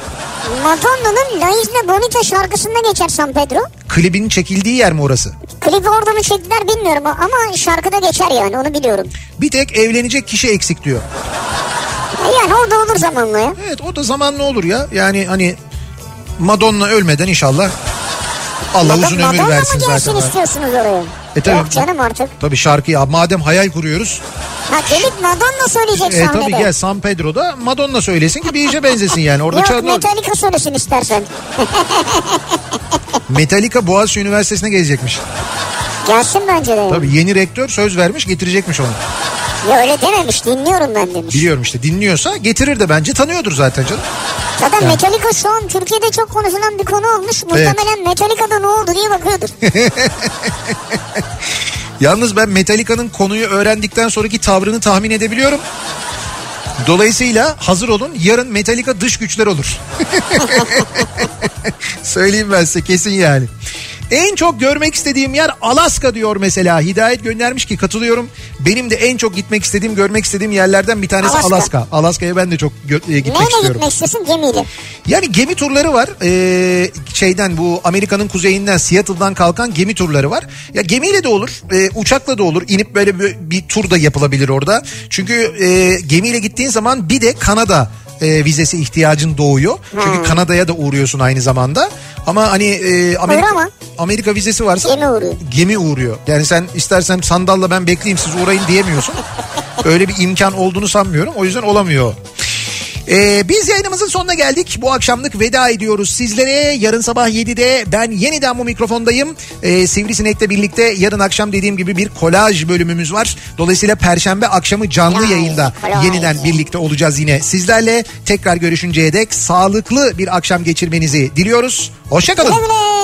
S2: Madonna'nın La Isla Bonita şarkısında geçer San Pedro.
S1: Klibin çekildiği yer mi orası?
S2: Klibi orada mı çektiler bilmiyorum ama şarkıda geçer yani onu biliyorum.
S1: Bir tek evlenecek kişi eksik diyor.
S2: E Yani orada olur zamanla ya.
S1: Evet o da zamanlı olur ya. Yani hani Madonna ölmeden inşallah Allah
S2: Madonna-
S1: uzun ömür
S2: Madonna
S1: versin
S2: mı gelsin
S1: zaten.
S2: istiyorsunuz oraya?
S1: E tabii.
S2: Yok canım artık.
S1: Tabii şarkıyı madem hayal kuruyoruz.
S2: Ha gelip Madonna söyleyecek
S1: E,
S2: sahnede.
S1: tabii gel San Pedro'da Madonna söylesin ki bir iyice benzesin yani. Orada
S2: Yok
S1: çağırma-
S2: Metallica söylesin istersen.
S1: Metallica Boğaziçi Üniversitesi'ne gelecekmiş.
S2: Gelsin bence de.
S1: Tabii yeni rektör söz vermiş getirecekmiş onu.
S2: Ya öyle dememiş dinliyorum ben demiş.
S1: Biliyorum işte dinliyorsa getirir de bence tanıyordur zaten canım.
S2: Zaten Metallica şu an Türkiye'de çok konuşulan bir konu
S1: Evet.
S2: olmuş. Muhtemelen Metallica'da ne oldu diye bakıyordur.
S1: Yalnız ben Metallica'nın konuyu öğrendikten sonraki tavrını tahmin edebiliyorum. Dolayısıyla hazır olun yarın Metallica dış güçler olur. Söyleyeyim ben size kesin yani. En çok görmek istediğim yer Alaska diyor mesela. Hidayet göndermiş ki katılıyorum. Benim de en çok gitmek istediğim, görmek istediğim yerlerden bir tanesi
S2: Alaska.
S1: Alaska. Alaska'ya ben de çok gö- e, gitmek
S2: Neyle
S1: istiyorum.
S2: gitmek istiyorsun gemiyle?
S1: Yani gemi turları var. Ee, şeyden bu Amerika'nın kuzeyinden Seattle'dan kalkan gemi turları var. Ya gemiyle de olur, e, uçakla da olur. İnip böyle bir, bir tur da yapılabilir orada. Çünkü e, gemiyle gittiğin zaman bir de Kanada e, vizesi ihtiyacın doğuyor.
S2: Hmm.
S1: Çünkü Kanada'ya da uğruyorsun aynı zamanda. Ama hani e, Amerika,
S2: ama.
S1: Amerika vizesi varsa
S2: Gemi uğruyor.
S1: gemi uğruyor. Yani sen istersen sandalla ben bekleyeyim siz uğrayın diyemiyorsun. Öyle bir imkan olduğunu sanmıyorum. O yüzden olamıyor. Ee, biz yayınımızın sonuna geldik. Bu akşamlık veda ediyoruz sizlere. Yarın sabah 7'de ben yeniden bu mikrofondayım. Ee, Sivrisinek'le birlikte yarın akşam dediğim gibi bir kolaj bölümümüz var. Dolayısıyla perşembe akşamı canlı
S2: Kolaj,
S1: yayında
S2: kolaj.
S1: yeniden birlikte olacağız yine sizlerle. Tekrar görüşünceye dek sağlıklı bir akşam geçirmenizi diliyoruz. Hoşçakalın.
S2: Güle güle.